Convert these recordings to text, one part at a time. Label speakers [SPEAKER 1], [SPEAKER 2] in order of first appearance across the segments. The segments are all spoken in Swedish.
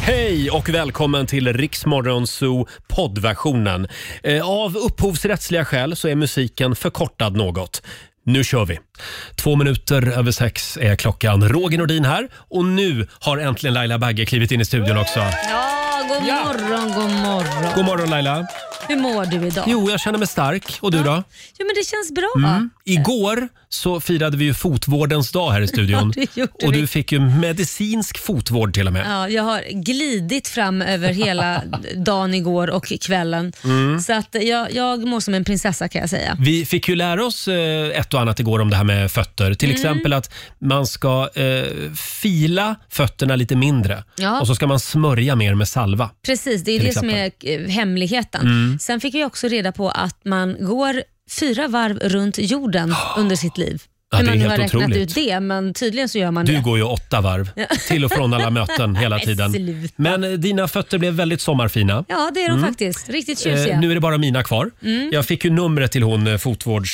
[SPEAKER 1] Hej och välkommen till Riksmorgon Zoo poddversionen. Eh, Av upphovsrättsliga skäl så är musiken förkortad något. Nu kör vi! Två minuter över sex är klockan. Roger Nordin här och nu har äntligen Laila Bagge klivit in i studion också.
[SPEAKER 2] Ja, god morgon, god morgon.
[SPEAKER 1] God morgon Laila!
[SPEAKER 2] Hur mår du idag?
[SPEAKER 1] Jo, jag känner mig stark. Och du då? Mm.
[SPEAKER 2] Jo, men det känns bra.
[SPEAKER 1] Igår så firade vi ju fotvårdens dag här i studion.
[SPEAKER 2] Ja, det gjorde
[SPEAKER 1] och du
[SPEAKER 2] vi.
[SPEAKER 1] fick ju medicinsk fotvård till och med.
[SPEAKER 2] Ja, jag har glidit fram över hela dagen igår och
[SPEAKER 1] Mm.
[SPEAKER 2] kvällen. Så att jag, jag mår som en prinsessa kan jag säga.
[SPEAKER 1] Vi fick ju lära oss eh, ett och annat igår om det här med fötter.
[SPEAKER 2] Mm.
[SPEAKER 1] Till exempel att man ska eh, fila fötterna lite mindre
[SPEAKER 2] Ja.
[SPEAKER 1] och så ska man smörja mer med salva.
[SPEAKER 2] Precis, det är
[SPEAKER 1] Till Mm.
[SPEAKER 2] det som är eh, hemligheten. Sen fick vi också reda på att man går fyra varv runt jorden under sitt liv.
[SPEAKER 1] Ja,
[SPEAKER 2] Hur
[SPEAKER 1] det är
[SPEAKER 2] man nu
[SPEAKER 1] helt
[SPEAKER 2] har räknat
[SPEAKER 1] otroligt.
[SPEAKER 2] ut det, men tydligen så gör man
[SPEAKER 1] Du
[SPEAKER 2] det.
[SPEAKER 1] går ju åtta varv till och från alla möten hela
[SPEAKER 2] Nej,
[SPEAKER 1] tiden.
[SPEAKER 2] sluta.
[SPEAKER 1] Men eh, dina fötter blev väldigt sommarfina. Mm.
[SPEAKER 2] Ja, det är de faktiskt. Riktigt tjusiga.
[SPEAKER 1] Eh, nu är det bara mina kvar. Jag fick ju numret till hon eh,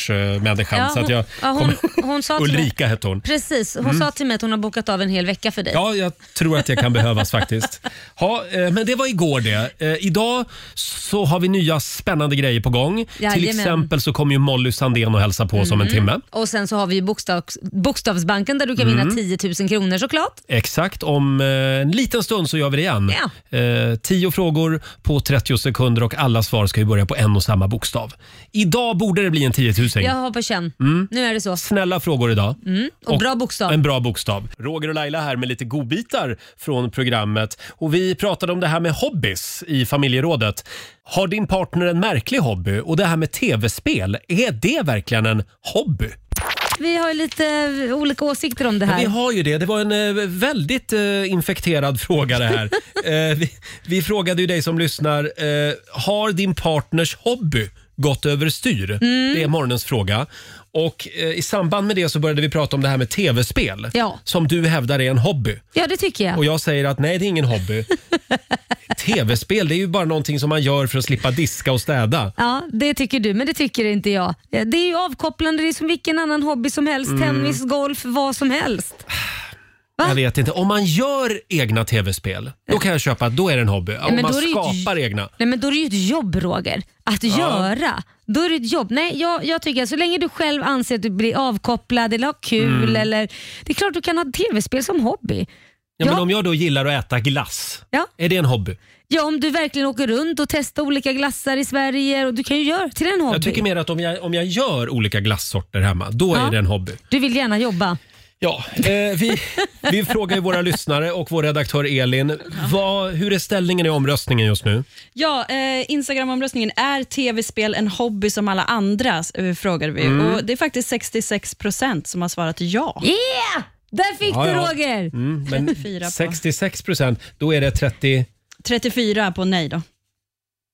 [SPEAKER 1] fotvårdsmänniskan.
[SPEAKER 2] Ja,
[SPEAKER 1] så att jag
[SPEAKER 2] ja, hon, hon sa
[SPEAKER 1] kom...
[SPEAKER 2] till mig,
[SPEAKER 1] Ulrika hette hon. Mm.
[SPEAKER 2] Precis, hon sa till mig att hon har bokat av en hel vecka för dig.
[SPEAKER 1] Ja, jag tror att det kan behövas faktiskt. Ha, eh, men det var igår det. Eh, idag så har vi nya spännande grejer på gång. Till
[SPEAKER 2] Jajamän.
[SPEAKER 1] exempel så kommer ju Molly Sandén och hälsa på oss om en timme.
[SPEAKER 2] Mm.
[SPEAKER 1] Mm.
[SPEAKER 2] Och sen så har vi ju bokstavs, Bokstavsbanken där du kan vinna 10 000 kronor såklart.
[SPEAKER 1] Exakt, om eh, en liten stund så gör vi det igen. Eh, tio frågor på 30 sekunder och alla svar ska ju börja på en och samma bokstav. Idag borde det bli en 10 000.
[SPEAKER 2] Jag har på känn. Nu är det så.
[SPEAKER 1] Snälla frågor idag.
[SPEAKER 2] Mm, Och, bra bokstav.
[SPEAKER 1] En bra bokstav. Roger och Laila här med lite godbitar från programmet. Och Vi pratade om det här med hobbies i familjerådet. Har din partner en märklig hobby? Och det här med tv-spel, är det verkligen en hobby?
[SPEAKER 2] Vi har ju lite olika åsikter om det här.
[SPEAKER 1] Vi har ju det. Det var en eh, väldigt eh, infekterad fråga det här. eh, vi, vi frågade ju dig som lyssnar, eh, har din partners hobby gått överstyr?
[SPEAKER 2] Mm.
[SPEAKER 1] Det är morgonens fråga. Och eh, I samband med det så började vi prata om det här med tv-spel
[SPEAKER 2] Ja.
[SPEAKER 1] som du hävdar är en hobby.
[SPEAKER 2] Ja, det tycker jag.
[SPEAKER 1] Och jag säger att nej, det är ingen hobby. Tv-spel, det är ju bara någonting som man gör för att slippa diska och städa.
[SPEAKER 2] Ja, det tycker du, men det tycker inte jag. Det är ju avkopplande, det är som vilken annan hobby som helst.
[SPEAKER 1] Mm.
[SPEAKER 2] Tennis, golf, vad som helst. Va?
[SPEAKER 1] Jag vet inte. Om man gör egna tv-spel, då kan jag köpa att då är det en hobby. Om
[SPEAKER 2] men
[SPEAKER 1] man
[SPEAKER 2] då är det ju ett-
[SPEAKER 1] skapar egna.
[SPEAKER 2] Nej, men då är det ju ett jobb Roger, att göra. Då är det ett jobb. Nej, jag, jag tycker att så länge du själv anser att du blir avkopplad eller har kul
[SPEAKER 1] Mm.
[SPEAKER 2] eller... Det är klart du kan ha tv-spel som hobby.
[SPEAKER 1] Ja, men
[SPEAKER 2] Ja.
[SPEAKER 1] om jag då gillar att äta glass,
[SPEAKER 2] Ja.
[SPEAKER 1] är det en hobby?
[SPEAKER 2] Ja, om du verkligen åker runt och testar olika glassar i Sverige. Och du kan ju göra det till en hobby.
[SPEAKER 1] Jag tycker mer att om jag, om jag gör olika glassorter hemma, då är
[SPEAKER 2] Ja.
[SPEAKER 1] det en hobby.
[SPEAKER 2] Du vill gärna jobba.
[SPEAKER 1] Ja, eh, vi, vi frågar ju våra lyssnare och vår redaktör Elin, vad, hur är ställningen i omröstningen just nu?
[SPEAKER 3] Ja, eh, Instagram-omröstningen är tv-spel en hobby som alla andra, eh, frågar vi.
[SPEAKER 1] Mm.
[SPEAKER 3] Och det är faktiskt 66 procent som har svarat ja.
[SPEAKER 2] Yeah! Där fick
[SPEAKER 1] Ja,
[SPEAKER 2] du
[SPEAKER 1] ja.
[SPEAKER 2] Roger!
[SPEAKER 1] Mm, men
[SPEAKER 3] 34 på.
[SPEAKER 1] 66 procent, då är det 30...
[SPEAKER 3] 34 på nej då.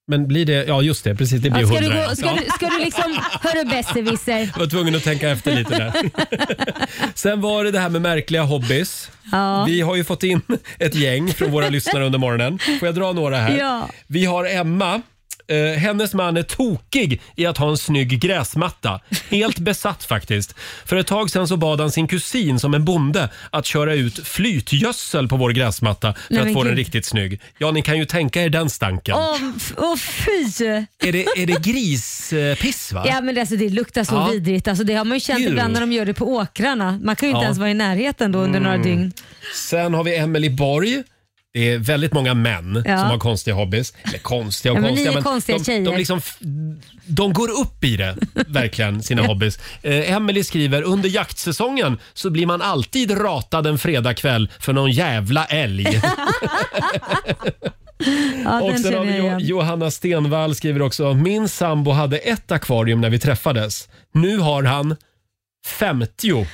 [SPEAKER 1] Men blir det, ja just det, precis det blir
[SPEAKER 2] Ja, ska, du
[SPEAKER 1] 100.
[SPEAKER 2] gå, ska,
[SPEAKER 1] Ja,
[SPEAKER 2] du, ska du liksom... Hörru besserwisser.
[SPEAKER 1] jag var tvungen att tänka efter lite där. Sen var det det här med märkliga hobbies.
[SPEAKER 2] Ja.
[SPEAKER 1] Vi har ju fått in ett gäng från våra lyssnare under morgonen. Får jag dra några här?
[SPEAKER 2] Ja.
[SPEAKER 1] Vi har Emma. Eh, hennes man är tokig i att ha en snygg gräsmatta. Helt besatt faktiskt. För ett tag sedan så bad han sin kusin som en bonde att köra ut flytgödsel på vår gräsmatta för
[SPEAKER 2] Nej,
[SPEAKER 1] att
[SPEAKER 2] men
[SPEAKER 1] få den
[SPEAKER 2] gud.
[SPEAKER 1] riktigt snygg. Ja, ni kan ju tänka er den stanken.
[SPEAKER 2] Åh f- åh, fy!
[SPEAKER 1] Är det, är det grispiss va?
[SPEAKER 2] Ja, men det, alltså, det luktar så
[SPEAKER 1] Ja.
[SPEAKER 2] vidrigt. Alltså, det har man ju känt
[SPEAKER 1] Djur.
[SPEAKER 2] ibland när de gör det på åkrarna. Man kan ju inte
[SPEAKER 1] Ja. Mm.
[SPEAKER 2] ens vara i närheten då under några dygn.
[SPEAKER 1] Sen har vi Emily Borg. Det är väldigt många män
[SPEAKER 2] Ja.
[SPEAKER 1] som har konstiga hobbys. Eller konstiga och
[SPEAKER 2] Ja, men ni
[SPEAKER 1] konstiga.
[SPEAKER 2] är konstiga
[SPEAKER 1] de,
[SPEAKER 2] tjejer.
[SPEAKER 1] de, liksom, f- de går upp i det, verkligen, sina hobbys. Eh, Emily skriver, under jaktsäsongen så blir man alltid ratad en fredagkväll för någon jävla älg.
[SPEAKER 2] Ja,
[SPEAKER 1] och
[SPEAKER 2] den
[SPEAKER 1] sen har
[SPEAKER 2] känner
[SPEAKER 1] vi
[SPEAKER 2] jag
[SPEAKER 1] jo-
[SPEAKER 2] igen.
[SPEAKER 1] Johanna Stenvall skriver också, min sambo hade ett akvarium när vi träffades. Nu har han 50.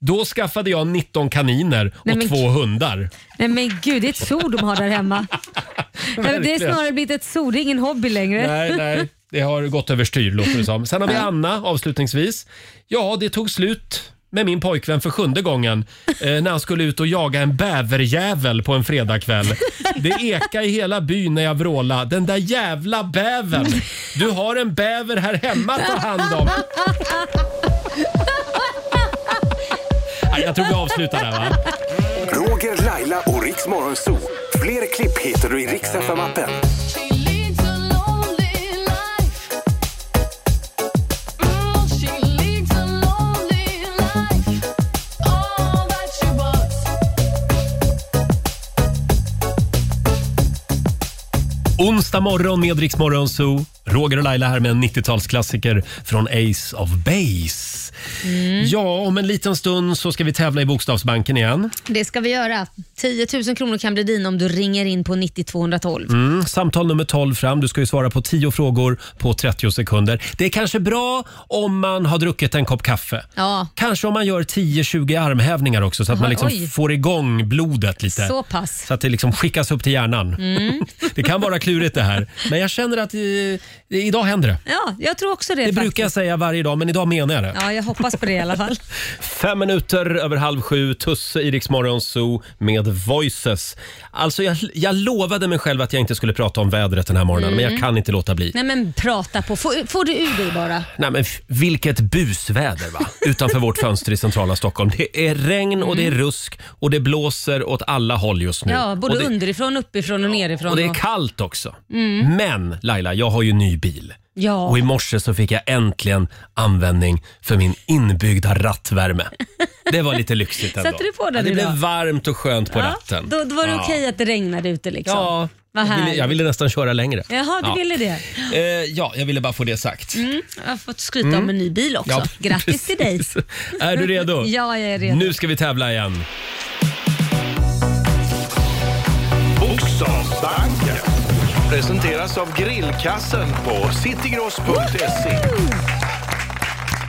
[SPEAKER 1] Då skaffade jag 19 kaniner och
[SPEAKER 2] Nej, men
[SPEAKER 1] två hundar.
[SPEAKER 2] Nej, men gud, det är ett zoo de har där hemma. Ja, men det är
[SPEAKER 1] Verkligen.
[SPEAKER 2] snarare blivit ett zoo, det är ingen hobby längre.
[SPEAKER 1] Nej, nej. Det har gått överstyr låter det som. Sen har vi Anna avslutningsvis. Ja, det tog slut med min pojkvän för sjunde gången eh, när han skulle ut och jaga en bäverjävel på en fredagkväll. Det eka i hela byn när jag vråla. Den där jävla bävern! Du har en bäver här hemma att ta hand om. Nej, Jag tror vi avslutar där va?
[SPEAKER 4] Roger, Laila och Riks Morgonzoo. Fler klipp hittar du i Rix FM-appen.
[SPEAKER 1] Onsdag morgon med Rix Morgon Zoo. Roger och Laila här med en 90-talsklassiker från Ace of Base. Ja, om en liten stund så ska vi tävla i Bokstavsbanken igen.
[SPEAKER 2] Det ska vi göra. 10 000 kronor kan bli din om du ringer in på 90 212.
[SPEAKER 1] Mm, samtal nummer 12 fram. Du ska ju svara på 10 frågor på 30 sekunder. Det är kanske bra om man har druckit en kopp kaffe.
[SPEAKER 2] Ja.
[SPEAKER 1] Kanske om man gör 10-20 armhävningar också så att
[SPEAKER 2] Jaha,
[SPEAKER 1] man liksom
[SPEAKER 2] oj.
[SPEAKER 1] får igång blodet lite.
[SPEAKER 2] Så pass. Mm.
[SPEAKER 1] Så att det liksom skickas upp till hjärnan. det kan vara klurigt det här. Men jag känner att eh, idag händer det.
[SPEAKER 2] Ja, jag tror också det.
[SPEAKER 1] Det
[SPEAKER 2] faktiskt.
[SPEAKER 1] brukar jag säga varje dag, men idag menar jag det.
[SPEAKER 2] Ja, jag hoppas på det i alla fall.
[SPEAKER 1] Fem minuter över halv sju, Tusse i Rix Morgon Zoo med Voices. Alltså jag, jag lovade mig själv att jag inte skulle prata om vädret den här morgonen, men jag kan inte låta bli. Nej,
[SPEAKER 2] Mm. Nej men prata på. Får, får du ur dig bara.
[SPEAKER 1] men f- vilket busväder va? Utanför vårt fönster i centrala Stockholm. Det är regn och det är rusk och det blåser åt alla håll just nu.
[SPEAKER 2] Mm. Ja, både
[SPEAKER 1] och det,
[SPEAKER 2] underifrån, uppifrån och Mm. nerifrån.
[SPEAKER 1] och det är
[SPEAKER 2] och-
[SPEAKER 1] kallt också. Men Laila, jag har ju ny bil.
[SPEAKER 2] Ja.
[SPEAKER 1] Och i morse så fick jag äntligen användning för min inbyggda rattvärme. Det var lite lyxigt ändå.
[SPEAKER 2] Satte du på den
[SPEAKER 1] ja, Det
[SPEAKER 2] idag?
[SPEAKER 1] blev varmt och skönt på ratten.
[SPEAKER 2] Då, då var det okej att det regnade ute liksom.
[SPEAKER 1] Ja,
[SPEAKER 2] Vad
[SPEAKER 1] jag ville,
[SPEAKER 2] härligt.
[SPEAKER 1] jag ville nästan köra längre.
[SPEAKER 2] Jaha, du
[SPEAKER 1] ja.
[SPEAKER 2] ville det.
[SPEAKER 1] Eh, ja, jag ville bara få det sagt.
[SPEAKER 2] Mm, jag har fått skryta
[SPEAKER 5] Mm.
[SPEAKER 2] om en ny bil också.
[SPEAKER 1] Ja,
[SPEAKER 2] Grattis till dig.
[SPEAKER 1] precis. Är du redo?
[SPEAKER 2] Ja, jag är redo.
[SPEAKER 1] Nu ska vi tävla igen.
[SPEAKER 4] Bokstavsbanken presenteras av grillkassen på citygross.se.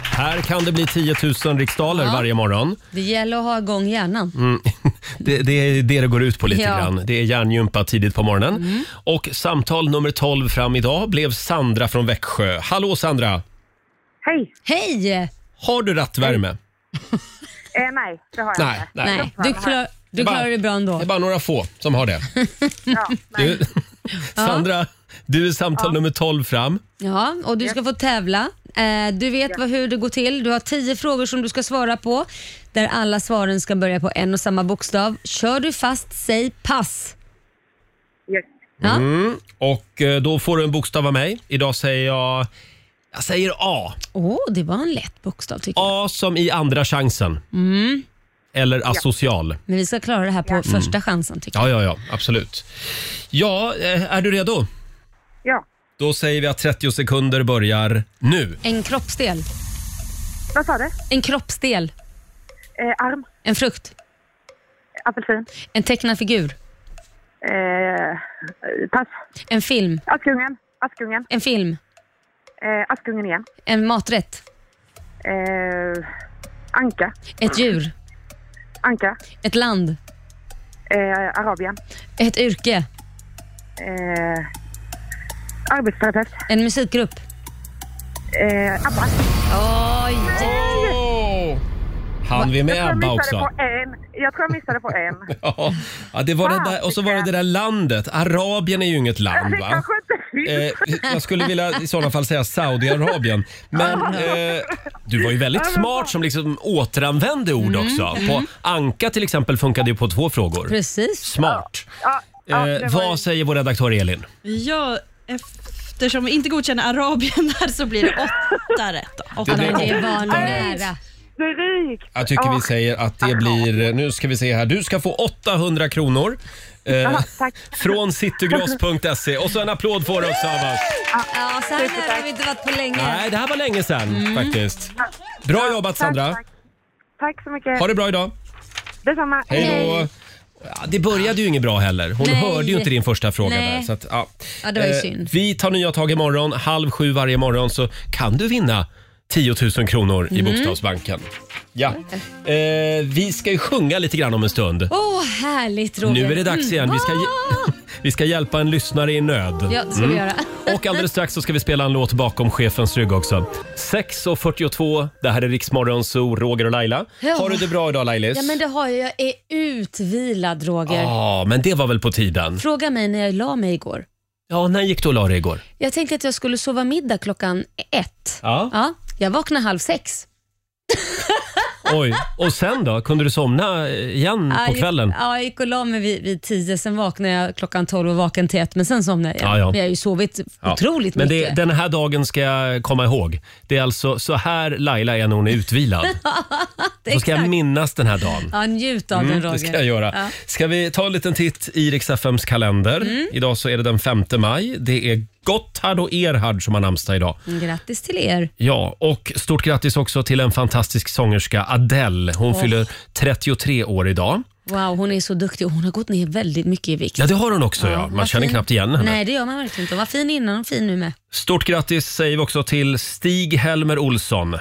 [SPEAKER 1] Här kan det bli 10 000 riksdaler varje morgon. Mm.
[SPEAKER 2] Det gäller att ha igång hjärnan.
[SPEAKER 1] Det, det är det det går ut på lite
[SPEAKER 2] Ja. Mm.
[SPEAKER 1] grann. Det är hjärngympa tidigt på morgonen. Och samtal nummer 12 fram idag blev Sandra från Växjö. Hallå Sandra!
[SPEAKER 5] Hej!
[SPEAKER 2] Hej!
[SPEAKER 1] Har du rattvärme?
[SPEAKER 5] Eh, nej, det har Mm. jag
[SPEAKER 1] Nej,
[SPEAKER 5] inte.
[SPEAKER 1] nej.
[SPEAKER 2] Nej, du, klar,
[SPEAKER 1] Det
[SPEAKER 2] du
[SPEAKER 1] är bara-
[SPEAKER 2] klarar det bra ändå.
[SPEAKER 1] Det är bara några få som har det.
[SPEAKER 5] Ja, nej.
[SPEAKER 1] Du, Sandra, du är samtal nummer 12 fram.
[SPEAKER 2] Ja, och du ska få tävla. Eh, Du vet vad, hur det går till. Du har tio frågor som du ska svara på där alla svaren ska börja på en och samma bokstav. Kör du fast, säg pass.
[SPEAKER 5] Just.
[SPEAKER 2] Ja?
[SPEAKER 1] Och eh, då får du en bokstav av mig. Idag säger jag... Jag säger A.
[SPEAKER 2] Åh, det var en lätt bokstav tycker jag.
[SPEAKER 1] A som i andra chansen. Eller asocial.
[SPEAKER 2] Mm. Men vi ska klara det här på
[SPEAKER 5] Mm.
[SPEAKER 2] första chansen tycker jag.
[SPEAKER 1] Ja, ja, ja. Absolut. Ja, eh, är du redo?
[SPEAKER 5] Ja.
[SPEAKER 1] Då säger vi att 30 sekunder börjar nu.
[SPEAKER 2] En kroppsdel.
[SPEAKER 5] Vad sa du?
[SPEAKER 2] En kroppsdel.
[SPEAKER 5] Eh, arm,
[SPEAKER 2] En frukt.
[SPEAKER 5] apelsin,
[SPEAKER 2] En tecknad figur.
[SPEAKER 5] eh, pass,
[SPEAKER 2] En film.
[SPEAKER 5] Askungen, Askungen,
[SPEAKER 2] En film.
[SPEAKER 5] eh, Askungen igen,
[SPEAKER 2] En maträtt.
[SPEAKER 5] eh, Anka,
[SPEAKER 2] Ett djur.
[SPEAKER 5] Anka,
[SPEAKER 2] Ett land.
[SPEAKER 5] eh, Arabien,
[SPEAKER 2] Ett yrke.
[SPEAKER 5] eh, arbetsterapeut,
[SPEAKER 2] En musikgrupp.
[SPEAKER 5] eh, ABBA.
[SPEAKER 2] Oj!
[SPEAKER 1] Oh! Han vi med
[SPEAKER 5] jag,
[SPEAKER 1] ABBA
[SPEAKER 5] tror jag missade
[SPEAKER 1] också?
[SPEAKER 5] på en. jag tror jag missade på en.
[SPEAKER 1] Ja, Ja, det var det där, och så var det det där landet. Arabien är ju inget land
[SPEAKER 5] Det
[SPEAKER 1] va?
[SPEAKER 5] kanske inte
[SPEAKER 1] Eh, jag skulle vilja i sådana fall säga Saudiarabien. Men eh, du var ju väldigt smart som liksom återanvände
[SPEAKER 5] Mm.
[SPEAKER 1] ord också. På anka till exempel funkade ju på två frågor.
[SPEAKER 2] Precis.
[SPEAKER 1] Smart.
[SPEAKER 5] Ja, ja, det
[SPEAKER 1] Eh,
[SPEAKER 5] var
[SPEAKER 1] vad
[SPEAKER 5] ju-
[SPEAKER 1] säger vår redaktör Elin?
[SPEAKER 3] Ja, eftersom vi inte godkänner Arabien där så blir det åtta rätt. då. Åtta
[SPEAKER 1] Det blir
[SPEAKER 3] rätt.
[SPEAKER 2] Det var nära.
[SPEAKER 5] Drygt.
[SPEAKER 1] Jag tycker vi säger att det blir, nu ska vi se här, du ska få 800 kronor. Eh,
[SPEAKER 5] tack.
[SPEAKER 1] från citygross.se och så en applåd får du också av oss.
[SPEAKER 2] Ja, så här nära har vi inte varit på länge.
[SPEAKER 1] Nej, det här var länge sedan
[SPEAKER 5] Mm.
[SPEAKER 1] faktiskt. Bra jobbat Sandra.
[SPEAKER 5] Tack, tack. tack så mycket.
[SPEAKER 1] Ha det bra idag.
[SPEAKER 5] Detsamma.
[SPEAKER 1] Hej då. Ja, det började ju inget bra heller. Hon
[SPEAKER 2] Nej.
[SPEAKER 1] hörde ju inte din första fråga
[SPEAKER 2] Nej.
[SPEAKER 1] där. Så att, ja.
[SPEAKER 2] Ja, det var ju
[SPEAKER 1] Eh,
[SPEAKER 2] synd.
[SPEAKER 1] Vi tar nya tag imorgon. Halv sju varje morgon så kan du vinna 10 000 kronor
[SPEAKER 2] Mm.
[SPEAKER 1] i Bokstavsbanken. Ja. Eh, vi ska ju sjunga lite grann om en stund.
[SPEAKER 2] Åh, härligt Roger. Mm.
[SPEAKER 1] Nu är det dags igen. Vi ska, hj- vi ska hjälpa en lyssnare i nöd. Mm.
[SPEAKER 2] Ja, det ska vi göra.
[SPEAKER 1] Och alldeles strax så ska vi spela en låt bakom chefens rygg också. 6.42, det här är Riksmorgon Zoo, Roger och Laila.
[SPEAKER 2] Ja.
[SPEAKER 1] Har du det bra idag Lailis?
[SPEAKER 2] Ja, men det har jag. Jag är utvilad Roger.
[SPEAKER 1] Ja, Ah, men det var väl på tiden.
[SPEAKER 2] Fråga mig när jag la mig igår.
[SPEAKER 1] Ja, när gick du och la dig igår?
[SPEAKER 2] Jag tänkte att jag skulle sova middag klockan ett.
[SPEAKER 1] Ja.
[SPEAKER 2] Ja, jag vaknade halv sex.
[SPEAKER 1] Oj. Och sen då? Kunde du somna eh, igen
[SPEAKER 2] Ja,
[SPEAKER 1] Mm, på
[SPEAKER 2] jag gick-
[SPEAKER 1] kvällen?
[SPEAKER 2] Ja, jag gick och la mig vid, vid tio, sen vaknade jag klockan tolv och vaken till ett, men sen somnade jag.
[SPEAKER 1] Ja, ja.
[SPEAKER 2] Men jag har ju sovit otroligt
[SPEAKER 1] Men det,
[SPEAKER 2] mycket.
[SPEAKER 1] den här dagen ska jag komma ihåg. Det är alltså så här Laila är när hon är utvilad. Så ska jag
[SPEAKER 2] Exakt.
[SPEAKER 1] minnas den här dagen. Mm,
[SPEAKER 2] Ja, njut av den Roger.
[SPEAKER 1] Det ska jag göra.
[SPEAKER 2] Ja. Mm.
[SPEAKER 1] Ska vi ta en liten titt i Riks-FMs kalender? Idag så är det den 5 maj. Det är Gotthard och Erhard som har namnsdag idag.
[SPEAKER 2] Mm, Grattis till er.
[SPEAKER 1] Ja, och stort grattis också till en fantastisk sångerska, Adele. Hon fyller 33 år idag.
[SPEAKER 2] Wow, hon är så duktig och hon har gått ner väldigt mycket i vikt.
[SPEAKER 1] Ja, det har hon också. Ja, Man
[SPEAKER 2] vad
[SPEAKER 1] känner
[SPEAKER 2] fin.
[SPEAKER 1] knappt igen henne.
[SPEAKER 2] Nej, det gör man verkligen inte. Hon var fin innan och fin nu med.
[SPEAKER 1] Stort grattis säger vi också till Stig-Helmer Olsson.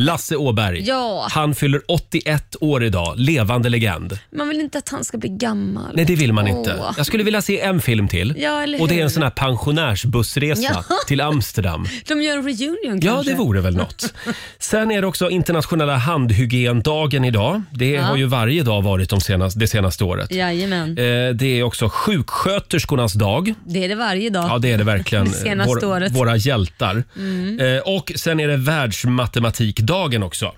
[SPEAKER 1] Lasse Åberg.
[SPEAKER 2] Ja.
[SPEAKER 1] Han fyller 81 år idag. Levande legend.
[SPEAKER 2] Man vill inte att han ska bli gammal.
[SPEAKER 1] Nej, det vill man
[SPEAKER 2] Åh.
[SPEAKER 1] inte. Jag skulle vilja se en film till.
[SPEAKER 2] Ja, eller
[SPEAKER 1] och det är en
[SPEAKER 2] hur?
[SPEAKER 1] sån här pensionärsbussresa
[SPEAKER 2] Ja.
[SPEAKER 1] till Amsterdam.
[SPEAKER 2] De gör en reunion
[SPEAKER 1] Ja,
[SPEAKER 2] kanske?
[SPEAKER 1] det vore väl något. Sen är det också internationella handhygiendagen idag. Det har ju varje dag varit de senaste, det senaste året.
[SPEAKER 2] Jajamän,
[SPEAKER 1] Eh, Det är också sjuksköterskornas dag.
[SPEAKER 2] det är det varje dag.
[SPEAKER 1] Ja, det är det verkligen.
[SPEAKER 2] Det senaste
[SPEAKER 1] Vår-
[SPEAKER 2] året.
[SPEAKER 1] Våra hjältar.
[SPEAKER 2] Mm.
[SPEAKER 1] Eh, Och sen är det världsmatematikdagen också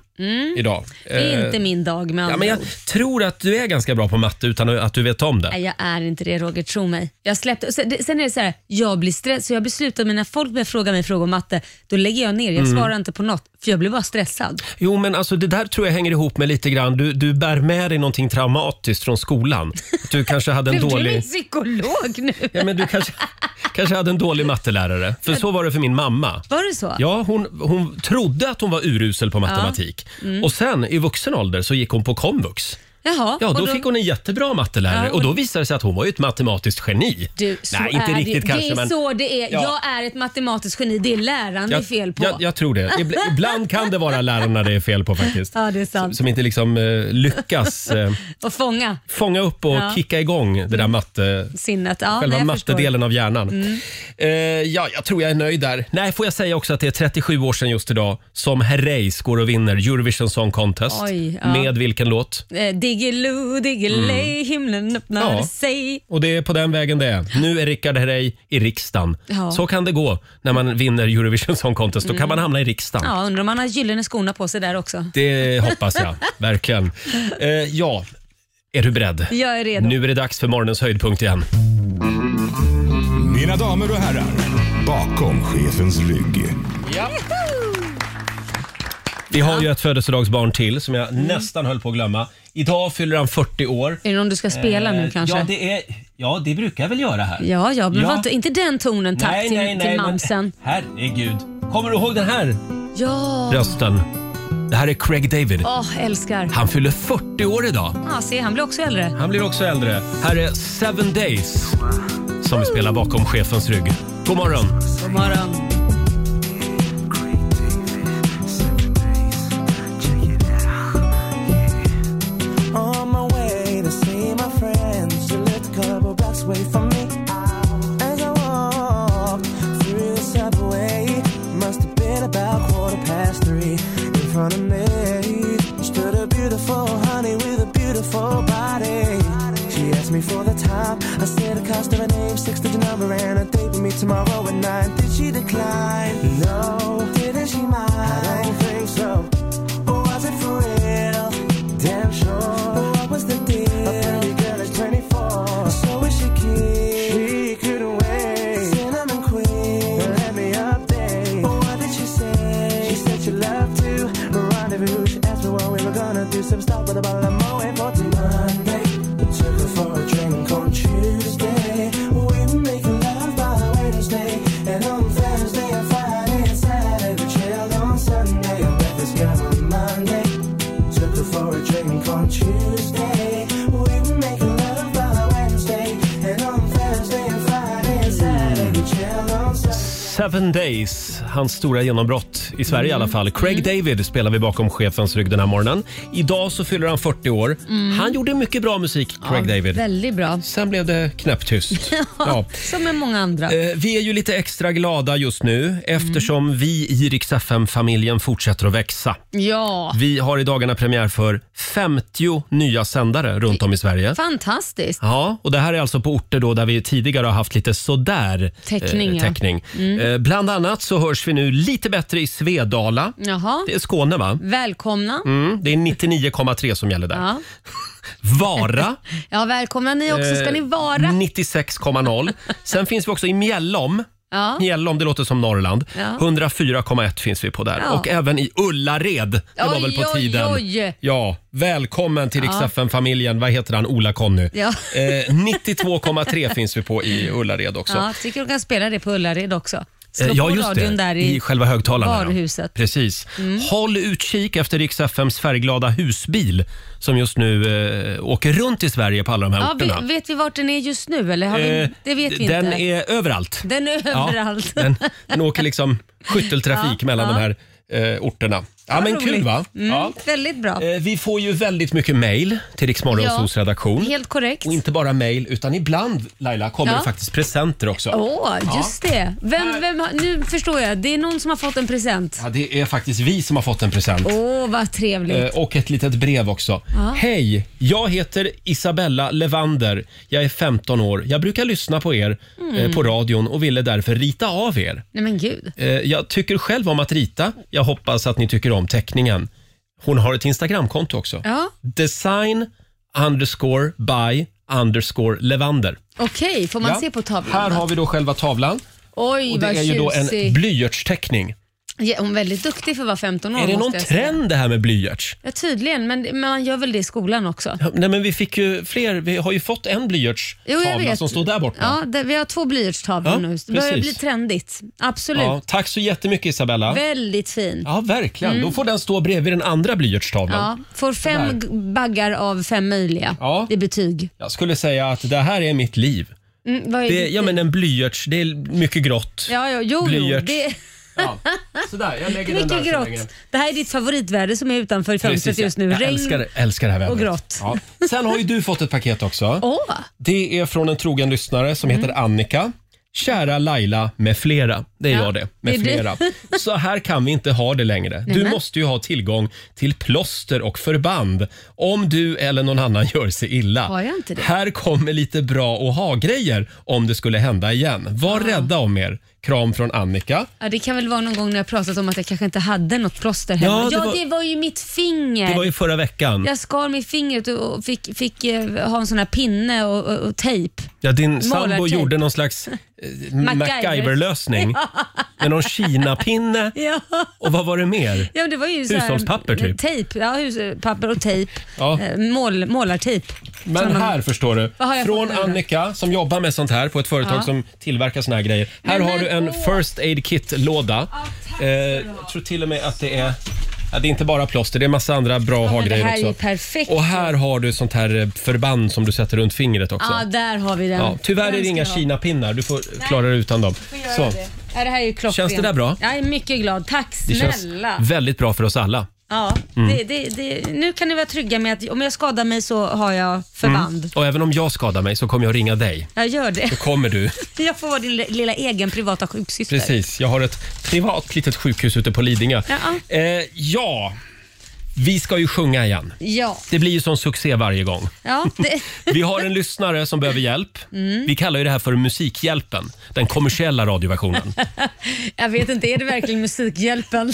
[SPEAKER 1] idag.
[SPEAKER 2] Mm. Det är
[SPEAKER 1] Eh,
[SPEAKER 2] inte min dag med
[SPEAKER 1] Ja,
[SPEAKER 2] andra
[SPEAKER 1] men jag
[SPEAKER 2] ord.
[SPEAKER 1] tror att du är ganska bra på matte utan att du vet om det.
[SPEAKER 2] Nej, jag är inte det Roger, tro mig. Jag släppte, och sen, det- sen är det så här, jag blir stressad. Så jag beslutar mig när folk börjar fråga mig frågor om matte, då lägger jag ner.
[SPEAKER 1] Mm.
[SPEAKER 2] Jag svarar inte på något, för jag blir bara stressad.
[SPEAKER 1] Jo, men alltså det där tror jag hänger ihop med lite grann. Du, du bär med dig någonting traumatiskt från skolan. Att Du kanske hade en
[SPEAKER 2] Blev du
[SPEAKER 1] dålig...
[SPEAKER 2] min psykolog nu?
[SPEAKER 1] Ja, men du kanske, kanske hade en dålig mattelärare. För så var det för min mamma.
[SPEAKER 2] Var det så?
[SPEAKER 1] Ja, hon, hon trodde att hon var urusel på matematik.
[SPEAKER 2] Mm.
[SPEAKER 1] Och sen i vuxen ålder så gick hon på komvux.
[SPEAKER 2] Jaha.
[SPEAKER 1] Ja,
[SPEAKER 2] och
[SPEAKER 1] då fick hon en jättebra mattelärare
[SPEAKER 2] Ja, och-
[SPEAKER 1] och då visade det sig att hon var ju ett matematiskt geni.
[SPEAKER 2] Du, så
[SPEAKER 1] Nej, inte
[SPEAKER 2] är
[SPEAKER 1] riktigt
[SPEAKER 2] det.
[SPEAKER 1] kanske
[SPEAKER 2] Det är
[SPEAKER 1] men...
[SPEAKER 2] så det är.
[SPEAKER 1] Ja.
[SPEAKER 2] Jag är ett matematiskt geni. Det är läraren det är fel på.
[SPEAKER 1] Jag, jag tror det. Ibl- Ibland kan det vara lärarna det är fel på faktiskt.
[SPEAKER 2] Ja, det är sant.
[SPEAKER 1] Som inte liksom eh, lyckas eh,
[SPEAKER 2] Och fånga
[SPEAKER 1] fånga upp och
[SPEAKER 2] Ja.
[SPEAKER 1] kicka igång det där matte,
[SPEAKER 2] sinnet. Ja,
[SPEAKER 1] själva
[SPEAKER 2] nej, jag förstår. Mm.
[SPEAKER 1] mattedelen av hjärnan. Eh, ja, jag tror jag är nöjd där. Nej, får jag säga också att det är 37 år sedan just idag som Herreys går och vinner Eurovision Song Contest.
[SPEAKER 2] Oj, ja.
[SPEAKER 1] Med vilken låt?
[SPEAKER 2] Eh, Diggiloo, diggiley, himlen öppnar
[SPEAKER 1] Mm. Ja.
[SPEAKER 2] sig.
[SPEAKER 1] Och det är på den vägen det är. Nu är Rickard Herrey i riksdagen.
[SPEAKER 2] Ja. Mm.
[SPEAKER 1] Så kan det gå när man vinner Eurovision Song Contest. Då kan man hamna i riksdagen.
[SPEAKER 2] Ja, undrar om han har gyllene skorna på sig där också.
[SPEAKER 1] Det hoppas jag, verkligen. Eh, ja, är du beredd?
[SPEAKER 2] Jag är redo.
[SPEAKER 1] Nu är det dags för morgonens höjdpunkt igen.
[SPEAKER 6] Mina damer och herrar, bakom chefens rygg.
[SPEAKER 1] Vi har ju ett födelsedagsbarn till som jag nästan höll på att glömma. Idag fyller han 40 år.
[SPEAKER 2] Mm. Är det någon du ska spela nu
[SPEAKER 1] Eh,
[SPEAKER 2] kanske?
[SPEAKER 1] Ja, det, är, ja, det brukar jag väl göra här.
[SPEAKER 2] Ja, ja, men
[SPEAKER 1] Ja.
[SPEAKER 2] var inte, inte den tonen tack till, till
[SPEAKER 1] men-
[SPEAKER 2] mamsen.
[SPEAKER 1] Herregud. Kommer du ihåg den här
[SPEAKER 2] Ja,
[SPEAKER 1] rösten? Det här är Craig David.
[SPEAKER 2] åh älskar.
[SPEAKER 1] Han fyller 40 år idag.
[SPEAKER 2] Ja, se, han blir också äldre.
[SPEAKER 1] Han blir också äldre. Här är Seven Days som vi spelar bakom chefens rygg. God morgon!
[SPEAKER 2] God morgon.
[SPEAKER 7] On my way to see my friends, she lived a couple blocks away from me. As I walked through the subway, must have been about quarter past three. In front of me stood a beautiful honey with a beautiful body. She asked me for the time. I said the cost of her name, six digit number, and a date with me tomorrow at nine. Did she decline? No. Didn't she mind? I don't think so. Was it for real? Damn sure. What was the deal? A pretty girl is 24. So is she keen? She couldn't wait. Cinnamon queen. Let me update. What did she say? She said she loved to rendezvous. She asked me what we were gonna do. Some stuff with a bottle of Moe for till Monday. Took her for a drink on Tuesday. We were making love by Wednesday. And on Thursday and Friday and Saturday, we chilled on Sunday. And breakfast got on Monday. Took her for a drink on Tuesday. We were making love by Wednesday. And on Thursday and Friday and Saturday, we chilled on Sunday.
[SPEAKER 1] Seven Days, hans stora genombrott i Sverige i alla fall. Craig David spelar vi bakom chefens rygg den här morgonen. Idag så fyller han 40 år. Han gjorde mycket bra musik, Craig David.
[SPEAKER 2] Väldigt bra.
[SPEAKER 1] Sen blev det knäpptyst. ja. Mm.
[SPEAKER 2] Som med många andra.
[SPEAKER 1] Eh, Vi är ju lite extra glada just nu eftersom vi i Rix FM-familjen fortsätter att växa.
[SPEAKER 2] Ja,
[SPEAKER 1] Vi har i dagarna premiär för 50 nya sändare runt om i Sverige.
[SPEAKER 2] fantastiskt.
[SPEAKER 1] Ja, och det här är alltså på orter då där vi tidigare har haft lite sådär eh,
[SPEAKER 2] Täckning, ja. Mm.
[SPEAKER 1] täckning. Eh, bland annat så hörs trivs vi nu lite bättre i Svedala.
[SPEAKER 2] Jaha.
[SPEAKER 1] Det är Skåne va?
[SPEAKER 2] Välkomna.
[SPEAKER 1] Mm, det är 99,3 som gäller där.
[SPEAKER 2] Ja.
[SPEAKER 1] Vara
[SPEAKER 2] ja, välkomna ni också ska
[SPEAKER 1] eh,
[SPEAKER 2] ni vara.
[SPEAKER 1] 96,0. Sen finns vi också i Mjällom.
[SPEAKER 2] Ja.
[SPEAKER 1] Mjällom, det låter som Norrland.
[SPEAKER 2] Ja.
[SPEAKER 1] 104,1 finns vi på där.
[SPEAKER 2] Ja.
[SPEAKER 1] Och även i Ullared. Det var
[SPEAKER 2] Oj,
[SPEAKER 1] väl på
[SPEAKER 2] oj,
[SPEAKER 1] tiden.
[SPEAKER 2] oj.
[SPEAKER 1] Ja, välkommen till Rix familjen Vad heter han? Ola-Conny.
[SPEAKER 2] Ja.
[SPEAKER 1] Eh, 92,3 finns vi på i Ullared också.
[SPEAKER 2] Ja, tycker du kan spela det på Ullared också. Slå
[SPEAKER 1] Eh,
[SPEAKER 2] på radion där i,
[SPEAKER 1] I själva högtalarna. ja.
[SPEAKER 2] varuhuset. Mm.
[SPEAKER 1] Precis. Håll utkik efter Rix FMs färgglada husbil som just nu eh, åker runt i Sverige på alla de här
[SPEAKER 2] Ja,
[SPEAKER 1] orterna.
[SPEAKER 2] vi, vet vi vart den är just nu? Eller har vi,
[SPEAKER 1] Eh,
[SPEAKER 2] det vet vi
[SPEAKER 1] den
[SPEAKER 2] inte.
[SPEAKER 1] är överallt.
[SPEAKER 2] den är
[SPEAKER 1] Ja,
[SPEAKER 2] överallt.
[SPEAKER 1] den, den åker liksom skytteltrafik
[SPEAKER 2] Ja,
[SPEAKER 1] mellan
[SPEAKER 2] ja.
[SPEAKER 1] de här eh, orterna. Ja, men kul
[SPEAKER 2] roligt.
[SPEAKER 1] va?
[SPEAKER 2] Mm,
[SPEAKER 1] Ja.
[SPEAKER 2] Väldigt bra.
[SPEAKER 1] Eh, vi får ju väldigt mycket mejl till Rix Morgonzoos
[SPEAKER 2] Ja,
[SPEAKER 1] redaktion.
[SPEAKER 2] Helt korrekt.
[SPEAKER 1] Och inte bara mejl, utan ibland Laila kommer
[SPEAKER 2] Ja.
[SPEAKER 1] det faktiskt presenter också.
[SPEAKER 2] Åh, just det. Vem, vem, har- nu förstår jag. Det är någon som har fått en present.
[SPEAKER 1] Ja, det är faktiskt vi som har fått en present.
[SPEAKER 2] Åh, vad trevligt.
[SPEAKER 1] Eh, Och ett litet brev också. Hej! Jag heter Isabella Levander. Jag är 15 år. Jag brukar lyssna på er
[SPEAKER 2] Mm.
[SPEAKER 1] eh, på radion och ville därför rita av er.
[SPEAKER 2] Nej men gud.
[SPEAKER 1] Eh, Jag tycker själv om att rita. Jag hoppas att ni tycker om teckningen. Hon har ett Instagramkonto också.
[SPEAKER 2] Ja.
[SPEAKER 1] Design underscore by underscore Levander.
[SPEAKER 2] Okej, får man
[SPEAKER 1] Ja.
[SPEAKER 2] se på tavlan?
[SPEAKER 1] Här
[SPEAKER 2] då?
[SPEAKER 1] har vi då själva tavlan.
[SPEAKER 2] Oj,
[SPEAKER 1] Och det
[SPEAKER 2] vad
[SPEAKER 1] är ju då en
[SPEAKER 2] tjusig.
[SPEAKER 1] blyertsteckning.
[SPEAKER 2] Ja, hon är väldigt duktig för att vara 15 år.
[SPEAKER 1] Är det
[SPEAKER 2] måste
[SPEAKER 1] någon
[SPEAKER 2] jag säga.
[SPEAKER 1] trend det här med blyerts?
[SPEAKER 2] Ja, tydligen, men, men man gör väl det i skolan också.
[SPEAKER 1] Ja, Nej, men vi fick ju fler. Vi har ju fått en
[SPEAKER 2] Jo, jag
[SPEAKER 1] blyertstavla
[SPEAKER 2] vet.
[SPEAKER 1] som står där borta.
[SPEAKER 2] Ja, det, vi har två blyertstavlor
[SPEAKER 1] Ja,
[SPEAKER 2] nu. Det börjar
[SPEAKER 1] precis.
[SPEAKER 2] bli trendigt. Absolut.
[SPEAKER 1] Ja, tack så jättemycket Isabella.
[SPEAKER 2] Väldigt fin.
[SPEAKER 1] Ja, verkligen. Då får den stå bredvid den andra blyertstavlan.
[SPEAKER 2] Mm. Ja, får fem
[SPEAKER 1] Sådär.
[SPEAKER 2] g- baggar av fem möjliga
[SPEAKER 1] Ja.
[SPEAKER 2] i betyg.
[SPEAKER 1] Jag skulle säga att det här är mitt liv.
[SPEAKER 2] Mm, vad är
[SPEAKER 1] Det, ja, men en blyerts, det är mycket grått.
[SPEAKER 2] ja, ja, jo, jo,
[SPEAKER 1] blyerts.
[SPEAKER 2] det är
[SPEAKER 1] Ja. Sådär, jag lägger den där
[SPEAKER 2] mycket
[SPEAKER 1] så länge.
[SPEAKER 2] grått. Det här är ditt favoritväder som är utanför fönstret
[SPEAKER 1] Precis,
[SPEAKER 2] just nu.
[SPEAKER 1] Jag
[SPEAKER 2] Regn.
[SPEAKER 1] älskar, älskar det här vädret.
[SPEAKER 2] och grått.
[SPEAKER 1] Ja. Sen har ju du fått ett paket också.
[SPEAKER 2] Åh, Mm.
[SPEAKER 1] Det är från en trogen lyssnare som heter Annika. Kära Laila med flera. Det är
[SPEAKER 2] Ja,
[SPEAKER 1] jag det. Med
[SPEAKER 2] det är du.
[SPEAKER 1] flera. Så här kan vi inte ha det längre. Du
[SPEAKER 2] Nämen.
[SPEAKER 1] måste ju ha tillgång till plåster och förband om du eller någon annan gör sig illa.
[SPEAKER 2] Har jag inte det?
[SPEAKER 1] Här kommer lite bra och ha-grejer om det skulle hända igen. Var rädda om er. Kram från Annika.
[SPEAKER 2] ja, det kan väl vara någon gång när jag pratat om att jag kanske inte hade något plåster hemma.
[SPEAKER 1] Ja,
[SPEAKER 2] Ja,
[SPEAKER 1] det
[SPEAKER 2] det,
[SPEAKER 1] var-
[SPEAKER 2] var... ju mitt finger.
[SPEAKER 1] Det var ju förra veckan.
[SPEAKER 2] Jag skar mig i fingret och- och fick, fick eh, ha en sån här pinne och, och, och tejp.
[SPEAKER 1] Ja, din sambo
[SPEAKER 2] Målartejp.
[SPEAKER 1] gjorde någon slags eh, MacGyver-lösning med någon kinapinne
[SPEAKER 2] Ja.
[SPEAKER 1] och vad var det mer?
[SPEAKER 2] Ja, men det var ju så här-
[SPEAKER 1] Hushållspapper, typ.
[SPEAKER 2] Tejp, ja, hushållspapper och tejp.
[SPEAKER 1] Ja.
[SPEAKER 2] Eh, Mål, målartejp.
[SPEAKER 1] Men
[SPEAKER 2] Sådana-
[SPEAKER 1] här förstår du,
[SPEAKER 2] Vad har jag
[SPEAKER 1] från
[SPEAKER 2] fått nu då?
[SPEAKER 1] Annika som jobbar med sånt här på ett företag
[SPEAKER 2] Ja.
[SPEAKER 1] som tillverkar såna här grejer. Här
[SPEAKER 2] Men,
[SPEAKER 1] har
[SPEAKER 2] men,
[SPEAKER 1] du en
[SPEAKER 2] åh.
[SPEAKER 1] First Aid Kit-låda. Eh, jag tror till och med att det är Ja, det är inte bara plåster, det är massa andra bra
[SPEAKER 2] men det
[SPEAKER 1] ha-grejer
[SPEAKER 2] här är
[SPEAKER 1] också.
[SPEAKER 2] ju perfekt.
[SPEAKER 1] Och här har du sånt här eh, förband som du sätter runt fingret också.
[SPEAKER 2] Ja, där har vi den.
[SPEAKER 1] ja, tyvärr är
[SPEAKER 2] Den
[SPEAKER 1] det
[SPEAKER 2] ska
[SPEAKER 1] inga
[SPEAKER 2] jag ha.
[SPEAKER 1] kinapinnar, du får klara dig utan dem.
[SPEAKER 2] Får
[SPEAKER 1] Så,
[SPEAKER 2] göra det. Ja, det här är ju klockrent.
[SPEAKER 1] Känns det där bra?
[SPEAKER 2] Jag är mycket glad. Tack
[SPEAKER 1] det känns
[SPEAKER 2] snälla.
[SPEAKER 1] väldigt bra för oss alla.
[SPEAKER 2] Ja,
[SPEAKER 1] Mm.
[SPEAKER 2] det, det, det, nu kan ni vara trygga med att om jag skadar mig så har jag förband.
[SPEAKER 1] Mm. Och även om jag skadar mig så kommer jag ringa dig.
[SPEAKER 2] Jag gör det.
[SPEAKER 1] Då kommer du.
[SPEAKER 2] Jag får vara din li- lilla egen privata sjuksyster.
[SPEAKER 1] Precis. Jag har ett privat litet sjukhus ute på Lidingö.
[SPEAKER 2] Ja.
[SPEAKER 1] Eh, ja, vi ska ju sjunga igen.
[SPEAKER 2] Ja,
[SPEAKER 1] Det blir ju sån succé varje gång.
[SPEAKER 2] ja det,
[SPEAKER 1] Vi har en lyssnare som behöver hjälp.
[SPEAKER 2] Mm.
[SPEAKER 1] Vi kallar ju det här för Musikhjälpen, den kommersiella radioversionen.
[SPEAKER 2] jag vet inte, är det verkligen Musikhjälpen?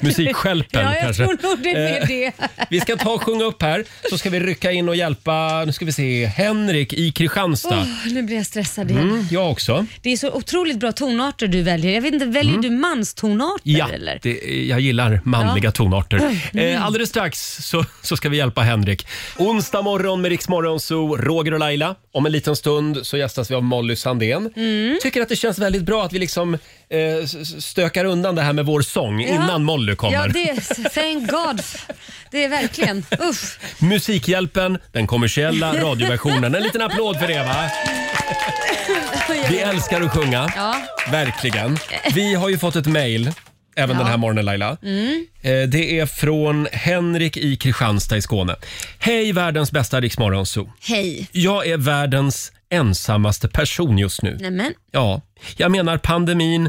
[SPEAKER 1] Musikstjälpen
[SPEAKER 2] ja, jag
[SPEAKER 1] kanske.
[SPEAKER 2] tror nog det är
[SPEAKER 1] Eh,
[SPEAKER 2] det.
[SPEAKER 1] Vi ska ta och sjunga upp här, så ska vi rycka in och hjälpa, nu ska vi se, Henrik i Kristianstad.
[SPEAKER 2] Åh, nu blir jag stressad igen.
[SPEAKER 1] Mm, jag också.
[SPEAKER 2] Det är så otroligt bra tonarter du väljer. Jag vet inte, väljer du manstonarter
[SPEAKER 1] Mm. Ja,
[SPEAKER 2] eller? Mm.
[SPEAKER 1] det, jag gillar manliga tonarter. Eh, alldeles strax så, så ska vi hjälpa Henrik. Onsdag morgon med Rix Morgon Zoo, Roger och Laila. Om en liten stund så gästas vi av Molly Sandén.
[SPEAKER 2] Mm.
[SPEAKER 1] Tycker att det känns väldigt bra att vi liksom eh, s- s- stökar undan det här med vår sång innan Molly kommer.
[SPEAKER 2] Ja, det thank God. Det är verkligen, usch.
[SPEAKER 1] Musikhjälpen, den kommersiella radioversionen. En liten applåd för det va? Vi älskar att sjunga.
[SPEAKER 2] Ja.
[SPEAKER 1] Verkligen. Vi har ju fått ett mejl även den här morgonen Laila.
[SPEAKER 2] Mm.
[SPEAKER 1] Eh, Det är från Henrik i Kristianstad i Skåne. Hej världens bästa Riksmorgonzoo.
[SPEAKER 2] Hej.
[SPEAKER 1] Jag är världens ensammaste person just nu.
[SPEAKER 2] Nämen.
[SPEAKER 1] Ja, jag menar pandemin.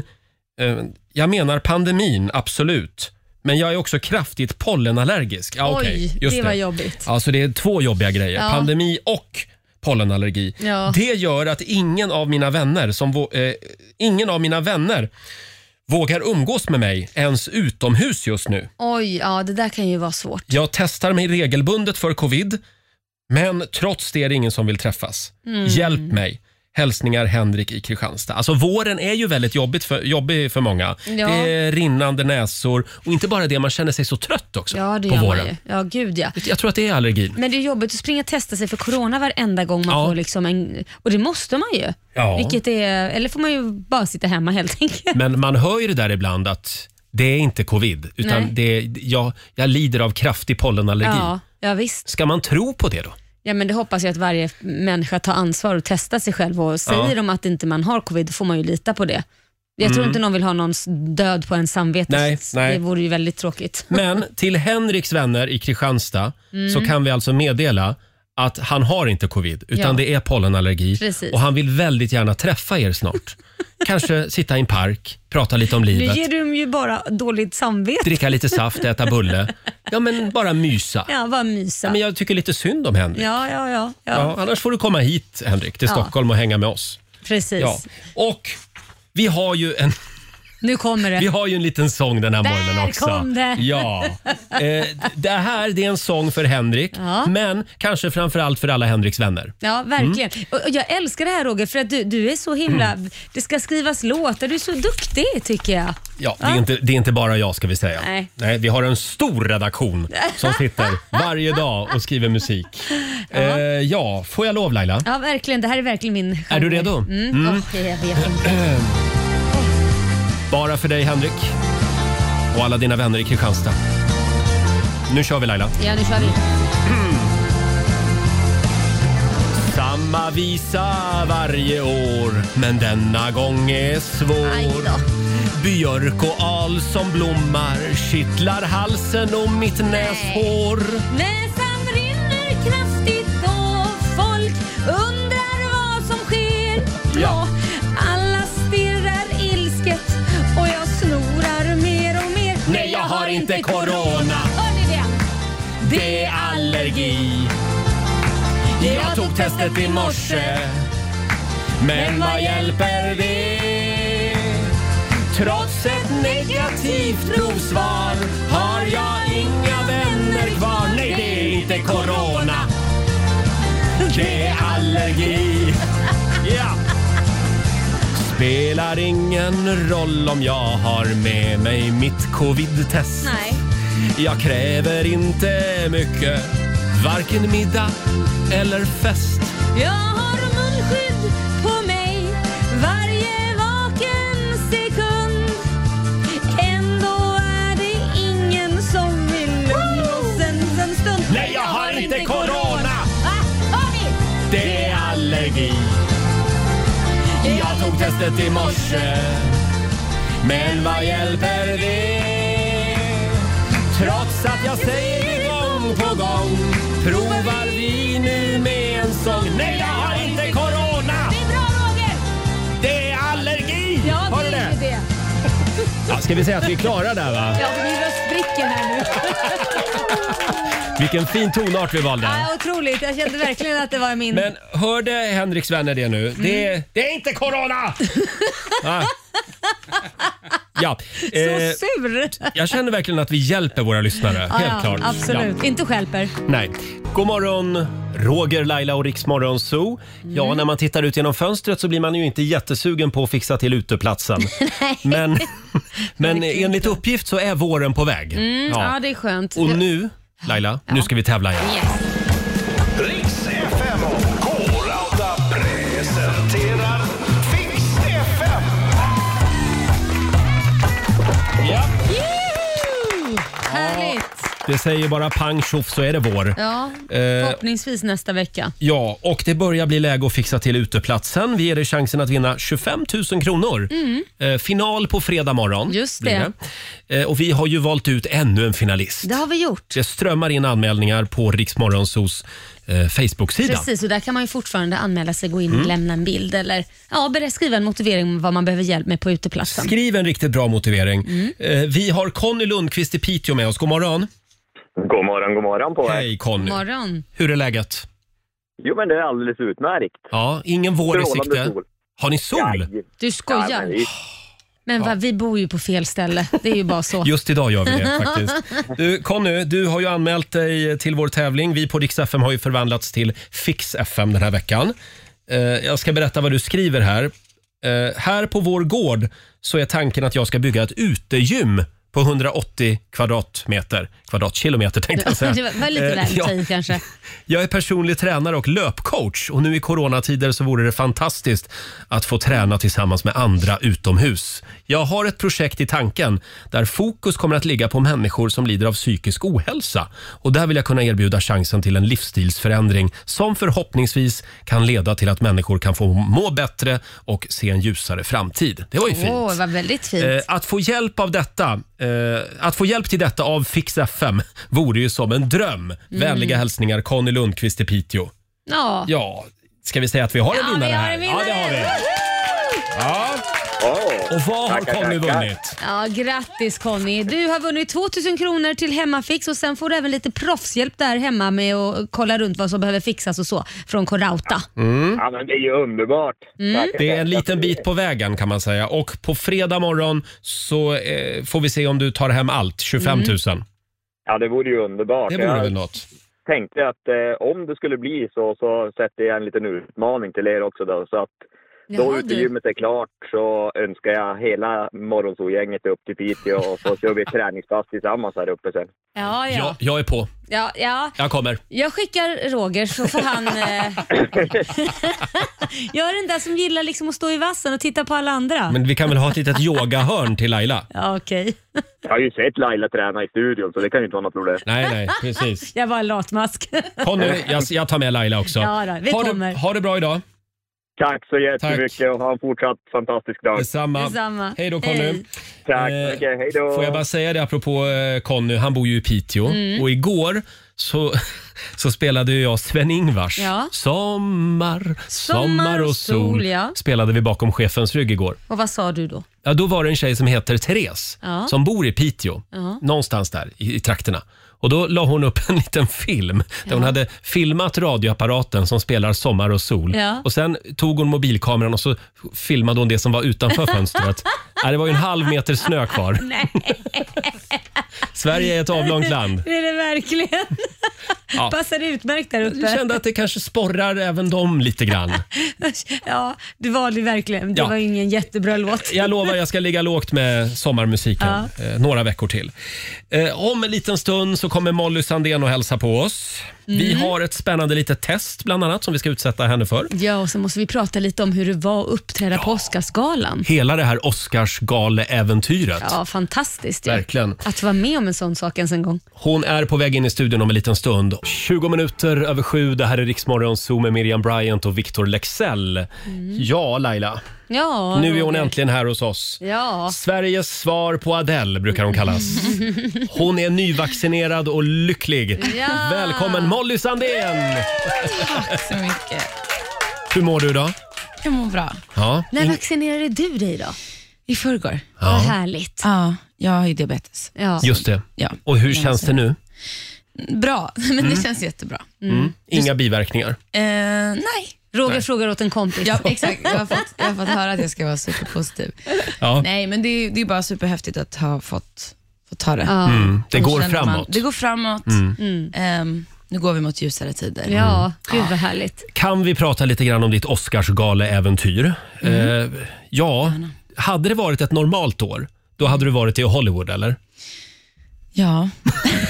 [SPEAKER 1] Eh, jag menar pandemin, absolut. Men jag är också kraftigt pollenallergisk. Ja, okej,
[SPEAKER 2] Oj,
[SPEAKER 1] just
[SPEAKER 2] det var jobbigt.
[SPEAKER 1] Alltså det är två jobbiga grejer.
[SPEAKER 2] Ja.
[SPEAKER 1] Pandemi och pollenallergi.
[SPEAKER 2] Ja.
[SPEAKER 1] Det gör att ingen av mina vänner som vå- eh, ingen av mina vänner vågar umgås med mig ens utomhus just nu.
[SPEAKER 2] Oj, ja det där kan ju vara svårt.
[SPEAKER 1] Jag testar mig regelbundet för covid, men trots det är det ingen som vill träffas.
[SPEAKER 2] Mm.
[SPEAKER 1] Hjälp mig. Hälsningar Henrik i Kristianstad. Alltså våren är ju väldigt jobbigt för, jobbig för många.
[SPEAKER 2] Ja.
[SPEAKER 1] Det är rinnande näsor och inte bara det, man känner sig så trött också
[SPEAKER 2] Ja, det
[SPEAKER 1] på
[SPEAKER 2] gör
[SPEAKER 1] våren.
[SPEAKER 2] man ju. Ja, gud ja.
[SPEAKER 1] Jag tror att det är allergin.
[SPEAKER 2] Men det är jobbigt att springa och testa sig för corona varenda gång man
[SPEAKER 1] Ja.
[SPEAKER 2] får liksom en... Och det måste man ju.
[SPEAKER 1] Ja.
[SPEAKER 2] Vilket är, eller får man ju bara sitta hemma helt enkelt.
[SPEAKER 1] Men man hör ju det där ibland att det är inte covid,
[SPEAKER 2] Nej.
[SPEAKER 1] utan det är, jag, jag lider av kraftig pollenallergi.
[SPEAKER 2] Ja, ja, visst.
[SPEAKER 1] Ska man tro på det då?
[SPEAKER 2] Ja, men det hoppas jag att varje människa tar ansvar och testar sig själv. Och säger de att inte man har covid, då får man ju lita på det. Jag tror inte någon vill ha någons död på en samvete.
[SPEAKER 1] Mm. Nej,
[SPEAKER 2] Så
[SPEAKER 1] nej.
[SPEAKER 2] Det vore ju väldigt tråkigt.
[SPEAKER 1] Men till Henriks vänner i Kristianstad så
[SPEAKER 2] Mm.
[SPEAKER 1] kan vi alltså meddela att han har inte covid, utan
[SPEAKER 2] Ja.
[SPEAKER 1] det är pollenallergi.
[SPEAKER 2] Precis.
[SPEAKER 1] Och han vill väldigt gärna träffa er snart. Kanske sitta i en park, prata lite om
[SPEAKER 2] Nu
[SPEAKER 1] livet,
[SPEAKER 2] ger du ju bara dåligt samvete.
[SPEAKER 1] dricka lite saft, äta bulle. Ja, men bara mysa.
[SPEAKER 2] Ja, bara mysa.
[SPEAKER 1] Men jag tycker lite synd om Henrik.
[SPEAKER 2] Ja, ja, ja. ja.
[SPEAKER 1] Ja, annars får du komma hit, Henrik, till
[SPEAKER 2] Ja.
[SPEAKER 1] Stockholm och hänga med oss.
[SPEAKER 2] Precis.
[SPEAKER 1] Ja. Och vi har ju en
[SPEAKER 2] Nu kommer det.
[SPEAKER 1] Vi har ju en liten sång den här
[SPEAKER 2] Där
[SPEAKER 1] morgonen också.
[SPEAKER 2] kom det.
[SPEAKER 1] Ja. Eh, det här det är en sång för Henrik, men kanske framförallt för alla Henriks vänner.
[SPEAKER 2] Ja, verkligen.
[SPEAKER 1] Mm.
[SPEAKER 2] Och och jag älskar det här Roger, för att du, du är så himla... Det ska skrivas låtar, du är så duktig tycker jag.
[SPEAKER 1] Ja, det, är inte, det är inte bara jag ska vi säga.
[SPEAKER 2] Nej.
[SPEAKER 1] vi har en stor redaktion som sitter varje dag och skriver musik. Eh, ja, får jag lov Laila?
[SPEAKER 2] Ja, verkligen. Det här är verkligen min genre.
[SPEAKER 1] Är du redo?
[SPEAKER 2] Mm. Åh, jag vet inte.
[SPEAKER 1] Eh, Bara för dig Henrik och alla dina vänner i Kristianstad. Nu kör vi Laila.
[SPEAKER 2] Ja, nu kör vi.
[SPEAKER 1] Mm. Samma visa varje år, men denna gång är
[SPEAKER 2] Aj
[SPEAKER 1] svår.
[SPEAKER 2] då.
[SPEAKER 1] Björk och al som blommar kittlar halsen och mitt näshår.
[SPEAKER 2] Näsan rinner kraftigt och folk undrar vad som sker.
[SPEAKER 1] Ja.
[SPEAKER 2] Alla stirrar ilsket och jag snorar mer och mer.
[SPEAKER 1] Nej, jag har inte corona.
[SPEAKER 2] Hör ni det?
[SPEAKER 1] Det är allergi. Jag tog testet i morse, men vad hjälper det? Trots ett negativt provsvar har jag inga vänner kvar. Nej, det är inte corona. Det är allergi. Ja. Spelar ingen roll om jag har med mig mitt covid-test.
[SPEAKER 2] Nej.
[SPEAKER 1] Jag kräver inte mycket, varken middag eller fest.
[SPEAKER 2] Jag har munskydd på mig varje vaken sekund. Ändå är det ingen som vill umgås en stund.
[SPEAKER 1] Nej, jag har inte corona.
[SPEAKER 2] Ah, har vi?
[SPEAKER 1] Det är allergi. Jag tog testet i morse, men vad hjälper det? Trots att jag säger det gång på gång provar vi nu med en sång. Nej, jag har inte corona.
[SPEAKER 2] Det är bra Roger!
[SPEAKER 1] Det är allergi.
[SPEAKER 2] Ja,
[SPEAKER 1] Har du
[SPEAKER 2] det är ju det.
[SPEAKER 1] Ja, ska vi säga att vi är klara där va?
[SPEAKER 2] Ja, det blir röstbrickor här nu.
[SPEAKER 1] Vilken fin tonart vi valde.
[SPEAKER 2] Ja, Ah, otroligt, jag kände verkligen att det var min...
[SPEAKER 1] Men hörde Henriks vänner det nu?
[SPEAKER 2] Mm.
[SPEAKER 1] Det, det är inte corona! ah. Ja, eh,
[SPEAKER 2] Så sur! Ah,
[SPEAKER 1] jag känner verkligen att vi hjälper våra lyssnare. helt
[SPEAKER 2] ja,
[SPEAKER 1] klart.
[SPEAKER 2] Absolut, inte skälper.
[SPEAKER 1] Ja, nej. God morgon, Roger, Laila och Riksmorgon Zoo.
[SPEAKER 2] Mm.
[SPEAKER 1] Ja, när man tittar ut genom fönstret så blir man ju inte jättesugen på att fixa till uteplatsen. men men enligt uppgift så är våren på väg.
[SPEAKER 2] Mm, Ja. det är skönt.
[SPEAKER 1] Och nu, Laila, nu ska vi tävla igen.
[SPEAKER 4] Riks FM och K-Rauta presenterar Fix FM.
[SPEAKER 1] Ja.
[SPEAKER 2] Juhu! Härligt!
[SPEAKER 1] Det säger bara pang tjoff så är det vår.
[SPEAKER 2] Ja,
[SPEAKER 1] Eh,
[SPEAKER 2] förhoppningsvis nästa vecka.
[SPEAKER 1] Ja, och det börjar bli läge att fixa till uteplatsen. Vi ger dig chansen att vinna 25 000 kronor.
[SPEAKER 2] Mm.
[SPEAKER 1] Eh, final på fredag morgon.
[SPEAKER 2] Just
[SPEAKER 1] blir
[SPEAKER 2] det.
[SPEAKER 1] det. Eh, och vi har ju valt ut ännu en finalist.
[SPEAKER 2] Det har vi gjort.
[SPEAKER 1] Det strömmar in anmälningar på Riksmorgonsos eh, Facebook-sida.
[SPEAKER 2] Precis, och där kan man ju fortfarande anmäla sig, gå in
[SPEAKER 1] Mm.
[SPEAKER 2] och lämna en bild eller ja, ber- skriva en motivering om vad man behöver hjälp med på uteplatsen.
[SPEAKER 1] Skriv en riktigt bra motivering.
[SPEAKER 2] Mm.
[SPEAKER 1] Eh, vi har Conny Lundqvist i Piteå med oss. God morgon.
[SPEAKER 8] God morgon, god morgon på er.
[SPEAKER 1] Hej Conny.
[SPEAKER 2] Morgon.
[SPEAKER 1] Hur är läget?
[SPEAKER 8] Jo, men det är alldeles utmärkt.
[SPEAKER 1] Ja, ingen vår i
[SPEAKER 8] Strålande
[SPEAKER 1] sikte.
[SPEAKER 8] sol.
[SPEAKER 1] Har ni sol?
[SPEAKER 8] Jaj.
[SPEAKER 2] Du skojar?
[SPEAKER 8] Ja, men det är
[SPEAKER 9] Men va, vi bor ju på fel ställe. Det är ju bara så.
[SPEAKER 1] Just idag gör vi det faktiskt. Du, Conny, du har ju anmält dig till vår tävling. Vi på Rix FM har ju förvandlats till Fix FM den här veckan. Eh, Jag ska berätta vad du skriver här. Eh, Här på vår gård så är tanken att jag ska bygga ett utegym på 180 kvadratmeter. Kvadratkilometer tänkte jag säga.
[SPEAKER 9] Det var- var lite
[SPEAKER 1] Eh,
[SPEAKER 9] väl
[SPEAKER 1] ja.
[SPEAKER 9] tid kanske.
[SPEAKER 1] Jag är personlig tränare och löpcoach och nu i coronatider så vore det fantastiskt att få träna tillsammans med andra utomhus. Jag har ett projekt i tanken där fokus kommer att ligga på människor som lider av psykisk ohälsa och där vill jag kunna erbjuda chansen till en livsstilsförändring som förhoppningsvis kan leda till att människor kan få må bättre och se en ljusare framtid. Det var ju fint.
[SPEAKER 9] Åh, det var väldigt fint.
[SPEAKER 1] Eh, att få hjälp av detta, eh, att få hjälp till detta av Fix FM vore ju som en dröm.
[SPEAKER 9] Mm.
[SPEAKER 1] Vänliga hälsningar Conny Lundqvist i Piteå.
[SPEAKER 9] ja.
[SPEAKER 1] Ja, ska vi säga att vi har en
[SPEAKER 9] Ja, vi
[SPEAKER 1] vinnare
[SPEAKER 9] har
[SPEAKER 1] här?
[SPEAKER 9] en
[SPEAKER 1] Ja, det har vi.
[SPEAKER 9] vinnare.
[SPEAKER 1] Ja.
[SPEAKER 10] Åh,
[SPEAKER 1] Och vad har
[SPEAKER 10] tackar,
[SPEAKER 1] Conny
[SPEAKER 10] tackar.
[SPEAKER 1] vunnit?
[SPEAKER 9] Ja, grattis Conny. Du har vunnit 2000 kronor till Hemmafix och sen får du även lite proffshjälp där hemma med att kolla runt vad som behöver fixas och så från Corauta.
[SPEAKER 10] Ja, men det är ju underbart.
[SPEAKER 9] Mm.
[SPEAKER 10] Tackar,
[SPEAKER 1] Mm. Det är en
[SPEAKER 10] tackar.
[SPEAKER 1] liten bit på vägen kan man säga. Och på fredag morgon så eh, får vi se om du tar hem allt, 25
[SPEAKER 9] Mm.
[SPEAKER 1] 000.
[SPEAKER 10] Ja, det vore ju underbart.
[SPEAKER 1] Det vore
[SPEAKER 10] jag
[SPEAKER 1] väl något.
[SPEAKER 10] tänkte att eh, om det skulle bli så, så sätter jag en liten utmaning till er också då. Så att då
[SPEAKER 9] Jaha, du.
[SPEAKER 10] utegymmet är klart så önskar jag hela morgonsolgänget upp till Piteå och så kör vi ett träningspass tillsammans här uppe sen.
[SPEAKER 9] Ja,
[SPEAKER 1] Ja,
[SPEAKER 9] ja.
[SPEAKER 1] jag är på.
[SPEAKER 9] ja, ja.
[SPEAKER 1] Jag kommer.
[SPEAKER 9] Jag skickar Roger så får han... Eh... jag är den där som gillar liksom att stå i vassen och titta på alla andra.
[SPEAKER 1] Men vi kan väl ha ett litet yogahörn till Laila?
[SPEAKER 9] Ja, okej.
[SPEAKER 10] Jag har ju sett Laila träna i studion så det kan ju inte vara något problem.
[SPEAKER 1] Nej, nej, precis.
[SPEAKER 9] Jag var en latmask.
[SPEAKER 1] Conny, jag, jag tar med Laila också.
[SPEAKER 9] Ja då, vi
[SPEAKER 1] ha,
[SPEAKER 9] kommer.
[SPEAKER 1] Det, ha det bra idag.
[SPEAKER 10] Tack så jättemycket och ha en fortsatt fantastisk dag.
[SPEAKER 1] Detsamma.
[SPEAKER 9] Detsamma.
[SPEAKER 1] Hej då Conny.
[SPEAKER 9] Hej.
[SPEAKER 10] Tack
[SPEAKER 1] Eh,
[SPEAKER 10] så mycket, hej då!
[SPEAKER 1] Får jag bara säga det apropå eh, Conny, han bor ju i Piteå
[SPEAKER 9] Mm.
[SPEAKER 1] och igår så, så spelade ju jag Sven-Ingvars
[SPEAKER 9] Ja.
[SPEAKER 1] Sommar, sommar och sol.
[SPEAKER 9] sol, ja.
[SPEAKER 1] Spelade vi bakom chefens rygg igår.
[SPEAKER 9] Och vad sa du då?
[SPEAKER 1] Ja, då var det en tjej som heter Therese
[SPEAKER 9] Ja.
[SPEAKER 1] som bor i Piteå,
[SPEAKER 9] Ja.
[SPEAKER 1] någonstans där i, i trakterna. Och Då la hon upp en liten film där hon hade filmat radioapparaten som spelar Sommar och sol.
[SPEAKER 9] Ja.
[SPEAKER 1] Och Sen tog hon mobilkameran och så filmade hon det som var utanför fönstret. Nej, det var ju en halv meter snö kvar. Sverige är ett avlångt land.
[SPEAKER 9] Det är det verkligen.
[SPEAKER 1] Ja.
[SPEAKER 9] Passar utmärkt där uppe.
[SPEAKER 1] Jag kände att det kanske sporrar även dem lite grann.
[SPEAKER 9] Ja, du valde verkligen. Det
[SPEAKER 1] Ja.
[SPEAKER 9] var ingen jättebra låt.
[SPEAKER 1] Jag lovar, jag ska ligga lågt med sommarmusiken eh, några veckor till. Eh, om en liten stund så kommer Molly Sandén och hälsa på oss. Vi har ett spännande litet test bland annat som vi ska utsätta henne för.
[SPEAKER 9] Ja, och så måste vi prata lite om hur det var att uppträda på Oscarsgalan.
[SPEAKER 1] Hela det här Oscarsgale-äventyret.
[SPEAKER 9] Ja, fantastiskt ju.
[SPEAKER 1] Verkligen.
[SPEAKER 9] Att vara med om en sån sak ens en gång.
[SPEAKER 1] Hon är på väg in i studion om en liten stund. 20 minuter över sju. Det här är Riksmorgon Zoo med Miriam Bryant och Victor Lexell. Ja, Laila.
[SPEAKER 9] Ja,
[SPEAKER 1] Nu är hon
[SPEAKER 9] Roger.
[SPEAKER 1] äntligen här hos oss.
[SPEAKER 9] Ja.
[SPEAKER 1] Sveriges svar på Adele brukar hon kallas. Hon är nyvaccinerad och lycklig.
[SPEAKER 9] Ja.
[SPEAKER 1] Välkommen Molly Sandén!
[SPEAKER 11] Tack så mycket.
[SPEAKER 1] Hur mår du idag?
[SPEAKER 11] Jag mår bra.
[SPEAKER 1] Ja.
[SPEAKER 9] När vaccinerade du dig då?
[SPEAKER 11] I förrgår?
[SPEAKER 9] Vad härligt.
[SPEAKER 11] Ja, jag har ju diabetes.
[SPEAKER 9] Ja.
[SPEAKER 1] Just det.
[SPEAKER 11] Ja.
[SPEAKER 1] Och hur känns det nu?
[SPEAKER 9] Mm.
[SPEAKER 11] Bra, men det
[SPEAKER 1] Mm.
[SPEAKER 11] känns jättebra.
[SPEAKER 1] Inga biverkningar?
[SPEAKER 11] Eh, nej.
[SPEAKER 9] Roger frågar åt en kompis.
[SPEAKER 11] Ja, exakt. Jag har, fått, jag har fått höra att jag ska vara superpositiv.
[SPEAKER 1] Ja.
[SPEAKER 11] Nej, men det är, det är bara superhäftigt att ha fått, fått ta det.
[SPEAKER 1] Mm. Det
[SPEAKER 11] Då
[SPEAKER 1] går
[SPEAKER 11] känner man-
[SPEAKER 1] framåt.
[SPEAKER 11] det går framåt.
[SPEAKER 1] Mm.
[SPEAKER 11] Ehm, nu går vi mot ljusare tider.
[SPEAKER 9] Mm. Ja, gud vad härligt.
[SPEAKER 1] Kan vi prata lite grann om ditt Oscarsgale-äventyr?
[SPEAKER 9] Mm.
[SPEAKER 1] Eh, ja, hade det varit ett normalt år, då hade du varit i Hollywood eller?
[SPEAKER 11] Ja,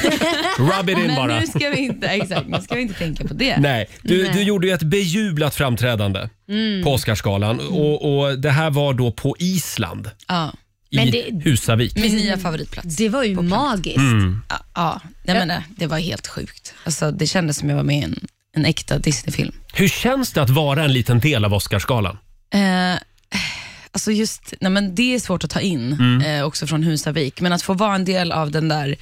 [SPEAKER 1] Rub it in
[SPEAKER 11] men
[SPEAKER 1] bara.
[SPEAKER 11] nu ska vi inte, exakt, nu ska vi inte tänka på det.
[SPEAKER 1] Nej, du,
[SPEAKER 9] Nej.
[SPEAKER 1] du gjorde ju ett bejublat framträdande
[SPEAKER 11] Mm.
[SPEAKER 1] på Oscarsgalan och, och det här var då på Island
[SPEAKER 11] Ja.
[SPEAKER 1] i
[SPEAKER 9] Men det-
[SPEAKER 1] Husavik.
[SPEAKER 11] Min nya favoritplats.
[SPEAKER 9] Det var ju magiskt.
[SPEAKER 1] Mm.
[SPEAKER 11] Ja, ja. Nej, men, nej, det var helt sjukt. Alltså, det kändes som jag var med i en, en äkta Disneyfilm.
[SPEAKER 1] Hur känns det att vara en liten del av Oscarsgalan?
[SPEAKER 11] Eh, alltså just, nej, men det är svårt att ta in,
[SPEAKER 1] Mm.
[SPEAKER 11] eh, också från Husavik, men att få vara en del av den där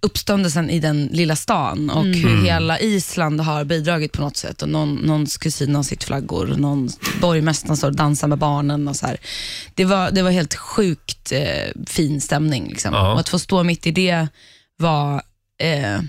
[SPEAKER 11] uppståndelsen i den lilla stan och hur hela Island har bidragit på något sätt. Och någon, någons kusin har sitt flaggor, och någon borgmästaren står och dansar med barnen. Och så här. Det, var, det var helt sjukt eh, fin stämning. Liksom.
[SPEAKER 1] Ja.
[SPEAKER 11] Och att få stå mitt i det var... Eh,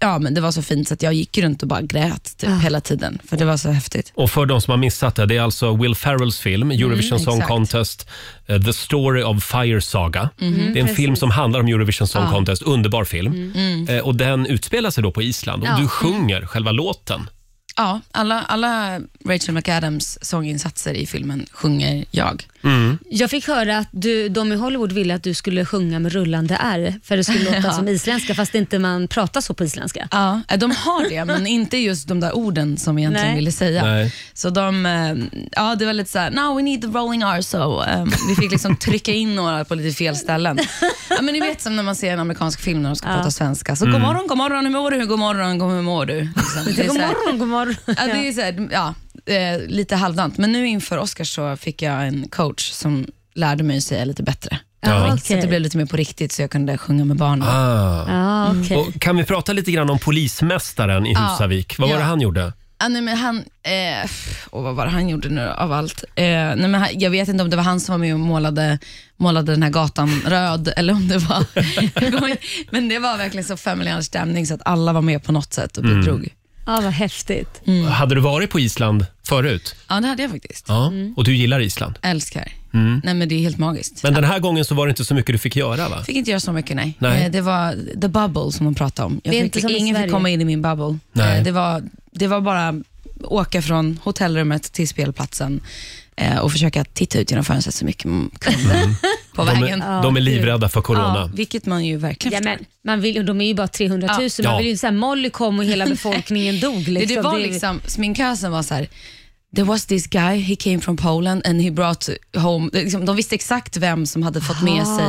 [SPEAKER 11] ja, men det var så fint så att jag gick runt och bara grät typ, hela tiden. För det var så häftigt.
[SPEAKER 1] Och för de som har missat det, det är alltså Will Ferrells film Eurovision
[SPEAKER 11] Mm,
[SPEAKER 1] Song
[SPEAKER 11] exakt.
[SPEAKER 1] Contest, eh, The Story of Fire Saga.
[SPEAKER 11] Mhm,
[SPEAKER 1] det är en
[SPEAKER 11] precis.
[SPEAKER 1] film som handlar om Eurovision Song
[SPEAKER 11] Ja.
[SPEAKER 1] Contest, underbar film.
[SPEAKER 11] Mm.
[SPEAKER 1] Eh, Och den utspelar sig då på Island och
[SPEAKER 11] Ja.
[SPEAKER 1] du sjunger själva låten.
[SPEAKER 11] Ja, alla, alla Rachel McAdams sånginsatser i filmen sjunger jag.
[SPEAKER 9] Mm. Jag fick höra att du, de i Hollywood ville att du skulle sjunga med rullande R för det skulle låta
[SPEAKER 11] Ja.
[SPEAKER 9] som isländska fast inte man pratar så på isländska.
[SPEAKER 11] Ja, de har det, men inte just de där orden som jag egentligen
[SPEAKER 9] Nej.
[SPEAKER 11] ville säga.
[SPEAKER 9] Nej.
[SPEAKER 11] Så de, eh, ja det var lite såhär, now we need the rolling R, so eh, vi fick liksom trycka in några på lite fel ställen. Ja, men ni vet som när man ser en amerikansk film när de ska
[SPEAKER 9] Ja.
[SPEAKER 11] prata svenska, så
[SPEAKER 9] Mm.
[SPEAKER 11] god morgon, god morgon, hur mår du, god morgon, god, hur mår du? Liksom.
[SPEAKER 3] typ,
[SPEAKER 11] Det är
[SPEAKER 9] God
[SPEAKER 11] så här-
[SPEAKER 9] morgon, god morgon.
[SPEAKER 11] Ja, det är så här, ja, eh, lite halvdant, men nu inför Oscars så fick jag en coach som lärde mig att säga lite bättre.
[SPEAKER 1] Ja.
[SPEAKER 11] Så att det
[SPEAKER 1] okej.
[SPEAKER 11] blev lite mer på riktigt så jag kunde sjunga med barnen.
[SPEAKER 1] Ah.
[SPEAKER 11] Ah, okej.
[SPEAKER 1] och kan vi prata lite grann om polismästaren i
[SPEAKER 11] Ja.
[SPEAKER 1] Husavik? Vad var
[SPEAKER 11] Ja.
[SPEAKER 1] det han gjorde?
[SPEAKER 11] Ah, nej, men han, eh, och vad var det han gjorde nu då, av allt? Eh, nej, men han, jag vet inte om det var han som var med och målade, målade den här gatan röd, eller om det var... Jag kommer inte- men det var verkligen så family Hour stämning så att alla var med på något sätt och
[SPEAKER 1] Mm.
[SPEAKER 11] bidrog.
[SPEAKER 9] Ja, vad häftigt.
[SPEAKER 1] Hade du varit på Island förut?
[SPEAKER 11] Ja, det hade jag faktiskt.
[SPEAKER 1] Ja, och du gillar Island?
[SPEAKER 11] Älskar.
[SPEAKER 1] Mm.
[SPEAKER 11] Nej, men det är helt magiskt.
[SPEAKER 1] Men den här gången så var det inte så mycket du fick göra va?
[SPEAKER 11] Fick inte göra så mycket, nej.
[SPEAKER 1] Nej.
[SPEAKER 11] Eh, Det var the bubble som hon pratade om. Jag
[SPEAKER 9] Det är
[SPEAKER 11] fick,
[SPEAKER 9] inte som i
[SPEAKER 11] ingen
[SPEAKER 9] Sverige.
[SPEAKER 11] fick komma in i min bubble.
[SPEAKER 1] Nej.
[SPEAKER 11] Eh, Det, var, det var bara åka från hotellrummet till spelplatsen eh, och försöka titta ut genom fönstret så mycket man kunde på
[SPEAKER 1] de,
[SPEAKER 11] vägen.
[SPEAKER 1] är, de är livrädda för corona.
[SPEAKER 11] vilket man ju verkligen
[SPEAKER 9] ja, men, man vill, och De är ju bara 300 000,
[SPEAKER 11] Ja.
[SPEAKER 9] man
[SPEAKER 1] Ja.
[SPEAKER 9] vill ju inte säga Molly kom och hela befolkningen dog. Liksom.
[SPEAKER 11] Det, det var
[SPEAKER 9] är-
[SPEAKER 11] liksom, sminkösen var så här. There was this guy, he came from Poland and he brought home... det Liksom, de visste exakt vem som hade fått med sig...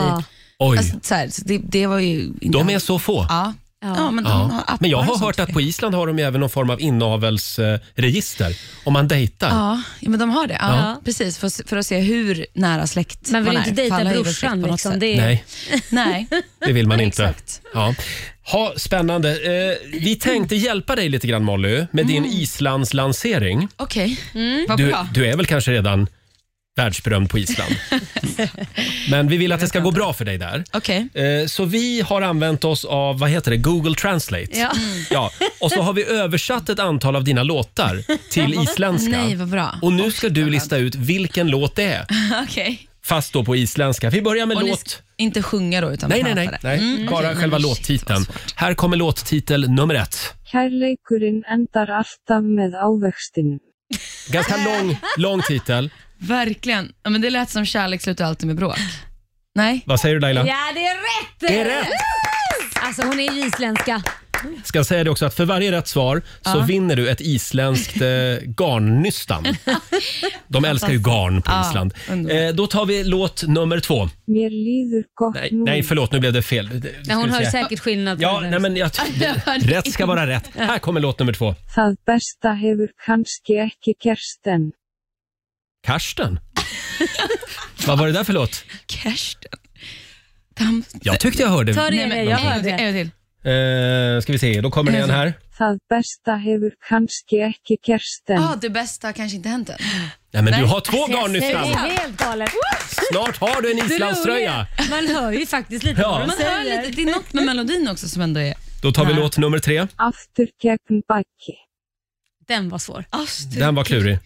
[SPEAKER 1] Oj.
[SPEAKER 11] Alltså, så här, så det, det var ju...
[SPEAKER 1] De är så få.
[SPEAKER 11] Ja. Ja. men, de
[SPEAKER 1] Ja.
[SPEAKER 11] har appar
[SPEAKER 1] Men jag har
[SPEAKER 11] och sånt.
[SPEAKER 1] hört att på Island har de ju även någon form av inavelsregister om man dejtar.
[SPEAKER 11] Ja, ja, men de har det. Ja,
[SPEAKER 1] Ja.
[SPEAKER 11] Precis, för, att- för att se hur nära släkt
[SPEAKER 9] Man vill
[SPEAKER 11] är.
[SPEAKER 9] inte dejta
[SPEAKER 11] För alla är väl
[SPEAKER 9] brorsan,
[SPEAKER 11] släkt på något
[SPEAKER 9] liksom.
[SPEAKER 11] sätt.
[SPEAKER 9] Det är-
[SPEAKER 1] Nej,
[SPEAKER 11] Nej.
[SPEAKER 1] det vill man inte. Ja. Ha, spännande. Eh, vi tänkte hjälpa dig lite grann Molly med din
[SPEAKER 11] Mm.
[SPEAKER 1] Islands lansering.
[SPEAKER 11] Okej,
[SPEAKER 9] Mm.
[SPEAKER 11] vad
[SPEAKER 1] Du,
[SPEAKER 11] bra.
[SPEAKER 1] du är väl kanske redan världsberömd på Island. Men vi vill att det ska gå bra för dig där.
[SPEAKER 11] Okej.
[SPEAKER 1] Eh, Så vi har använt oss av vad heter det, Google Translate.
[SPEAKER 11] Ja. Mm.
[SPEAKER 1] Ja. Och så har vi översatt ett antal av dina låtar till isländska.
[SPEAKER 11] Nej, vad bra.
[SPEAKER 1] Och nu ska du lista ut vilken låt det är,
[SPEAKER 11] Okej.
[SPEAKER 1] fast då på isländska. Vi börjar med
[SPEAKER 11] Och ni
[SPEAKER 1] låt...
[SPEAKER 11] ska inte sjunga då, utan
[SPEAKER 1] Nej, nej,
[SPEAKER 11] prata
[SPEAKER 1] nej.
[SPEAKER 11] det.
[SPEAKER 1] nej.
[SPEAKER 11] Mm,
[SPEAKER 1] Bara
[SPEAKER 11] okej.
[SPEAKER 1] själva
[SPEAKER 11] Nej, men shit.
[SPEAKER 1] låttiteln. Här kommer låttitel nummer ett.
[SPEAKER 12] Kærleikurinn endar alltaf með ávextinum.
[SPEAKER 1] Ganska lång, lång titel.
[SPEAKER 11] Verkligen. Ja, men det lät som kärlek slutar alltid med bråk. Nej.
[SPEAKER 1] Vad säger du Laila?
[SPEAKER 9] Ja, det är rätt!
[SPEAKER 1] Det är rätt.
[SPEAKER 9] Alltså hon är ju isländska.
[SPEAKER 1] Ska säga det också att för varje rätt svar så
[SPEAKER 9] Ja.
[SPEAKER 1] vinner du ett isländskt eh, garnnystan. De älskar ju garn på
[SPEAKER 12] Ja,
[SPEAKER 1] Island. Eh, då tar vi låt nummer två.
[SPEAKER 12] Mér líður gott
[SPEAKER 1] Nej,
[SPEAKER 12] nú.
[SPEAKER 1] nej förlåt nu blev det fel. Det-
[SPEAKER 9] Men hon
[SPEAKER 1] ska
[SPEAKER 9] hör
[SPEAKER 1] vi se.
[SPEAKER 9] säkert skillnad på
[SPEAKER 1] Ja,
[SPEAKER 9] den.
[SPEAKER 1] nej, men jag, rätt ska vara rätt. Här kommer låt nummer två.
[SPEAKER 12] Það besta hefur kannski ekki gerst enn.
[SPEAKER 1] Karsten. Vad var det där för låt?
[SPEAKER 11] Kersten.
[SPEAKER 1] Jag tyckte jag hörde.
[SPEAKER 12] Ta det
[SPEAKER 11] Nej, men-
[SPEAKER 12] igen, jag
[SPEAKER 11] en gång till,
[SPEAKER 12] hörde.
[SPEAKER 11] En gång till.
[SPEAKER 1] Eh, ska vi se, då kommer det en här.
[SPEAKER 12] Það besta hefur kannski ekki gerst enn.
[SPEAKER 11] Ja, det bästa har kanske inte hänt än.
[SPEAKER 1] Nej, men du har två
[SPEAKER 11] Alltså, jag
[SPEAKER 1] garnnystan.
[SPEAKER 11] säger det.
[SPEAKER 9] Helt galet.
[SPEAKER 1] Snart har du en
[SPEAKER 11] Det
[SPEAKER 1] islandströja.
[SPEAKER 9] Man hör ju faktiskt lite
[SPEAKER 1] Ja.
[SPEAKER 9] vad de
[SPEAKER 11] Man hör
[SPEAKER 9] säger.
[SPEAKER 11] lite, det är något med melodin också som ändå är...
[SPEAKER 1] Då tar vi låt nummer tre.
[SPEAKER 12] Aftur gegn baki.
[SPEAKER 9] Den var svår.
[SPEAKER 1] Den var klurig.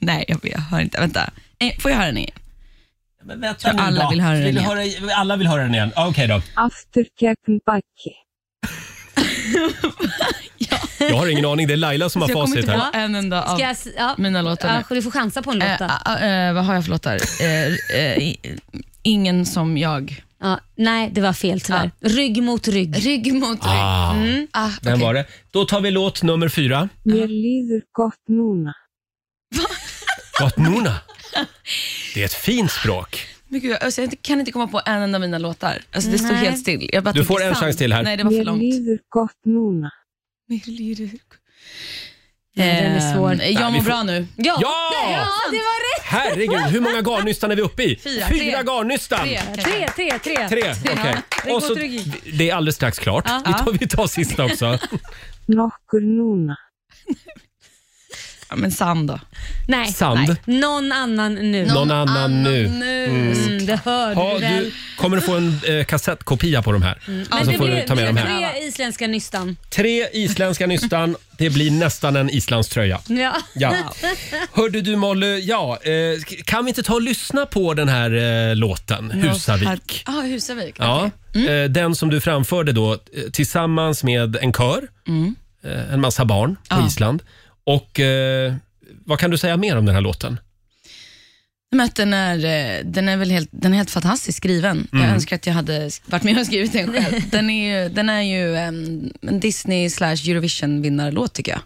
[SPEAKER 11] Nej, jag, jag hör inte. Vänta. Eh, Får jag höra den igen?
[SPEAKER 1] Men
[SPEAKER 11] För nu alla då. vill höra den igen.
[SPEAKER 1] alla vill höra den igen. Ah, Okej då.
[SPEAKER 12] Aftur gegn baki.
[SPEAKER 1] Jag har ingen aning. Det är Laila som har
[SPEAKER 11] Så jag kommer
[SPEAKER 1] facit
[SPEAKER 11] inte
[SPEAKER 1] här.
[SPEAKER 11] på en enda av
[SPEAKER 9] Ska jag, s- ja.
[SPEAKER 11] mina låtar.
[SPEAKER 9] Ja,
[SPEAKER 11] nu.
[SPEAKER 9] du får chansa på en låt då.
[SPEAKER 11] Eh, eh, eh, vad har jag för låtar? Eh, eh, i- ingen som jag. Ah.
[SPEAKER 9] Ja, nej, det var fel tyvärr. Rygg mot rygg.
[SPEAKER 11] Rygg mot
[SPEAKER 1] Ah.
[SPEAKER 9] Mm.
[SPEAKER 1] Den var det. Då tar vi låt nummer fyra.
[SPEAKER 12] Mér líður gott núna.
[SPEAKER 1] Gatnuna. Det är ett fint språk.
[SPEAKER 11] Men gud, jag- alltså, jag kan inte komma på en enda av mina låtar. Alltså, det står
[SPEAKER 12] Nej.
[SPEAKER 11] helt still. Jag bara
[SPEAKER 1] Du får
[SPEAKER 11] tänker
[SPEAKER 1] en
[SPEAKER 11] sand.
[SPEAKER 1] chans till här.
[SPEAKER 11] Nej, det var för
[SPEAKER 12] Mér
[SPEAKER 11] långt.
[SPEAKER 12] líður gott núna.
[SPEAKER 11] Nej,
[SPEAKER 9] den är svår.
[SPEAKER 11] eh, Jag
[SPEAKER 1] vi
[SPEAKER 11] mår
[SPEAKER 1] får-
[SPEAKER 11] bra nu.
[SPEAKER 9] Ja!
[SPEAKER 1] Ja!
[SPEAKER 9] det var rätt!
[SPEAKER 1] Herregud, hur många garnnystan är vi uppe i?
[SPEAKER 9] Fyra.
[SPEAKER 1] Fyra
[SPEAKER 9] Tre.
[SPEAKER 1] garnnystan!
[SPEAKER 9] Tre, tre, tre. Mm.
[SPEAKER 1] Tre, okej.
[SPEAKER 9] Ja,
[SPEAKER 1] Och så-
[SPEAKER 9] rygg mot rygg.
[SPEAKER 1] Det är alldeles strax klart.
[SPEAKER 9] Ja.
[SPEAKER 1] Vi, tar, vi tar sista också.
[SPEAKER 12] Nokkur núna.
[SPEAKER 11] Ja, men sand då?
[SPEAKER 2] Nej.
[SPEAKER 1] Sand.
[SPEAKER 2] Nej. Någon annan nu.
[SPEAKER 1] Någon Någon annan annan nu. nu.
[SPEAKER 2] Mm.
[SPEAKER 1] Mm.
[SPEAKER 2] det hörde
[SPEAKER 1] Ja,
[SPEAKER 2] du väl.
[SPEAKER 1] du kommer att få en eh, kassettkopia på de här.
[SPEAKER 2] Mm.
[SPEAKER 1] Och så får du ta med de här.
[SPEAKER 2] tre isländska nystan.
[SPEAKER 1] Tre isländska nystan. Det blir nästan en islandströja.
[SPEAKER 2] Ja.
[SPEAKER 1] Ja. Hörde du Molly, ja, eh, kan vi inte ta och lyssna på den här eh, låten, Husavik?
[SPEAKER 11] Ja, Mm. ah, Husavik.
[SPEAKER 1] Ja, eh, den som du framförde då eh, tillsammans med en kör,
[SPEAKER 11] Mm.
[SPEAKER 1] eh, en massa barn på Island. Och eh, vad kan du säga mer om den här låten?
[SPEAKER 11] Men att den, är, eh, den, är väl helt, den är helt fantastiskt skriven.
[SPEAKER 1] Mm.
[SPEAKER 11] Jag önskar att jag hade sk- varit med och skrivit den själv. Den är ju, den är ju en, en Disney slash Eurovision-vinnarlåt tycker jag.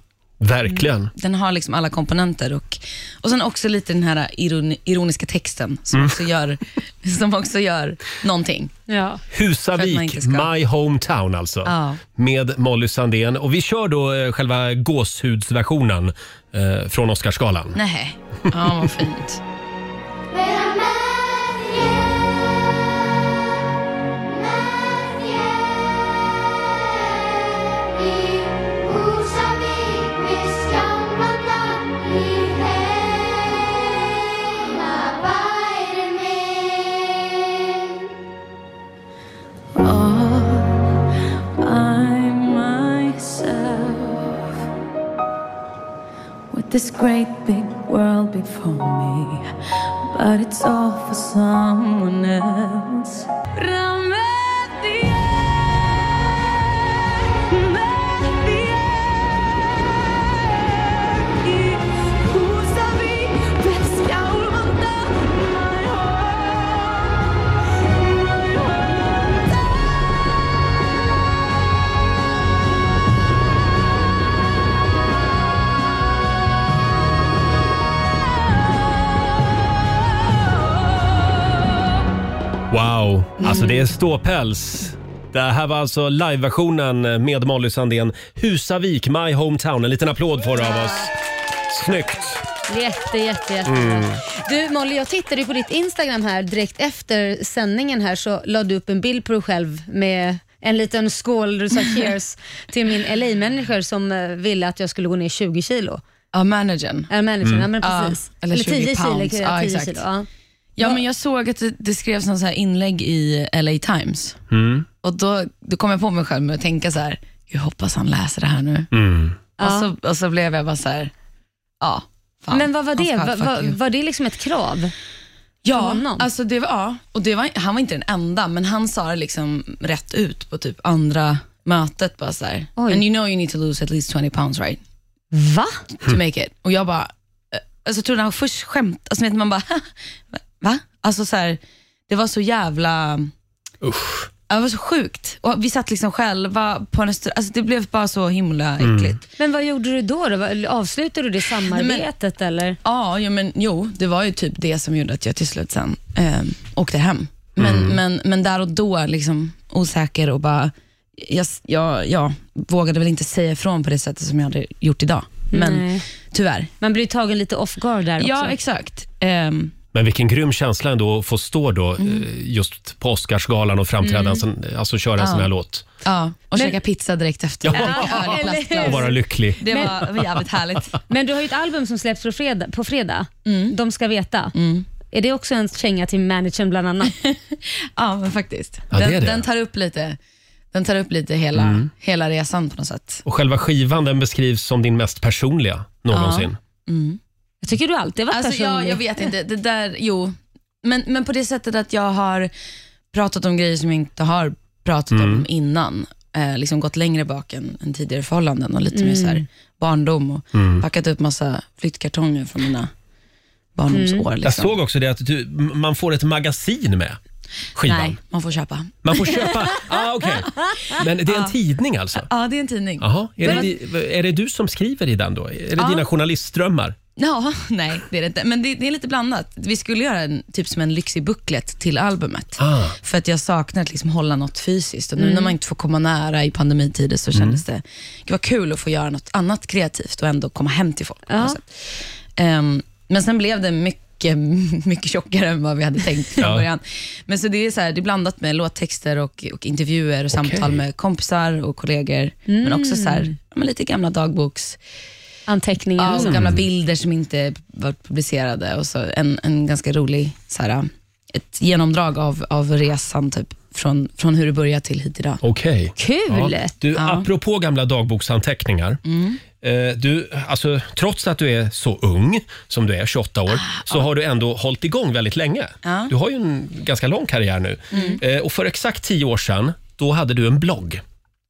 [SPEAKER 1] Verkligen.
[SPEAKER 11] Den har liksom alla komponenter och, och sen också lite den här ironi, ironiska texten som,
[SPEAKER 1] Mm.
[SPEAKER 11] också gör, som också gör någonting.
[SPEAKER 2] Ja.
[SPEAKER 1] Husavik, My Hometown alltså.
[SPEAKER 11] Ja.
[SPEAKER 1] Med Molly Sandén. Och vi kör då eh, själva gåshudsversionen eh, från Oscarsgalan.
[SPEAKER 11] Nej. Ja, vad fint.
[SPEAKER 13] with This great big world before me, but it's all for someone else.
[SPEAKER 1] Wow,
[SPEAKER 11] Mm.
[SPEAKER 1] alltså det är ståpäls. Det här var alltså liveversionen med Molly Sandén. Husavik, My Hometown. En liten applåd får du av oss. Snyggt!
[SPEAKER 2] Jätte, jätte, jätte.
[SPEAKER 1] Mm.
[SPEAKER 2] Du Molly, jag tittade ju på ditt Instagram här direkt efter sändningen här så la du upp en bild på dig själv med en liten skål där du sa cheers till min LA-manager som eh, ville att jag skulle gå ner 20 kilo.
[SPEAKER 11] Ja, managern.
[SPEAKER 2] Ja, managern,
[SPEAKER 11] Mm.
[SPEAKER 2] ja men
[SPEAKER 11] Ja,
[SPEAKER 2] precis.
[SPEAKER 11] eller 20 pounds.
[SPEAKER 2] kilo.
[SPEAKER 11] Ja,
[SPEAKER 2] 10
[SPEAKER 11] exakt.
[SPEAKER 2] kilo ja.
[SPEAKER 11] Ja, men jag såg att det, det skrevs någon så här inlägg i LA Times.
[SPEAKER 1] Mm.
[SPEAKER 11] Och då, då kom jag på mig själv med att tänka så här, jag hoppas han läser det här nu.
[SPEAKER 1] Mm.
[SPEAKER 11] Och, så, och så blev jag bara så här, ja. Fan,
[SPEAKER 2] Men vad var
[SPEAKER 11] han
[SPEAKER 2] det?
[SPEAKER 11] ska ha
[SPEAKER 2] Va,
[SPEAKER 11] ett fuck
[SPEAKER 2] va,
[SPEAKER 11] you.
[SPEAKER 2] var det liksom ett krav?
[SPEAKER 11] Ja,
[SPEAKER 2] honom?
[SPEAKER 11] alltså det var, ja. och det var, han var inte den enda, men han sa det liksom rätt ut på typ andra mötet. Bara så här,
[SPEAKER 2] Oj.
[SPEAKER 11] And you know you need to lose at least 20 pounds right?
[SPEAKER 2] Va?
[SPEAKER 11] To make it. Och jag bara, eh, alltså jag trodde han först skämt, alltså vet man bara, va? Alltså så här, det var så jävla,
[SPEAKER 1] Usch.
[SPEAKER 11] Ja, det var så sjukt. Och vi satt liksom själva på en restaurang, alltså det blev bara så himla
[SPEAKER 1] Mm.
[SPEAKER 11] äckligt.
[SPEAKER 2] Men vad gjorde du då? då? Vad- Avslutade du det samarbetet eller?
[SPEAKER 11] Ja, ja men, jo, det var ju typ det som gjorde att jag till slut sen eh, åkte hem. Men,
[SPEAKER 1] Mm.
[SPEAKER 11] men, men där och då, liksom, osäker och bara, jag, jag, jag vågade väl inte säga ifrån på det sättet som jag hade gjort idag. Men
[SPEAKER 2] Nej.
[SPEAKER 11] tyvärr.
[SPEAKER 2] Man blir tagen lite off guard där
[SPEAKER 11] Ja,
[SPEAKER 2] också.
[SPEAKER 11] exakt. Ehm,
[SPEAKER 1] Men vilken grym känsla ändå att få stå då eh, just på Oscarsgalan och framträda,
[SPEAKER 11] Mm.
[SPEAKER 1] sen, alltså köra en
[SPEAKER 11] Ja.
[SPEAKER 1] sån här låt.
[SPEAKER 11] ja, och käka pizza direkt efter.
[SPEAKER 1] Ja.
[SPEAKER 11] Dricka öl i
[SPEAKER 2] eller hur?
[SPEAKER 11] plastglas.
[SPEAKER 1] Och vara lycklig.
[SPEAKER 11] Det var, det var jävligt härligt. Mm.
[SPEAKER 2] Men du har ju ett album som släpps på fredag. På fredag. De ska veta. Är det också en känga till managern bland annat?
[SPEAKER 11] ja, men faktiskt.
[SPEAKER 1] Ja, det är
[SPEAKER 11] den,
[SPEAKER 1] det.
[SPEAKER 11] den tar upp lite, den tar upp lite hela,
[SPEAKER 1] Mm.
[SPEAKER 11] hela resan på något sätt.
[SPEAKER 1] Och själva skivan den beskrivs som din mest personliga någonsin.
[SPEAKER 11] Mm.
[SPEAKER 2] Jag tycker du alltid varit
[SPEAKER 11] alltså, jag,
[SPEAKER 2] personlig.
[SPEAKER 11] jag vet inte. Det där, jo. Men, men på det sättet att jag har pratat om grejer som jag inte har pratat
[SPEAKER 1] Mm.
[SPEAKER 11] om innan. Eh, liksom gått längre bak än, än tidigare förhållanden och lite mer
[SPEAKER 2] Mm.
[SPEAKER 11] så här, barndom. Och
[SPEAKER 1] Mm.
[SPEAKER 11] Packat upp massa flyttkartonger från mina barndomsår.
[SPEAKER 2] Mm.
[SPEAKER 11] Liksom.
[SPEAKER 1] Mm. Jag såg också det att du, m- man får ett magasin med skivan.
[SPEAKER 11] Nej, man får köpa.
[SPEAKER 1] Man får köpa, ah, okej. Men det är en
[SPEAKER 11] Ja.
[SPEAKER 1] tidning alltså?
[SPEAKER 11] Ja, det är en tidning.
[SPEAKER 1] Jaha, är,
[SPEAKER 11] Men-
[SPEAKER 1] det, di- är det du som skriver i den då? Är det
[SPEAKER 11] Ja.
[SPEAKER 1] dina journalistdrömmar?
[SPEAKER 11] Ja, nej, det är det inte. Men det, det är lite blandat. Vi skulle göra en, typ som en lyxig booklet till albumet.
[SPEAKER 1] Ah.
[SPEAKER 11] För att jag saknar att liksom hålla något fysiskt. Och nu
[SPEAKER 1] Mm.
[SPEAKER 11] när man inte får komma nära i pandemitider så
[SPEAKER 1] Mm.
[SPEAKER 11] kändes det, det var kul att få göra något annat kreativt och ändå komma hem till folk. på något sätt. Ehm, men sen blev det mycket, mycket tjockare än vad vi hade tänkt från
[SPEAKER 1] Ja.
[SPEAKER 11] början. Men så det är, så här, det är blandat med låttexter och, och intervjuer och
[SPEAKER 1] Mm.
[SPEAKER 11] samtal med kompisar och kollegor. Men också så här, ja, men lite gamla dagboks
[SPEAKER 2] Anteckningar.
[SPEAKER 11] Ja, och så
[SPEAKER 2] Mm.
[SPEAKER 11] gamla bilder som inte varit publicerade och så en, en ganska rolig, så här, ett genomdrag av, av resan typ, från, från hur det började till hit idag.
[SPEAKER 1] Okej.
[SPEAKER 11] Kul!
[SPEAKER 1] Ja. Du,
[SPEAKER 11] Ja. Mm.
[SPEAKER 1] apropå gamla dagboksanteckningar. Eh, Du, alltså, trots att du är så ung som du är, 28 år, så har du ändå hållit igång väldigt länge.
[SPEAKER 11] Ah, Ja.
[SPEAKER 1] Du har ju en ganska lång karriär nu.
[SPEAKER 11] Mm.
[SPEAKER 1] Eh, Och för exakt 10 år sedan, då hade du en blogg.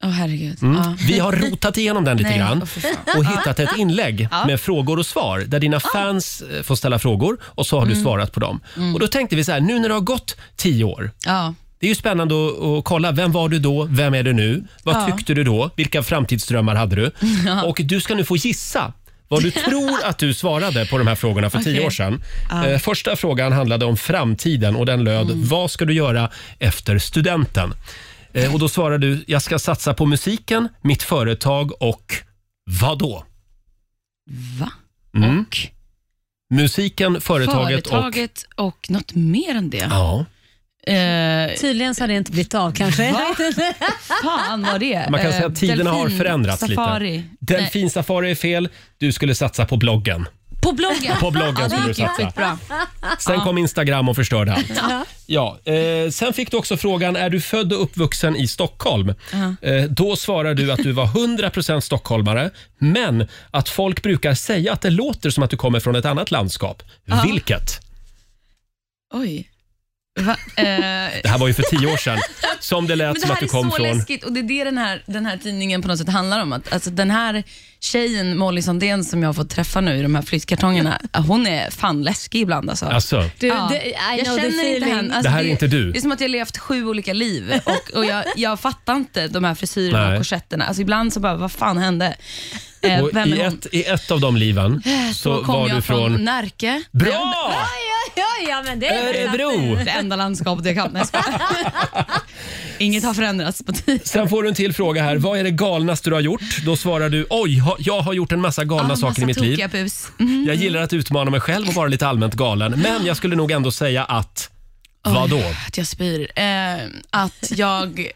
[SPEAKER 11] Åh herregud.
[SPEAKER 1] Mm.
[SPEAKER 11] Ja.
[SPEAKER 1] Vi har rotat igenom den lite
[SPEAKER 11] Nej,
[SPEAKER 1] grann
[SPEAKER 11] åh, fy fan.
[SPEAKER 1] och
[SPEAKER 11] Ja.
[SPEAKER 1] hittat ett inlägg
[SPEAKER 11] Ja.
[SPEAKER 1] med frågor och svar där dina fans eh, får ställa frågor och så har du
[SPEAKER 11] Mm.
[SPEAKER 1] svarat på dem.
[SPEAKER 11] Mm.
[SPEAKER 1] Och Då tänkte vi så här, nu när det har gått 10 år,
[SPEAKER 11] Ja.
[SPEAKER 1] det är ju spännande att, att kolla. Vem var du då? Vem är du nu? Vad
[SPEAKER 11] Ja.
[SPEAKER 1] tyckte du då? Vilka framtidsdrömmar hade du?
[SPEAKER 11] Ja.
[SPEAKER 1] Och du ska nu få gissa vad du tror att du svarade på de här frågorna för tio
[SPEAKER 11] Okej.
[SPEAKER 1] år sedan.
[SPEAKER 11] Ja. Mm.
[SPEAKER 1] Eh, Första frågan handlade om framtiden och den löd Vad ska du göra efter studenten? Eh, Och då svarade du Jag ska satsa på musiken, mitt företag och vad då?
[SPEAKER 11] Va?
[SPEAKER 1] Och? Mm. Musiken, företaget, och...
[SPEAKER 11] Företaget och... något mer än det. Eh,
[SPEAKER 1] Ja.
[SPEAKER 2] Tydligen så har det inte blivit av kanske.
[SPEAKER 11] Va? Fan vad det är.
[SPEAKER 1] Man kan säga
[SPEAKER 11] Eh,
[SPEAKER 1] att tiderna har
[SPEAKER 11] delfin,
[SPEAKER 1] förändrats
[SPEAKER 11] safari.
[SPEAKER 1] lite.
[SPEAKER 11] Nej.
[SPEAKER 1] Delfinsafari är fel. Du skulle satsa på bloggen.
[SPEAKER 11] På bloggen?
[SPEAKER 1] På bloggen
[SPEAKER 11] Ja, det
[SPEAKER 1] skulle du
[SPEAKER 11] gick
[SPEAKER 1] satsa.
[SPEAKER 11] riktigt bra.
[SPEAKER 1] Sen
[SPEAKER 11] Ja.
[SPEAKER 1] kom Instagram och förstörde allt.
[SPEAKER 11] Ja.
[SPEAKER 1] Ja, eh, sen fick du också frågan, är du född och uppvuxen i Stockholm?
[SPEAKER 11] Ja.
[SPEAKER 1] Eh, då svarar du att du var 100% stockholmare, men att folk brukar säga att det låter som att du kommer från ett annat landskap.
[SPEAKER 11] Ja.
[SPEAKER 1] Vilket?
[SPEAKER 11] Oj. Va? Eh,
[SPEAKER 1] Det här var ju för tio år sedan som det
[SPEAKER 11] Men
[SPEAKER 1] lät
[SPEAKER 11] det
[SPEAKER 1] som
[SPEAKER 11] här
[SPEAKER 1] att du
[SPEAKER 11] är
[SPEAKER 1] kom
[SPEAKER 11] så
[SPEAKER 1] från...
[SPEAKER 11] läskigt och det är det den här, den här tidningen på något sätt handlar om. Att, alltså, den här tjejen, Molly Sandén, som jag har fått träffa nu i de här flyttkartongerna, hon är fan läskig ibland. Alltså.
[SPEAKER 1] Alltså.
[SPEAKER 2] Du,
[SPEAKER 11] Ja.
[SPEAKER 2] det- I
[SPEAKER 11] jag
[SPEAKER 2] know the
[SPEAKER 11] känner inte
[SPEAKER 2] feeling.
[SPEAKER 11] henne. Alltså,
[SPEAKER 1] Det här är inte du.
[SPEAKER 11] Det är som att jag levt sju olika liv och, och jag, jag fattar inte de här frisyrerna
[SPEAKER 1] Nej.
[SPEAKER 11] och korsetterna. Alltså, ibland så bara, vad fan hände? Eh,
[SPEAKER 1] Och
[SPEAKER 11] vem
[SPEAKER 1] i,
[SPEAKER 11] är hon? Eh,
[SPEAKER 1] ett, I ett av de liven så
[SPEAKER 11] kom
[SPEAKER 1] var
[SPEAKER 11] jag
[SPEAKER 1] du från...
[SPEAKER 11] Närke.
[SPEAKER 1] Bra!
[SPEAKER 11] Ja,
[SPEAKER 2] ja, ja, men det är väl
[SPEAKER 1] Örebro.
[SPEAKER 11] Det enda landskapet jag kan. Nej, jag skojar. Inget har förändrats på tio
[SPEAKER 1] Sen får du en till fråga här. Vad är det galnaste du har gjort? Då svarar du oj, ha, jag har gjort en massa galna
[SPEAKER 11] Ah,
[SPEAKER 1] saker i
[SPEAKER 11] massa
[SPEAKER 1] mitt liv.
[SPEAKER 11] tokiga Bus. Mm.
[SPEAKER 1] Jag gillar att utmana mig själv och vara lite allmänt galen. Men jag skulle nog ändå säga att... Vadå?
[SPEAKER 11] Oj, att jag spyr. Eh, att jag...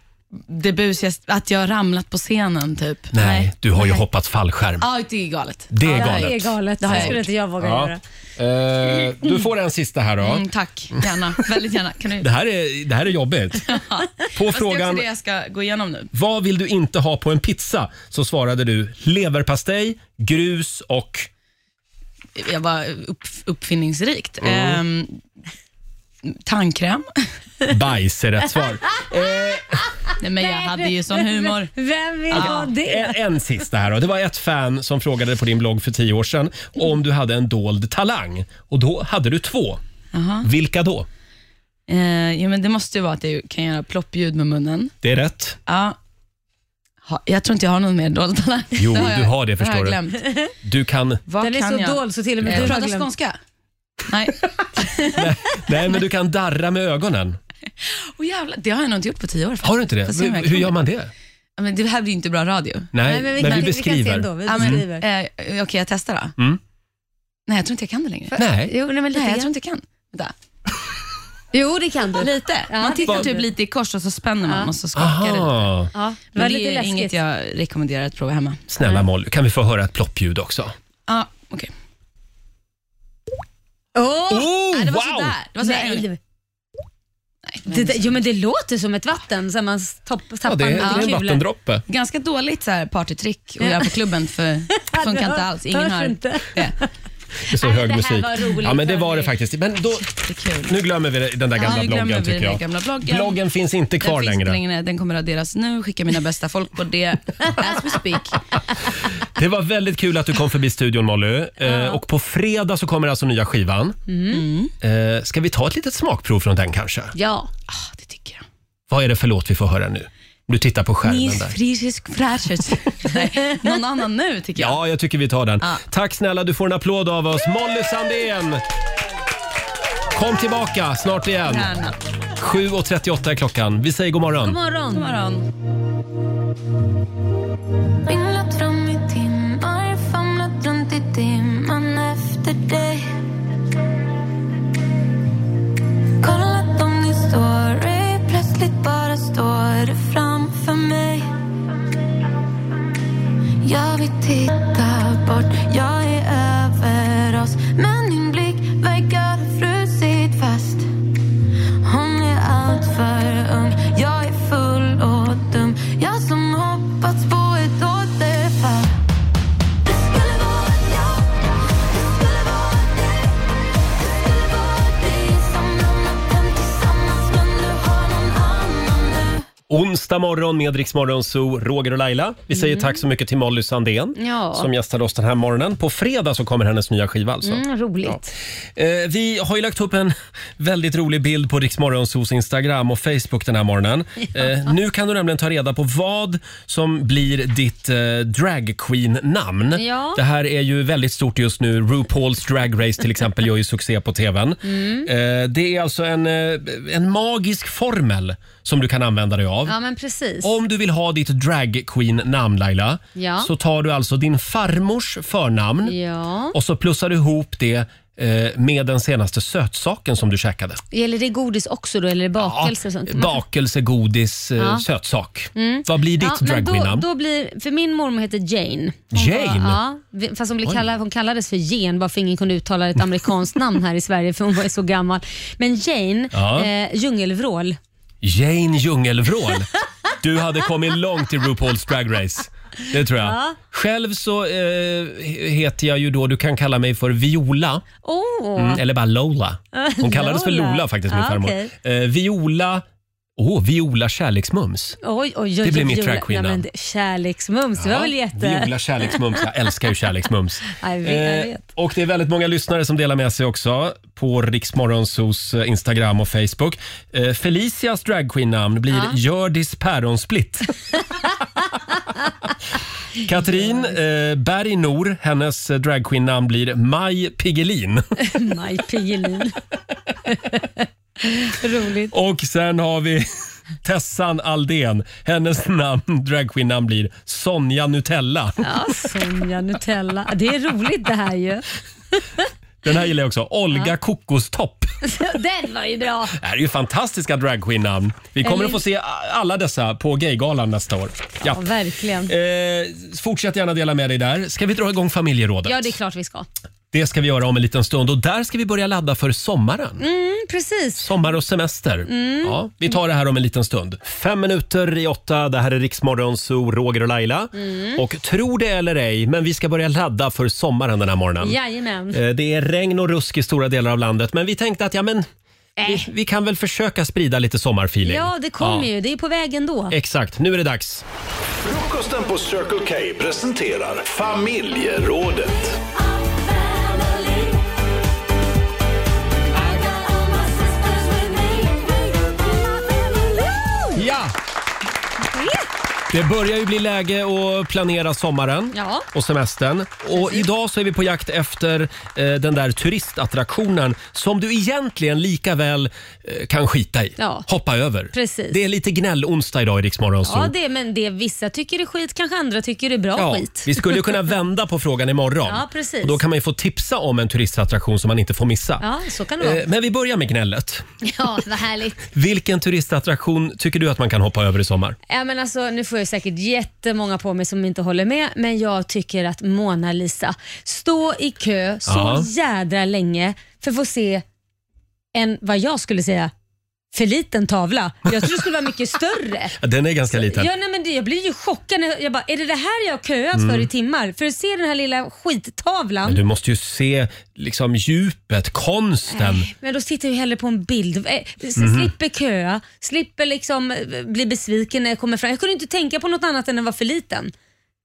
[SPEAKER 11] Det busigaste, att jag har ramlat på scenen typ.
[SPEAKER 1] Nej, du har ju hoppat fallskärm.
[SPEAKER 11] Ja, det är galet.
[SPEAKER 1] Det är
[SPEAKER 11] Ja,
[SPEAKER 1] galet.
[SPEAKER 11] Det, har jag gjort.
[SPEAKER 1] Eh, du får en sista här då.
[SPEAKER 11] Mm, tack, gärna. Väldigt gärna. Kan du?
[SPEAKER 1] Det här är, det här är jobbigt. På
[SPEAKER 11] Fast Det är också
[SPEAKER 1] frågan
[SPEAKER 11] det jag ska gå igenom nu.
[SPEAKER 1] vad vill du inte ha på en pizza så svarade du leverpastej, grus och...
[SPEAKER 11] Jag var upp, uppfinningsrikt.
[SPEAKER 1] Mm.
[SPEAKER 11] Ehm, tandkräm. Eh,
[SPEAKER 1] Bajs är rätt svar.
[SPEAKER 11] Nej, men jag hade ju sån humor.
[SPEAKER 2] Vem vill
[SPEAKER 11] Ja.
[SPEAKER 2] ha det?
[SPEAKER 1] En, en sista här då. Det var ett fan som frågade på din blogg för tio år sedan om du hade en dold talang. Och då hade du två.
[SPEAKER 11] Jaha.
[SPEAKER 1] Vilka då?
[SPEAKER 11] Eh, ja, men det måste ju vara att jag kan göra ploppljud med munnen.
[SPEAKER 1] Det är rätt.
[SPEAKER 11] Ja. Ha, jag tror inte jag har någon mer dold talang.
[SPEAKER 1] Jo,
[SPEAKER 11] Det jag-
[SPEAKER 1] du har det, förstår
[SPEAKER 11] har jag
[SPEAKER 1] du.
[SPEAKER 11] glömt.
[SPEAKER 1] Du kan...
[SPEAKER 11] Vad
[SPEAKER 2] Den är
[SPEAKER 11] kan
[SPEAKER 2] så
[SPEAKER 11] jag?
[SPEAKER 2] dold så till och med
[SPEAKER 11] Eh,
[SPEAKER 2] du har
[SPEAKER 11] Prata
[SPEAKER 2] glömt.
[SPEAKER 11] skånska? Nej.
[SPEAKER 1] Nej, men du kan darra med ögonen.
[SPEAKER 11] Åh jävlar, det har jag nog inte gjort på tio år.
[SPEAKER 1] Har du inte det?
[SPEAKER 11] Fast jag
[SPEAKER 1] Men
[SPEAKER 11] verkligen-
[SPEAKER 1] Hur gör man det?
[SPEAKER 11] Ja, men det här blir ju inte bra radio.
[SPEAKER 1] Nej, Nej, men vi men kan- vi vi kan se beskriver. ändå, vi
[SPEAKER 11] Ja, men,
[SPEAKER 1] beskriver.
[SPEAKER 11] eh, Okej, jag testar då.
[SPEAKER 1] Mm.
[SPEAKER 11] Nej, jag tror inte jag kan det längre.
[SPEAKER 1] Nej.
[SPEAKER 2] Jo, nej, men lite
[SPEAKER 11] Nej, jag
[SPEAKER 2] grann.
[SPEAKER 11] tror inte jag kan. Vänta.
[SPEAKER 2] Jo, det kan du.
[SPEAKER 11] Lite. Man
[SPEAKER 2] det
[SPEAKER 11] tittar
[SPEAKER 2] kan
[SPEAKER 11] typ
[SPEAKER 2] du.
[SPEAKER 11] lite i kors och så spänner man
[SPEAKER 2] Ja.
[SPEAKER 11] och så skakar det.
[SPEAKER 1] Aha.
[SPEAKER 2] Ja, det var
[SPEAKER 11] Men det
[SPEAKER 2] lite
[SPEAKER 11] är inget
[SPEAKER 2] läskigt.
[SPEAKER 11] jag rekommenderar att prova hemma.
[SPEAKER 1] Snälla Molly, kan vi få höra ett ploppljud också?
[SPEAKER 11] Ja, okej.
[SPEAKER 2] Åh!
[SPEAKER 11] Nej, det var
[SPEAKER 1] Oh, wow!
[SPEAKER 11] sådär. Det var sådär.
[SPEAKER 2] Nej, det- Det, där- jo men det låter som ett vatten som man topp, tappar
[SPEAKER 1] Ja, det, är, det är en
[SPEAKER 2] kulor.
[SPEAKER 1] vattendroppe.
[SPEAKER 11] Ganska dåligt så här partytrick att göra på klubben för det funkar inte alls. Ingen
[SPEAKER 2] Hörs
[SPEAKER 11] hör.
[SPEAKER 2] inte.
[SPEAKER 1] Det är så hög
[SPEAKER 2] det här
[SPEAKER 1] musik.
[SPEAKER 2] var roligt,
[SPEAKER 1] ja, men det var
[SPEAKER 2] hörni.
[SPEAKER 1] det faktiskt. Men då, nu glömmer vi den där
[SPEAKER 11] Ja,
[SPEAKER 1] gamla
[SPEAKER 11] nu glömmer
[SPEAKER 1] bloggen
[SPEAKER 11] vi
[SPEAKER 1] tycker
[SPEAKER 11] den
[SPEAKER 1] jag.
[SPEAKER 11] gamla bloggen.
[SPEAKER 1] finns inte kvar
[SPEAKER 11] den finns
[SPEAKER 1] längre.
[SPEAKER 11] Inte längre. Den kommer raderas nu. Skicka mina bästa folk på det. As we speak.
[SPEAKER 1] Det var väldigt kul att du kom förbi studion Molly. Eh, och på fredag så kommer alltså nya skivan.
[SPEAKER 11] Mm.
[SPEAKER 1] Eh, ska vi ta ett litet smakprov från den kanske?
[SPEAKER 2] Ja.
[SPEAKER 1] Vad är det för låt vi får höra nu? Om du tittar på skärmen
[SPEAKER 11] Nils
[SPEAKER 1] där.
[SPEAKER 11] Frischis Fräschis. Nej, Någon annan nu tycker jag.
[SPEAKER 1] Ja, jag tycker vi tar den.
[SPEAKER 11] Ja.
[SPEAKER 1] Tack snälla, du får en applåd av oss. Molly Sandén! Kom tillbaka snart igen.
[SPEAKER 11] Gärna.
[SPEAKER 1] 7.38 är klockan. Vi säger god morgon.
[SPEAKER 2] God morgon. God
[SPEAKER 11] morgon.
[SPEAKER 13] Vinglat fram i timmar, famlat runt i dimman efter dig Kollat om din story, plötsligt bara står du framför mig Jag vet titta bort Jag är över oss Men din blick verkar ha frusit fast Hon är allt för ung Jag är full och dum Jag som hoppats på ett återfall
[SPEAKER 1] Onsdag morgon med Rix Morgon Zoo, Roger och Laila. Vi säger tack så mycket till Molly Sandén
[SPEAKER 2] Mm. Ja.
[SPEAKER 1] som gästade oss den här morgonen. På fredag så kommer hennes nya skiva alltså.
[SPEAKER 2] Mm, roligt.
[SPEAKER 1] Eh, vi har ju lagt upp en väldigt rolig bild på Riksmorgonsos Instagram och Facebook den här morgonen.
[SPEAKER 4] Ja.
[SPEAKER 1] Eh, nu kan du nämligen ta reda på vad som blir ditt eh, dragqueen-namn.
[SPEAKER 4] Ja.
[SPEAKER 1] Det här är ju väldigt stort just nu. RuPaul's Drag Race till exempel gör ju succé på TVn.
[SPEAKER 2] Mm.
[SPEAKER 1] Eh, det är alltså en, eh, en magisk formel som du kan använda dig av.
[SPEAKER 2] Ja, men precis.
[SPEAKER 1] Om du vill ha ditt dragqueen-namn Laila,
[SPEAKER 2] Ja.
[SPEAKER 1] så tar du alltså din farmors förnamn
[SPEAKER 2] Ja.
[SPEAKER 1] och så plussar du ihop det eh, med den senaste sötsaken som du käkade.
[SPEAKER 2] Gäller det godis också då, eller är det bakelse och sånt?
[SPEAKER 1] Bakelse, godis, eh,
[SPEAKER 2] Ja.
[SPEAKER 1] sötsak.
[SPEAKER 2] Mm.
[SPEAKER 1] Vad blir ditt
[SPEAKER 2] men då,
[SPEAKER 1] dragqueen-namn?
[SPEAKER 2] då blir, För min mormor heter Jane.
[SPEAKER 1] Jane?
[SPEAKER 2] Ja, vi- fast hon, blev
[SPEAKER 1] Oj.
[SPEAKER 2] kallad, hon kallades för Jane bara för ingen kunde uttala ett amerikanskt namn här i Sverige för hon var ju så gammal. Men Jane,
[SPEAKER 1] Ja.
[SPEAKER 2] eh, djungelvrål.
[SPEAKER 1] Jane Djungelvrål. Du hade kommit långt i RuPaul's Drag Race. Det tror jag.
[SPEAKER 2] Ja.
[SPEAKER 1] Själv så eh, heter jag ju då, du kan kalla mig för Viola.
[SPEAKER 2] Åh.
[SPEAKER 1] Mm, eller bara Lola. Hon kallades för
[SPEAKER 2] Lola.
[SPEAKER 1] Lola faktiskt, min
[SPEAKER 2] Ah,
[SPEAKER 1] farmor.
[SPEAKER 2] okej.
[SPEAKER 1] Eh, Viola, åh, Viola Kärleksmums.
[SPEAKER 2] Oj, oj, oj,
[SPEAKER 1] Det blir mitt
[SPEAKER 2] Viola.
[SPEAKER 1] dragqueen-namn.
[SPEAKER 2] Nej, men det- Kärleksmums, det var väl jätte...
[SPEAKER 1] Viola Kärleksmums. Jag älskar ju kärleksmums.
[SPEAKER 2] jag vet, jag
[SPEAKER 1] Eh,
[SPEAKER 2] vet.
[SPEAKER 1] och det är väldigt många lyssnare som delar med sig också på Riksmorgonsos eh, Instagram och Facebook. Eh, Felicias dragqueen-namn blir
[SPEAKER 2] Ja.
[SPEAKER 1] Hjördis Päronsplitt. Katrin eh, Berg Nor, hennes eh, dragqueen-namn blir Maj Piggelin.
[SPEAKER 2] Maj Piggelin. Roligt.
[SPEAKER 1] Och sen har vi Tessan Aldén. Hennes namn, dragqueen-namn blir Sonja Nutella.
[SPEAKER 2] Ja, Sonja Nutella. Det är roligt det här ju.
[SPEAKER 1] Den här gillar jag också. Olga
[SPEAKER 2] Ja.
[SPEAKER 1] Kokostopp.
[SPEAKER 2] Den var ju bra.
[SPEAKER 1] Det här är ju fantastiska dragqueen-namn. Vi kommer
[SPEAKER 2] Eller-
[SPEAKER 1] att få se alla dessa på Gaygalan nästa år. Ja.
[SPEAKER 2] Verkligen.
[SPEAKER 1] Eh, fortsätt gärna dela med dig där. Ska vi dra igång familjerådet?
[SPEAKER 2] Ja, det är klart vi ska.
[SPEAKER 1] Det ska vi göra om en liten stund och där ska vi börja ladda för sommaren.
[SPEAKER 2] Mm, precis.
[SPEAKER 1] Sommar och semester.
[SPEAKER 2] Mm.
[SPEAKER 1] Ja, vi tar det här om en liten stund. Fem minuter i åtta. Det här är Riksmorgon, så Roger och Laila.
[SPEAKER 2] Mm.
[SPEAKER 1] Och tro det eller ej, men vi ska börja ladda för sommaren den här morgonen.
[SPEAKER 2] Jajamän.
[SPEAKER 1] Eh, Det är regn och rusk i stora delar av landet, men vi tänkte att ja, men, vi, vi kan väl försöka sprida lite sommarfeeling.
[SPEAKER 2] Äh. Ja, det kommer ju. Det är på väg ändå.
[SPEAKER 1] Exakt, nu är det dags.
[SPEAKER 4] Frukosten på Circle K presenterar familjerådet.
[SPEAKER 1] Ja! Det börjar ju bli läge att planera sommaren
[SPEAKER 2] Ja.
[SPEAKER 1] och semestern. Och idag så är vi på jakt efter eh, den där turistattraktionen som du egentligen lika väl eh, kan skita i.
[SPEAKER 2] Ja.
[SPEAKER 1] Hoppa över.
[SPEAKER 2] Precis.
[SPEAKER 1] Det är lite gnäll-onsdag idag i Rix Morgon Zoo.
[SPEAKER 2] Ja, det, är- men det vissa tycker det är skit, kanske andra tycker det är bra
[SPEAKER 1] Ja,
[SPEAKER 2] skit.
[SPEAKER 1] vi skulle ju kunna vända på frågan imorgon.
[SPEAKER 2] Ja, precis.
[SPEAKER 1] Och då kan man ju få tipsa om en turistattraktion som man inte får missa.
[SPEAKER 2] Ja, så kan det vara.
[SPEAKER 1] Eh, Men vi börjar med gnället.
[SPEAKER 2] Ja, vad härligt.
[SPEAKER 1] Vilken turistattraktion tycker du att man kan hoppa över i sommar?
[SPEAKER 2] Ja, men alltså, nu får jag säkert jättemånga på mig som inte håller med, men jag tycker att Mona Lisa, stå i kö så
[SPEAKER 1] Ja.
[SPEAKER 2] jädra länge för att få se en, vad jag skulle säga, för liten tavla. Jag tror det skulle vara mycket större.
[SPEAKER 1] Ja, Den är ganska liten.
[SPEAKER 2] Ja, nej, men det, jag blir ju chockad. När, jag bara, är det det här jag har köat för
[SPEAKER 1] Mm.
[SPEAKER 2] i timmar? För att se den här lilla skittavlan.
[SPEAKER 1] Men du måste ju se liksom djupet, konsten.
[SPEAKER 2] Men då sitter jag ju hellre på en bild. Eh, s-
[SPEAKER 1] Mhm.
[SPEAKER 2] Slipper köa, slipper liksom eh, bli besviken när jag kommer fram. Jag kunde inte tänka på något annat än att den var för liten.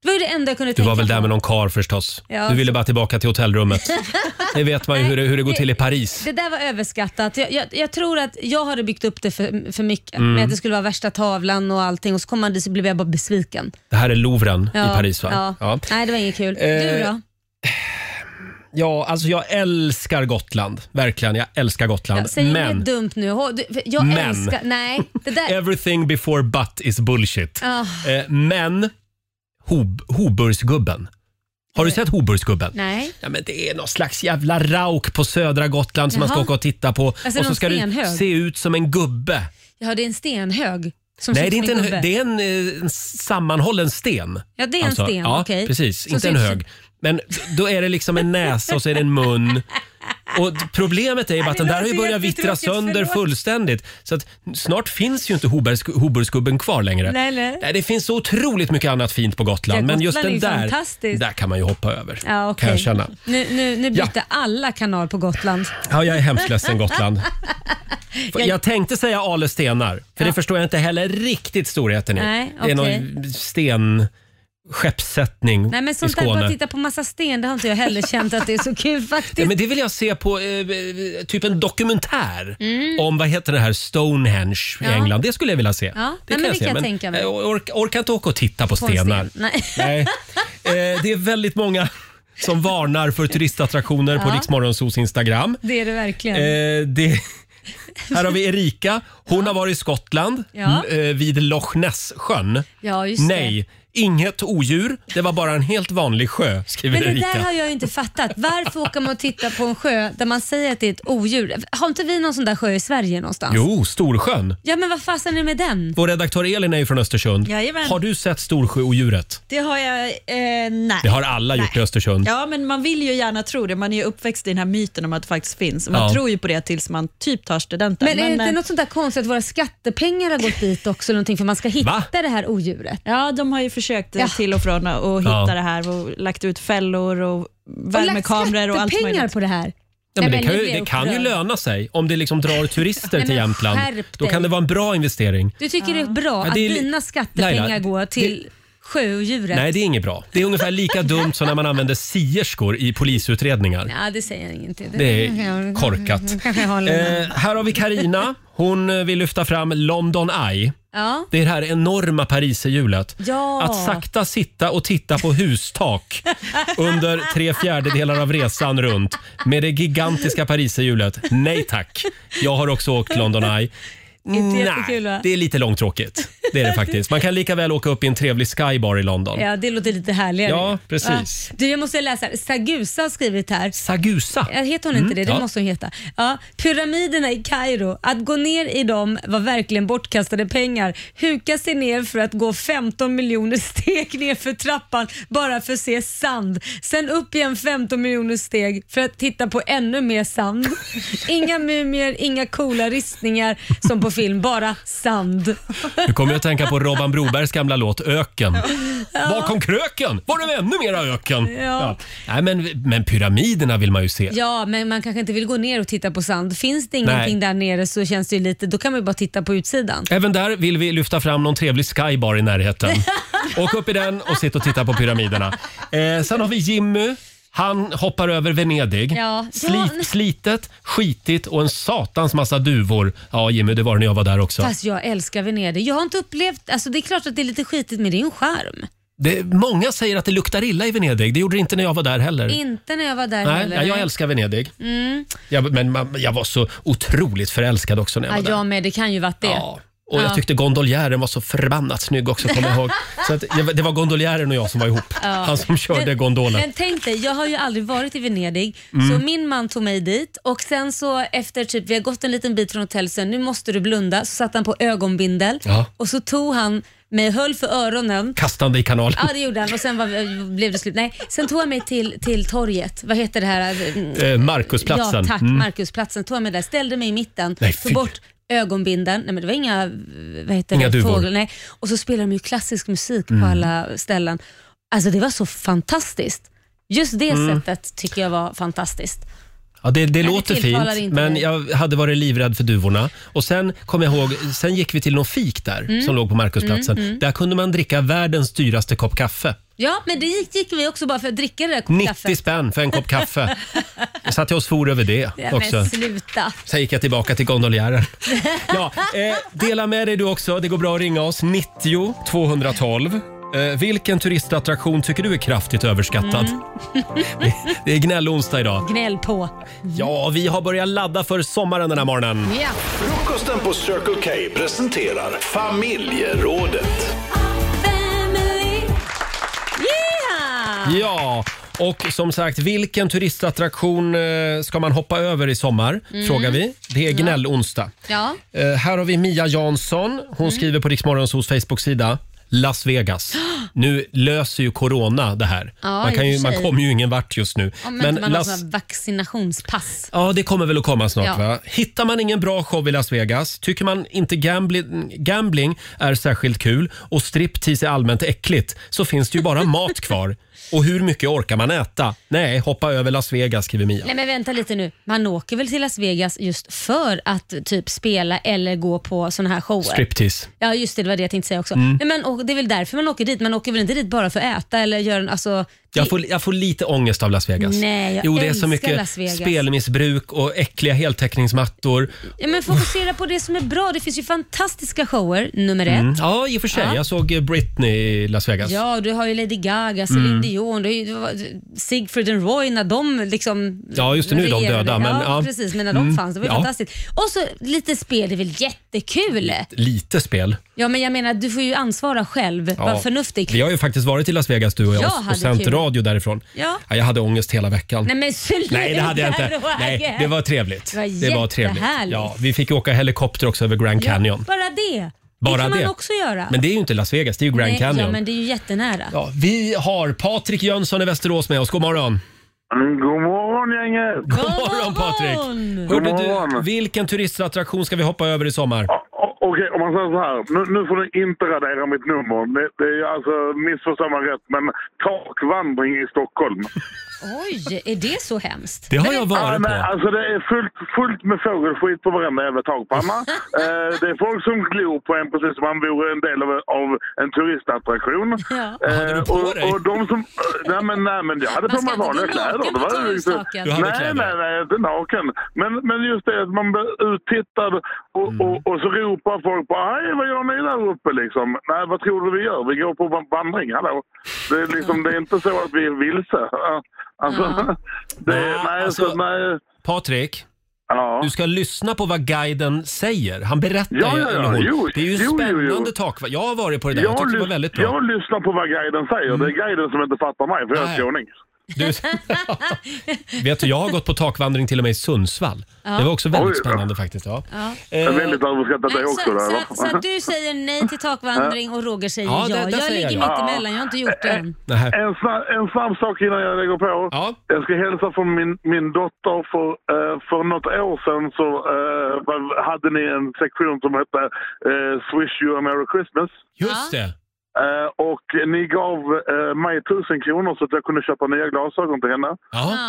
[SPEAKER 2] Det var ju det enda jag kunde
[SPEAKER 1] Du
[SPEAKER 2] tänka
[SPEAKER 1] var väl där
[SPEAKER 2] på.
[SPEAKER 1] med någon kar förstås.
[SPEAKER 2] Ja.
[SPEAKER 1] Du ville bara tillbaka till hotellrummet. Det vet man ju hur det, hur det går till i Paris.
[SPEAKER 2] Det där var överskattat. Jag, jag, jag tror att jag hade byggt upp det för, för mycket.
[SPEAKER 1] Mm.
[SPEAKER 2] Med att det skulle vara värsta tavlan och allting och så kom man dit så blev jag bara besviken.
[SPEAKER 1] Det här är Louvren
[SPEAKER 2] Ja,
[SPEAKER 1] i Paris va?
[SPEAKER 2] Ja.
[SPEAKER 1] Ja.
[SPEAKER 2] Nej, det var inget kul. du
[SPEAKER 1] Eh,
[SPEAKER 2] då?
[SPEAKER 1] ja, alltså jag älskar Gotland. Verkligen, jag älskar Gotland.
[SPEAKER 2] Ja, säg
[SPEAKER 1] Men
[SPEAKER 2] inget dumt nu. Hå- du- för Jag
[SPEAKER 1] Men.
[SPEAKER 2] älskar... Nej, det där...
[SPEAKER 1] everything before but is bullshit.
[SPEAKER 2] Ah,
[SPEAKER 1] Eh, men Hob Hoburgsgubben. Har du
[SPEAKER 2] Eh.
[SPEAKER 1] sett Hoburgsgubben?
[SPEAKER 2] nej.
[SPEAKER 1] Ja, men det är någon slags jävla rauk på södra Gotland som man ska
[SPEAKER 2] Jaha.
[SPEAKER 1] åka och titta på.
[SPEAKER 2] Alltså
[SPEAKER 1] och så
[SPEAKER 2] någon
[SPEAKER 1] ska du
[SPEAKER 2] stenhög.
[SPEAKER 1] se ut som en gubbe.
[SPEAKER 2] Jag hörde en stenhög. Som
[SPEAKER 1] Nej, det är,
[SPEAKER 2] sitter
[SPEAKER 1] inte
[SPEAKER 2] i
[SPEAKER 1] en,
[SPEAKER 2] gubbe.
[SPEAKER 1] hö- det är en, eh, en sammanhållen sten. Alltså,
[SPEAKER 2] Ja, det är en sten,
[SPEAKER 1] Ja,
[SPEAKER 2] okej.
[SPEAKER 1] precis.
[SPEAKER 2] Som
[SPEAKER 1] inte en
[SPEAKER 2] syns-
[SPEAKER 1] hög. Men då är det liksom en näsa och så är det en mun. Och t- problemet är ju bara att
[SPEAKER 2] det
[SPEAKER 1] den där har
[SPEAKER 2] låter
[SPEAKER 1] ju börjat vittra
[SPEAKER 2] jättetråkigt,
[SPEAKER 1] sönder
[SPEAKER 2] förlåt.
[SPEAKER 1] fullständigt. Så att snart finns ju inte Hobergs- Hoburgsgubben kvar längre.
[SPEAKER 2] Nej, nej.
[SPEAKER 1] det finns så otroligt mycket annat fint på Gotland.
[SPEAKER 2] Ja,
[SPEAKER 1] men just den
[SPEAKER 2] Gotland är ju
[SPEAKER 1] där,
[SPEAKER 2] fantastiskt.
[SPEAKER 1] där kan man ju hoppa över.
[SPEAKER 2] Ja, okej.
[SPEAKER 1] Kan jag känna.
[SPEAKER 2] Nu, nu, nu
[SPEAKER 1] Ja.
[SPEAKER 2] bytte alla kanal på Gotland.
[SPEAKER 1] Ja, jag är hemskt ledsen Gotland. För
[SPEAKER 2] Jag-
[SPEAKER 1] Jag tänkte säga Ale stenar, för det förstår jag inte heller riktigt storheten i.
[SPEAKER 2] Nej,
[SPEAKER 1] Det är
[SPEAKER 2] okej.
[SPEAKER 1] någon sten skeppssättning
[SPEAKER 2] Nej men
[SPEAKER 1] i
[SPEAKER 2] sånt där
[SPEAKER 1] Skåne.
[SPEAKER 2] bara titta på massa sten, det har inte jag heller känt att det är så kul faktiskt.
[SPEAKER 1] Ja, men det vill jag se på eh, eh, typ en dokumentär
[SPEAKER 2] Mm.
[SPEAKER 1] om vad heter det här Stonehenge i
[SPEAKER 2] Ja.
[SPEAKER 1] England. Det skulle jag vilja se.
[SPEAKER 2] Ja, nej, men det
[SPEAKER 1] se,
[SPEAKER 2] kan jag tänka mig.
[SPEAKER 1] eh, ork- orkar inte åka och titta på
[SPEAKER 2] På en sten.
[SPEAKER 1] stenar.
[SPEAKER 2] Nej.
[SPEAKER 1] Nej. Eh, det är väldigt många som varnar för turistattraktioner på
[SPEAKER 2] Ja.
[SPEAKER 1] Riksmorgonsos Instagram.
[SPEAKER 2] Det är det verkligen.
[SPEAKER 1] Eh, det, här har vi Erika. Hon har varit i Skottland
[SPEAKER 2] Ja.
[SPEAKER 1] m- eh, vid Loch Ness-sjön.
[SPEAKER 2] ja, just
[SPEAKER 1] Nej, inget odjur. Det var bara en helt vanlig sjö,
[SPEAKER 2] det.
[SPEAKER 1] skriver
[SPEAKER 2] Men det
[SPEAKER 1] Erika.
[SPEAKER 2] där har jag ju inte fattat. Varför åker man och tittar på en sjö där man säger att det är ett odjur? Har inte vi någon sån där sjö i Sverige någonstans?
[SPEAKER 1] Jo, Storsjön.
[SPEAKER 2] Ja men vad fasen är det med den?
[SPEAKER 1] Vår redaktör Elin är ju från Östersund.
[SPEAKER 2] Jajamän.
[SPEAKER 1] Har du sett Storsjöodjuret?
[SPEAKER 3] Det har jag... Eh, nej.
[SPEAKER 1] Det har alla gjort i Östersund.
[SPEAKER 3] Ja, men man vill ju gärna tro det. Man är ju uppväxt i den här myten om att det faktiskt finns. Och man
[SPEAKER 1] Ja.
[SPEAKER 3] tror ju på det tills man typ tar studenten.
[SPEAKER 2] Men är det inte
[SPEAKER 3] eh,
[SPEAKER 2] något sånt där konstigt att våra skattepengar har gått dit också någonting för man ska hitta
[SPEAKER 3] Va?
[SPEAKER 2] det här odjuret?
[SPEAKER 3] Ja, de har ju försökt eh, till och från och hitta
[SPEAKER 1] Ja.
[SPEAKER 3] det här och lagt ut fällor och
[SPEAKER 2] Och lagt
[SPEAKER 3] värmekameror och, allt
[SPEAKER 2] skattepengar
[SPEAKER 3] möjligt.
[SPEAKER 2] på det här.
[SPEAKER 1] Ja,
[SPEAKER 2] Nej,
[SPEAKER 1] men det
[SPEAKER 2] men
[SPEAKER 1] kan
[SPEAKER 2] nu
[SPEAKER 1] ju,
[SPEAKER 2] blir jag
[SPEAKER 1] det kan ju
[SPEAKER 2] upprörd.
[SPEAKER 1] löna sig om det liksom drar turister
[SPEAKER 2] Nej,
[SPEAKER 1] till
[SPEAKER 2] men
[SPEAKER 1] Jämtland.
[SPEAKER 2] skärp
[SPEAKER 1] Då kan
[SPEAKER 2] dig.
[SPEAKER 1] det vara en bra investering.
[SPEAKER 2] Du tycker det är bra
[SPEAKER 1] Ja,
[SPEAKER 2] att
[SPEAKER 1] det är li-
[SPEAKER 2] dina skattepengar
[SPEAKER 1] Laila,
[SPEAKER 2] går till sjöodjuret?
[SPEAKER 1] Nej, det är inget bra. Det är ungefär lika dumt som när man använder sierskor i polisutredningar.
[SPEAKER 2] Ja, det säger jag ingenting.
[SPEAKER 1] Det är korkat.
[SPEAKER 2] Kanske jag håller med.
[SPEAKER 1] Eh, här har vi Karina. Hon eh, vill lyfta fram London Eye.
[SPEAKER 2] Ja.
[SPEAKER 1] Det är det här enorma pariserhjulet.
[SPEAKER 2] Ja.
[SPEAKER 1] Att sakta sitta och titta på hustak under tre fjärdedelar av resan runt med det gigantiska pariserhjulet. Nej tack. Jag har också åkt London Eye.
[SPEAKER 2] Inte jättekul, va?
[SPEAKER 1] Nej, det är lite långtråkigt. Det är det faktiskt. Man kan lika väl åka upp i en trevlig skybar i London.
[SPEAKER 2] Ja, det låter lite härligare.
[SPEAKER 1] Ja, precis.
[SPEAKER 2] Ja. Du, jag måste läsa. här. Sagusa har skrivit här.
[SPEAKER 1] Sagusa?
[SPEAKER 2] Ja, heter hon inte
[SPEAKER 1] Mm,
[SPEAKER 2] det? Det
[SPEAKER 1] ja.
[SPEAKER 2] måste hon heta. Ja, pyramiderna i Kairo. Att gå ner i dem var verkligen bortkastade pengar. Huka sig ner för att gå 15 miljoner steg ner för trappan bara för att se sand. Sen upp igen 15 miljoner steg för att titta på ännu mer sand. Inga mumier, inga coola ristningar som på film, bara sand.
[SPEAKER 1] Nu kommer jag att tänka på Robban Brobergs gamla låt Öken. Var kom kröken? Var det ännu mera öken?
[SPEAKER 2] Ja.
[SPEAKER 1] Nej, men, men pyramiderna vill man ju se.
[SPEAKER 2] Ja, men man kanske inte vill gå ner och titta på sand. Finns det ingenting
[SPEAKER 1] Nej.
[SPEAKER 2] där nere så känns det ju lite, då kan man ju bara titta på utsidan.
[SPEAKER 1] Även där vill vi lyfta fram någon trevlig skybar i närheten. Åk upp i den och sitt och titta på pyramiderna. Eh, sen har vi Jimmy. Han hoppar över Venedig.
[SPEAKER 2] Ja.
[SPEAKER 1] Slit,
[SPEAKER 2] Ja.
[SPEAKER 1] Slitet, skitigt och en satans massa duvor. Ja, Jimmy, det var det när jag var där också.
[SPEAKER 2] Fast jag älskar Venedig. Jag har inte upplevt, alltså det är klart att det är lite skitigt men det är ju en charm.
[SPEAKER 1] Det, många säger att det luktar illa i Venedig. Det gjorde det inte när jag var där heller.
[SPEAKER 2] Inte när jag var där
[SPEAKER 1] Nej,
[SPEAKER 2] heller.
[SPEAKER 1] ja, jag älskar Venedig.
[SPEAKER 2] Mm.
[SPEAKER 1] Jag, men man, jag var så otroligt förälskad också när jag
[SPEAKER 2] Ja,
[SPEAKER 1] var där.
[SPEAKER 2] jag med, det kan ju varit det. Ja.
[SPEAKER 1] Och jag
[SPEAKER 2] Ja.
[SPEAKER 1] tyckte gondoljären var så förbannat snygg också, kommer jag ihåg. Så att, jag- det var gondoljären och jag som var ihop. Han som körde
[SPEAKER 2] men,
[SPEAKER 1] gondolen.
[SPEAKER 2] Men tänk dig, jag har ju aldrig varit i Venedig,
[SPEAKER 1] Mm.
[SPEAKER 2] så min man tog mig dit och sen så efter typ, vi har gått en liten bit från hotellet, sen nu måste du blunda, så satte han på ögonbindel
[SPEAKER 1] Ja.
[SPEAKER 2] och så tog han mig, höll för öronen
[SPEAKER 1] Kastande i kanalen.
[SPEAKER 2] Ja, det gjorde han och sen var, blev det slut. Nej, sen tog han mig till, till torget. Vad heter det här? Mm.
[SPEAKER 1] Eh, Markusplatsen.
[SPEAKER 2] Ja, tack.
[SPEAKER 1] Mm.
[SPEAKER 2] Markusplatsen. Tog han mig där, ställde mig i mitten,
[SPEAKER 1] Nej, fy.
[SPEAKER 2] tog bort ögonbinden. Nej, men det var inga, vad heter
[SPEAKER 1] Inga
[SPEAKER 2] det?
[SPEAKER 1] duvor.
[SPEAKER 2] Fåglar, nej. Och så spelade de ju klassisk musik
[SPEAKER 1] Mm.
[SPEAKER 2] på alla ställen. Alltså det var så fantastiskt. Just det
[SPEAKER 1] Mm.
[SPEAKER 2] sättet tycker jag var fantastiskt.
[SPEAKER 1] Ja, det, det låter
[SPEAKER 2] tilltalar
[SPEAKER 1] fint,
[SPEAKER 2] inte
[SPEAKER 1] men
[SPEAKER 2] mig.
[SPEAKER 1] jag hade varit livrädd för duvorna. Och sen kommer jag ihåg, sen gick vi till någon fik där
[SPEAKER 2] Mm.
[SPEAKER 1] som låg på Markusplatsen.
[SPEAKER 2] Mm, mm.
[SPEAKER 1] Där kunde man dricka världens dyraste kopp kaffe.
[SPEAKER 2] Ja, men det gick, gick vi också bara för att dricka det där kopp
[SPEAKER 1] 90
[SPEAKER 2] kaffe.
[SPEAKER 1] spänn för en kopp kaffe. Så att jag svor över det
[SPEAKER 2] Ja,
[SPEAKER 1] också.
[SPEAKER 2] men sluta.
[SPEAKER 1] Sen gick jag tillbaka till gondoljären. Ja, eh, dela med dig du också. Det går bra att ringa oss. 90 212. Eh, vilken turistattraktion tycker du är kraftigt överskattad?
[SPEAKER 2] Mm.
[SPEAKER 1] Det, det är gnällonsdag idag.
[SPEAKER 2] Gnäll på.
[SPEAKER 1] Ja, vi har börjat ladda för sommaren den här morgonen.
[SPEAKER 4] Frukosten på Circle K presenterar Familjerådet.
[SPEAKER 2] Yeah!
[SPEAKER 1] Ja, Och som sagt, vilken turistattraktion eh, ska man hoppa över i sommar?
[SPEAKER 2] Mm.
[SPEAKER 1] Frågar vi. Det är gnällonsdag.
[SPEAKER 2] Ja.
[SPEAKER 1] Eh, här har vi Mia Jansson.
[SPEAKER 2] Mm.
[SPEAKER 1] Hon skriver på Riksmorgonsols Facebook-sida. Las Vegas. Nu löser ju corona det här.
[SPEAKER 2] Ja,
[SPEAKER 1] man, kan
[SPEAKER 2] i och
[SPEAKER 1] ju,
[SPEAKER 2] för
[SPEAKER 1] man
[SPEAKER 2] sig.
[SPEAKER 1] kommer ju ingen vart just nu.
[SPEAKER 2] Om inte man har såna vaccinationspass.
[SPEAKER 1] Ja, det kommer väl att komma snart.
[SPEAKER 2] Ja.
[SPEAKER 1] Va? Hittar man ingen bra show i Las Vegas, tycker man inte gambling, gambling är särskilt kul och striptease är allmänt äckligt, så finns det ju bara mat kvar. Och hur mycket orkar man äta? Nej, hoppa över Las Vegas, skriver Mia.
[SPEAKER 2] Nej men vänta lite nu, man åker väl till Las Vegas just för att typ spela eller gå på såna här shower?
[SPEAKER 1] Striptease.
[SPEAKER 2] Ja just det, det var det jag tänkte säga också.
[SPEAKER 1] Mm.
[SPEAKER 2] Nej, men, och det är väl därför man åker dit, man åker väl inte dit bara för att äta eller göra en, alltså,
[SPEAKER 1] Jag får, jag får lite ångest av Las Vegas.
[SPEAKER 2] Nej, jag
[SPEAKER 1] jo, det är så
[SPEAKER 2] älskar
[SPEAKER 1] mycket
[SPEAKER 2] Las Vegas.
[SPEAKER 1] spelmissbruk och äckliga heltäckningsmattor.
[SPEAKER 2] ja, men fokusera på det som är bra, det finns ju fantastiska shower, nummer ett.
[SPEAKER 1] Mm. Ja, i och för sig.
[SPEAKER 2] Ja.
[SPEAKER 1] Jag såg eh, Britney i Las Vegas.
[SPEAKER 2] Ja, du har ju Lady Gaga,
[SPEAKER 1] Mm.
[SPEAKER 2] Celine Dion, du har ju, du har- Siegfried and Roy när de liksom
[SPEAKER 1] Ja, just det, nu är de
[SPEAKER 2] regerade.
[SPEAKER 1] döda, men,
[SPEAKER 2] ja,
[SPEAKER 1] ja.
[SPEAKER 2] precis. Men när de
[SPEAKER 1] Mm.
[SPEAKER 2] fanns, det var ju
[SPEAKER 1] Ja.
[SPEAKER 2] fantastiskt. Och så lite spel, det är väl jättekul?
[SPEAKER 1] Lite spel.
[SPEAKER 2] Ja, men jag menar, du får ju ansvara själv.
[SPEAKER 1] Ja.
[SPEAKER 2] Var förnuftig.
[SPEAKER 1] Vi har ju faktiskt varit i Las Vegas du och jag,
[SPEAKER 2] Jag
[SPEAKER 1] och
[SPEAKER 2] hade
[SPEAKER 1] sänt
[SPEAKER 2] kul.
[SPEAKER 1] radio därifrån.
[SPEAKER 2] Ja.
[SPEAKER 1] Ja, jag hade ångest hela veckan.
[SPEAKER 2] Nej, men sluta,
[SPEAKER 1] Nej, det hade jag inte.
[SPEAKER 2] Roger.
[SPEAKER 1] Nej, det var trevligt.
[SPEAKER 2] Det var
[SPEAKER 1] trevligt.
[SPEAKER 2] jättehärligt.
[SPEAKER 1] Ja, vi fick ju åka helikopter också över Grand Canyon.
[SPEAKER 2] Ja, bara det.
[SPEAKER 1] Bara
[SPEAKER 2] det kan
[SPEAKER 1] det.
[SPEAKER 2] man också göra.
[SPEAKER 1] Men det är ju inte Las Vegas, det är ju Grand
[SPEAKER 2] Nej,
[SPEAKER 1] Canyon.
[SPEAKER 2] Ja, men det är ju jättenära.
[SPEAKER 1] Ja, vi har Patrik Jönsson i Västerås med oss. God morgon.
[SPEAKER 14] Mm, God morgon gänget!
[SPEAKER 1] God morgon Patrik!
[SPEAKER 14] God
[SPEAKER 1] Hörde du,
[SPEAKER 14] morgon.
[SPEAKER 1] vilken turistattraktion ska vi hoppa över i sommar?
[SPEAKER 14] O- Okej, om man säger så här. Nu, nu får du inte radera mitt nummer. Det, det är ju alltså, missförstå mig rätt, men takvandring i Stockholm.
[SPEAKER 2] Oj, är det så hemskt?
[SPEAKER 14] Ja, men Alltså det är fullt, fullt med fågelskit på varenda jävla takpanna. eh, det är folk som glor på en precis som man vore en del av, av en turistattraktion. Eh, och, och de som... eh, Nej men, nej, men jag hade
[SPEAKER 15] Man
[SPEAKER 14] på
[SPEAKER 15] ska
[SPEAKER 14] mig
[SPEAKER 15] inte
[SPEAKER 14] vanliga
[SPEAKER 15] gå
[SPEAKER 14] kläder.
[SPEAKER 15] naken
[SPEAKER 14] Det
[SPEAKER 15] på
[SPEAKER 14] var ju inte,
[SPEAKER 15] turistsaken. Du hade
[SPEAKER 14] nej,
[SPEAKER 15] kläder.
[SPEAKER 14] nej, nej, inte naken. Men, men just det att man blir uttittad och,
[SPEAKER 1] Mm.
[SPEAKER 14] och, och så ropar folk på Hej, vad gör ni där uppe liksom? Nej, vad tror du vi gör? Vi går på vandring, hallå. Det är liksom, det är inte så att vi är vilse. Alltså, det, är- nej,
[SPEAKER 1] alltså,
[SPEAKER 14] så, nej.
[SPEAKER 1] Patrik,
[SPEAKER 14] du
[SPEAKER 1] ska lyssna på vad guiden säger. Han berättar
[SPEAKER 14] Ja,
[SPEAKER 1] ju,
[SPEAKER 14] ja, ja.
[SPEAKER 1] eller hon.
[SPEAKER 14] Jo,
[SPEAKER 1] det är ju
[SPEAKER 14] jo, jo, jo.
[SPEAKER 1] spännande takvandring. Jag har varit på det där, jag, tyckte det var
[SPEAKER 14] lys-
[SPEAKER 1] väldigt bra. Mm.
[SPEAKER 14] jag lyssnar på vad guiden säger. Det är guiden som inte fattar mig, för jag är
[SPEAKER 1] Nej.
[SPEAKER 14] skåning.
[SPEAKER 1] Du, vet du, jag har gått på takvandring till och med i Sundsvall.
[SPEAKER 2] Ja.
[SPEAKER 1] Det var också väldigt
[SPEAKER 14] Oj.
[SPEAKER 1] spännande faktiskt. Ja.
[SPEAKER 2] Ja.
[SPEAKER 14] Jag är väldigt överskattat det också.
[SPEAKER 2] Så,
[SPEAKER 14] där,
[SPEAKER 2] så, så
[SPEAKER 14] va?
[SPEAKER 2] att du säger nej till takvandring och Roger säger
[SPEAKER 14] Ja,
[SPEAKER 2] ja.
[SPEAKER 14] det- det
[SPEAKER 2] jag
[SPEAKER 14] säger
[SPEAKER 2] ligger
[SPEAKER 14] jag.
[SPEAKER 2] mitt emellan, jag har inte gjort det än.
[SPEAKER 14] En snabb, en snabb sak innan jag lägger på. Jag ska hälsa från min, min dotter. För, eh, för något år sedan så eh, var- hade ni en sektion som hette eh, Swish you a merry Christmas.
[SPEAKER 1] Just det.
[SPEAKER 14] Eh, och ni gav eh, mig tusen kronor så att jag kunde köpa nya glasögon till henne.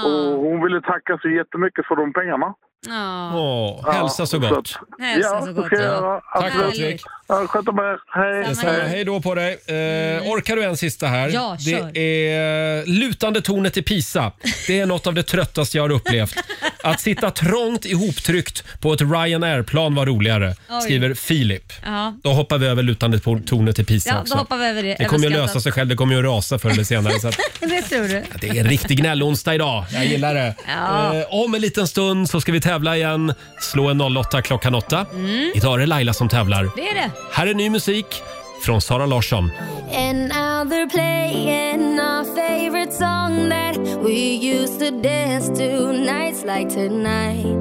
[SPEAKER 14] Och hon ville tacka så jättemycket för de pengarna.
[SPEAKER 2] Ja.
[SPEAKER 1] Åh, hälsa så
[SPEAKER 14] Ja,
[SPEAKER 1] gott.
[SPEAKER 14] så att-
[SPEAKER 2] Hälsa
[SPEAKER 14] ja,
[SPEAKER 2] så
[SPEAKER 14] det
[SPEAKER 2] gott,
[SPEAKER 14] ska jag
[SPEAKER 2] ja.
[SPEAKER 14] göra.
[SPEAKER 1] Tack
[SPEAKER 14] Absolut.
[SPEAKER 1] Patrik.
[SPEAKER 14] Ja, Sköt om er. Hej.
[SPEAKER 1] Detsamma. Hej då på dig.
[SPEAKER 2] Mm.
[SPEAKER 1] Eh, orkar du en sista här?
[SPEAKER 14] Ja, kör.
[SPEAKER 1] det är lutande tornet i Pisa. Det är något av det tröttaste jag har upplevt. Att sitta trångt ihoptryckt på ett Ryanair-plan var roligare,
[SPEAKER 2] Oj.
[SPEAKER 1] skriver Filip.
[SPEAKER 2] Ja.
[SPEAKER 1] Då hoppar vi över lutande tor- tornet i Pisa
[SPEAKER 2] Ja, då
[SPEAKER 1] också.
[SPEAKER 2] hoppar vi över det.
[SPEAKER 1] Det kommer ju
[SPEAKER 2] Överskattat.
[SPEAKER 1] lösa sig själv. Det kommer ju rasa förr eller senare. Så att
[SPEAKER 2] det tror du.
[SPEAKER 1] det är en riktig gnällonsdag idag. Jag gillar det.
[SPEAKER 2] Ja.
[SPEAKER 1] Eh, om en liten stund så ska vi tävla igen. Slå en 08 klockan 8. Idag är det Laila som tävlar.
[SPEAKER 2] Mm. Det är det.
[SPEAKER 1] Här är ny musik från Sara Larsson.
[SPEAKER 13] And now they're playing our favorite song that we used to dance to nights like tonight.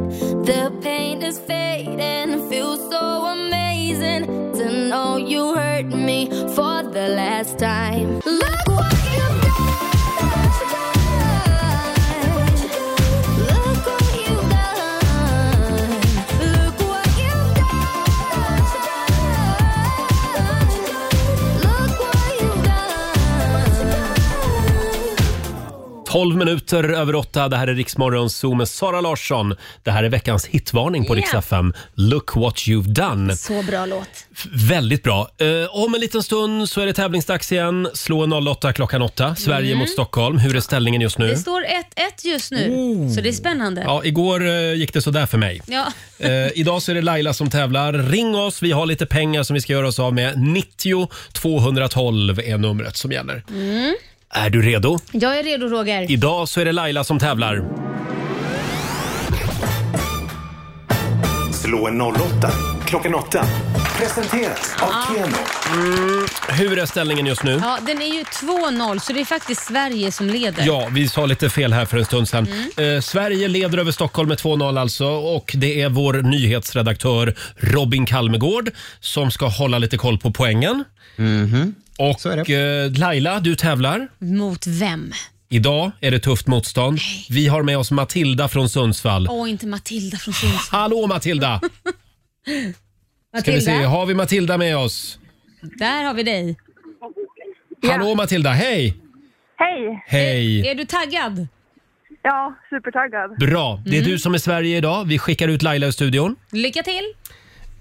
[SPEAKER 13] The pain is fading, feels so amazing to know you hurt me for the last time. Look what you've done. Look what you've done. Look what you've done. Look what you've done.
[SPEAKER 1] 12 minuter över 8. Det här är Riksmorgon Zoo med Sara Larsson. Det här är veckans hitvarning på
[SPEAKER 2] Ja.
[SPEAKER 1] Rix FM. Look what you've done.
[SPEAKER 2] Så bra låt.
[SPEAKER 1] F- Väldigt bra. Eh, om en liten stund så är det tävlingsdags igen. Slå 08 klockan 8. Sverige
[SPEAKER 2] Mm.
[SPEAKER 1] mot Stockholm. Hur är ställningen just nu? Oh.
[SPEAKER 2] Det står 1-1 just nu, så det är spännande.
[SPEAKER 1] Ja, igår eh, gick det sådär för mig.
[SPEAKER 2] Ja.
[SPEAKER 1] Eh, idag så är det Laila som tävlar. Ring oss, vi har lite pengar som vi ska göra oss av med. 90 212 är numret som gäller.
[SPEAKER 2] Mm.
[SPEAKER 1] Är du redo?
[SPEAKER 2] Jag är redo Roger.
[SPEAKER 1] Idag så är det Laila som tävlar.
[SPEAKER 15] Slå en 08 klockan 8. Presenteras av Keno.
[SPEAKER 1] Mm, hur är ställningen just nu?
[SPEAKER 2] Ja, den är ju 2-0, så det är faktiskt Sverige som leder.
[SPEAKER 1] Ja, vi sa lite fel här för en stund sedan.
[SPEAKER 2] Mm.
[SPEAKER 1] Eh, Sverige leder över Stockholm med 2-0 alltså och det är vår nyhetsredaktör Robin Kalmegård som ska hålla lite koll på poängen. Och eh, Laila, du tävlar.
[SPEAKER 2] Mot vem?
[SPEAKER 1] Idag är det tufft motstånd. Vi har med oss Matilda från Sundsvall.
[SPEAKER 2] Åh, inte Matilda från Sundsvall.
[SPEAKER 1] Hallå Matilda! Ska vi
[SPEAKER 2] Matilda,
[SPEAKER 1] se, har vi Matilda med oss?
[SPEAKER 2] där har vi dig.
[SPEAKER 1] Hallå Matilda, hej!
[SPEAKER 5] Hej!
[SPEAKER 1] Hej.
[SPEAKER 2] Är du taggad?
[SPEAKER 5] Ja, supertaggad.
[SPEAKER 1] Bra, det är
[SPEAKER 2] Mm.
[SPEAKER 1] du som är Sverige idag. Vi skickar ut Laila i studion.
[SPEAKER 2] Lycka till!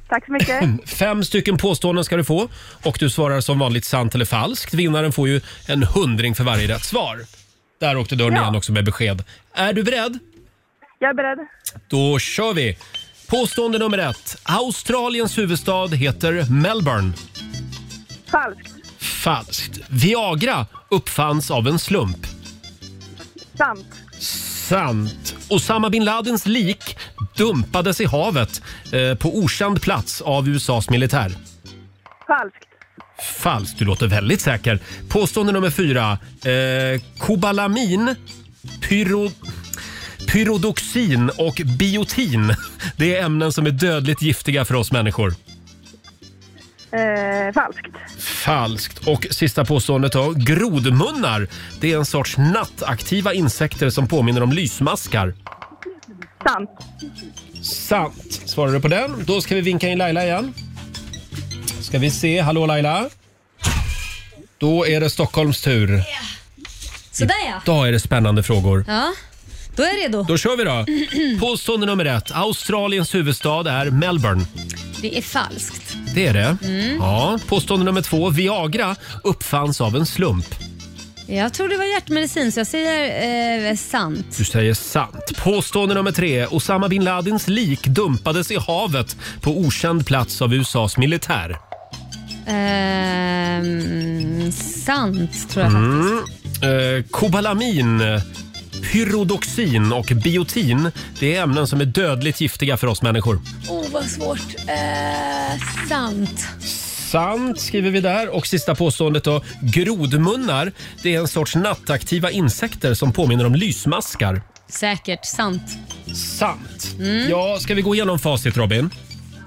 [SPEAKER 5] Tack så mycket.
[SPEAKER 1] Fem stycken påståenden ska du få och du svarar som vanligt sant eller falskt. Vinnaren får ju en hundring för varje rätt svar. Där åkte dörren igen också med besked. Är du beredd?
[SPEAKER 5] Jag är beredd.
[SPEAKER 1] Då kör vi! Påstående nummer ett. Australiens huvudstad heter Melbourne.
[SPEAKER 5] Falskt.
[SPEAKER 1] Falskt. Viagra uppfanns av en slump.
[SPEAKER 5] Sant.
[SPEAKER 1] Sant. Osama bin Ladens lik dumpades i havet eh, på okänd plats av USAs militär.
[SPEAKER 5] Falskt.
[SPEAKER 1] Falskt. Du låter väldigt säker. Påstående nummer fyra. Eh, kobalamin, pyro, pyrodoxin och biotin. Det är ämnen som är dödligt giftiga för oss människor.
[SPEAKER 5] Eh, falskt.
[SPEAKER 1] Falskt. Och sista påståendet då. Grodmunnar. Det är en sorts nattaktiva insekter som påminner om lysmaskar.
[SPEAKER 5] Sant.
[SPEAKER 1] Sant. Svarar du på den? Då ska vi vinka in Laila igen. Ska vi se. Hallå Laila. Då är det Stockholms tur.
[SPEAKER 2] Sådär ja.
[SPEAKER 1] Idag är det spännande frågor.
[SPEAKER 2] Ja, då är jag redo.
[SPEAKER 1] Då kör vi då. Påstående nummer ett. Australiens huvudstad är Melbourne.
[SPEAKER 2] Det är falskt.
[SPEAKER 1] Det är det.
[SPEAKER 2] Mm.
[SPEAKER 1] Ja. Påstående nummer två. Viagra uppfanns av en slump.
[SPEAKER 2] Jag tror det var hjärtmedicin, så jag säger eh, sant.
[SPEAKER 1] Du säger sant. Påstående nummer tre. Osama bin Ladins lik dumpades i havet på okänd plats av USAs militär.
[SPEAKER 2] Ehm, sant, tror jag.
[SPEAKER 1] Mm. Eh, kobalamin, pyrodoxin och biotin. Det är ämnen som är dödligt giftiga för oss människor.
[SPEAKER 2] Åh, oh, vad svårt. Eh, sant.
[SPEAKER 1] Sant skriver vi där. Och sista påståendet då. Grodmunnar, det är en sorts nattaktiva insekter som påminner om lysmaskar.
[SPEAKER 2] Säkert sant. Mm.
[SPEAKER 1] Sant. Ja, ska vi gå igenom facit Robin?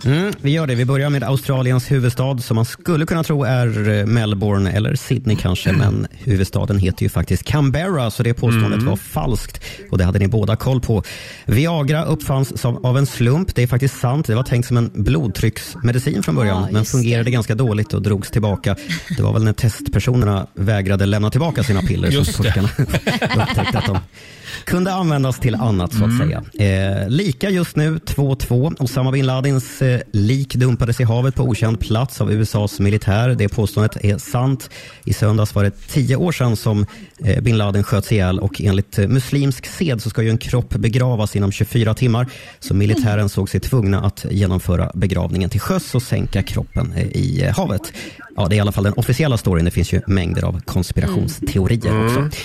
[SPEAKER 16] Mm, vi gör det. Vi börjar med Australiens huvudstad som man skulle kunna tro är eh, Melbourne eller Sydney kanske,
[SPEAKER 1] Mm.
[SPEAKER 16] men huvudstaden heter ju faktiskt Canberra, så det påståendet
[SPEAKER 1] Mm.
[SPEAKER 16] var falskt och det hade ni båda koll på. Viagra uppfanns som, av en slump. Det är faktiskt sant. Det var tänkt som en blodtrycksmedicin från början, men fungerade ganska dåligt och drogs tillbaka. Det var väl när testpersonerna vägrade lämna tillbaka sina piller som
[SPEAKER 1] Just det.
[SPEAKER 16] forskarna upptäckte att de kunde användas till annat så att
[SPEAKER 1] Mm.
[SPEAKER 16] säga. Eh, lika just nu, 2-2. Osama bin Ladins eh, lik dumpades i havet på okänd plats av USAs militär. Det påståendet är sant. I söndags var det tio år sedan som eh, bin Laden sköts ihjäl och enligt eh, muslimsk sed så ska ju en kropp begravas inom 24 timmar. Så militären såg sig tvungna att genomföra begravningen till sjöss och sänka kroppen eh, i eh, havet. Ja, det är i alla fall den officiella storyn. Det finns ju mängder av konspirationsteorier också.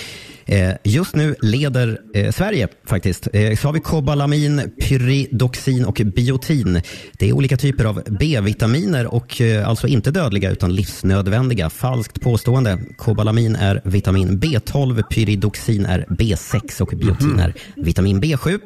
[SPEAKER 16] Eh, Just nu leder eh, Sverige faktiskt. Eh, så har vi kobalamin, pyridoxin och biotin. Det är olika typer av B-vitaminer och eh, alltså inte dödliga utan livsnödvändiga. Falskt påstående. Kobalamin är vitamin B12, pyridoxin är B6 och biotin är vitamin B7.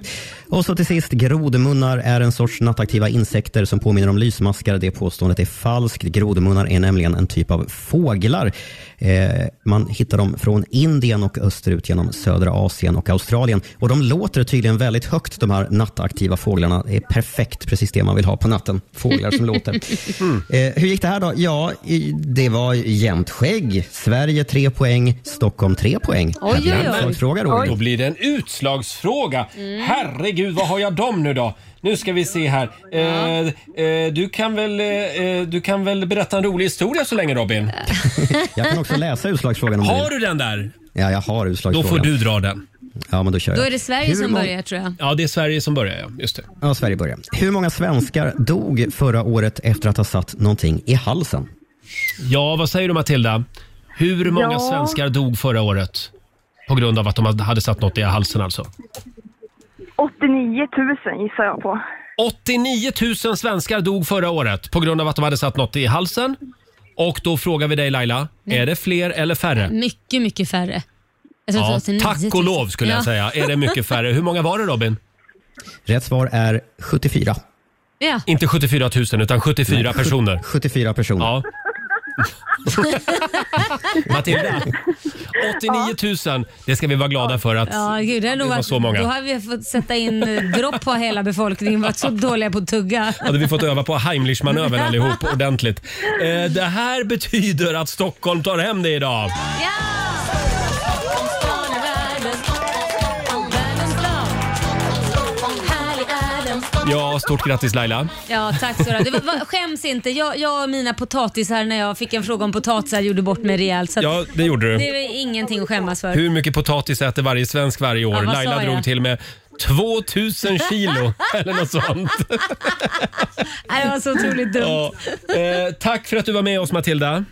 [SPEAKER 16] Och så till sist, grodmunnar är en sorts nattaktiva insekter som påminner om lysmaskar. Det påståendet är falskt. Grodmunnar är nämligen en typ av fåglar. Eh, man hittar dem från Indien och österut genom södra Asien och Australien. Och de låter tydligen väldigt högt, de här nattaktiva fåglarna. Det är perfekt, precis det man vill ha på natten. Fåglar som låter. Eh, hur gick det här då? Ja, i- det var jämnt skägg. Sverige tre poäng, Stockholm tre poäng. Här blir det en utslagsfråga, Roger.
[SPEAKER 1] Då blir det en utslagsfråga. Herregud, vad har jag dem nu då? Nu ska vi se här. Eh, eh, du, kan väl, eh, du kan väl berätta en rolig historia så länge Robin?
[SPEAKER 16] Jag kan också läsa utslagsfrågan om
[SPEAKER 1] Har
[SPEAKER 16] vill.
[SPEAKER 1] du den där?
[SPEAKER 16] Ja, jag har
[SPEAKER 1] Då
[SPEAKER 16] utslagsfrågan.
[SPEAKER 1] får du dra den.
[SPEAKER 16] Ja, men då kör jag.
[SPEAKER 2] Då är det Sverige
[SPEAKER 16] Hur
[SPEAKER 2] som
[SPEAKER 16] många-
[SPEAKER 2] börjar, tror jag.
[SPEAKER 1] Ja, det är Sverige som börjar ja. Just det.
[SPEAKER 16] Ja, Sverige börjar. Hur många svenskar dog förra året efter att ha satt någonting i halsen?
[SPEAKER 1] Ja, vad säger du Matilda? Hur många
[SPEAKER 16] Ja.
[SPEAKER 1] svenskar dog förra året? På grund av att de hade satt något i halsen alltså.
[SPEAKER 5] 89 000 gissar jag på.
[SPEAKER 1] 89 000 svenskar dog förra året på grund av att de hade satt något i halsen. Och då frågar vi dig Laila,
[SPEAKER 2] Nej.
[SPEAKER 1] är det fler eller färre?
[SPEAKER 2] Mycket, mycket färre. Jag tror
[SPEAKER 1] Ja,
[SPEAKER 2] att det var 89 000.
[SPEAKER 1] tack och lov skulle jag
[SPEAKER 2] Ja.
[SPEAKER 1] säga. Är det mycket färre? Hur många var det Robin?
[SPEAKER 16] Rätt svar är 74.
[SPEAKER 2] Ja.
[SPEAKER 1] Inte 74 000 utan 74
[SPEAKER 16] Nej, sju-
[SPEAKER 1] personer.
[SPEAKER 16] 74 personer.
[SPEAKER 1] Ja. Matilda, 89 000. Det ska vi vara glada för att
[SPEAKER 2] Ja, gud, det, har nog
[SPEAKER 1] det var
[SPEAKER 2] varit,
[SPEAKER 1] så många.
[SPEAKER 2] Då har vi fått sätta in eh, dropp på hela befolkningen. varit så dåliga på att tugga.
[SPEAKER 1] hade vi fått öva på Heimlich-manövern allihop ordentligt. Eh, det här betyder att Stockholm tar hem det idag. Ja, stort grattis Laila.
[SPEAKER 2] Ja, tack så du ha. Skäms inte. Jag, jag och mina potatisar, när jag fick en fråga om potatisar, gjorde bort mig rejält. Så att
[SPEAKER 1] Ja, det gjorde du.
[SPEAKER 2] det är ingenting att skämmas för.
[SPEAKER 1] Hur mycket potatis äter varje svensk varje
[SPEAKER 2] Ja,
[SPEAKER 1] år?
[SPEAKER 2] vad sa
[SPEAKER 1] Laila
[SPEAKER 2] jag?
[SPEAKER 1] drog till med 2000 kilo eller något sånt.
[SPEAKER 2] Nej, det var så Alltså, otroligt dumt.
[SPEAKER 1] Ja. Eh, tack för att du var med oss Matilda.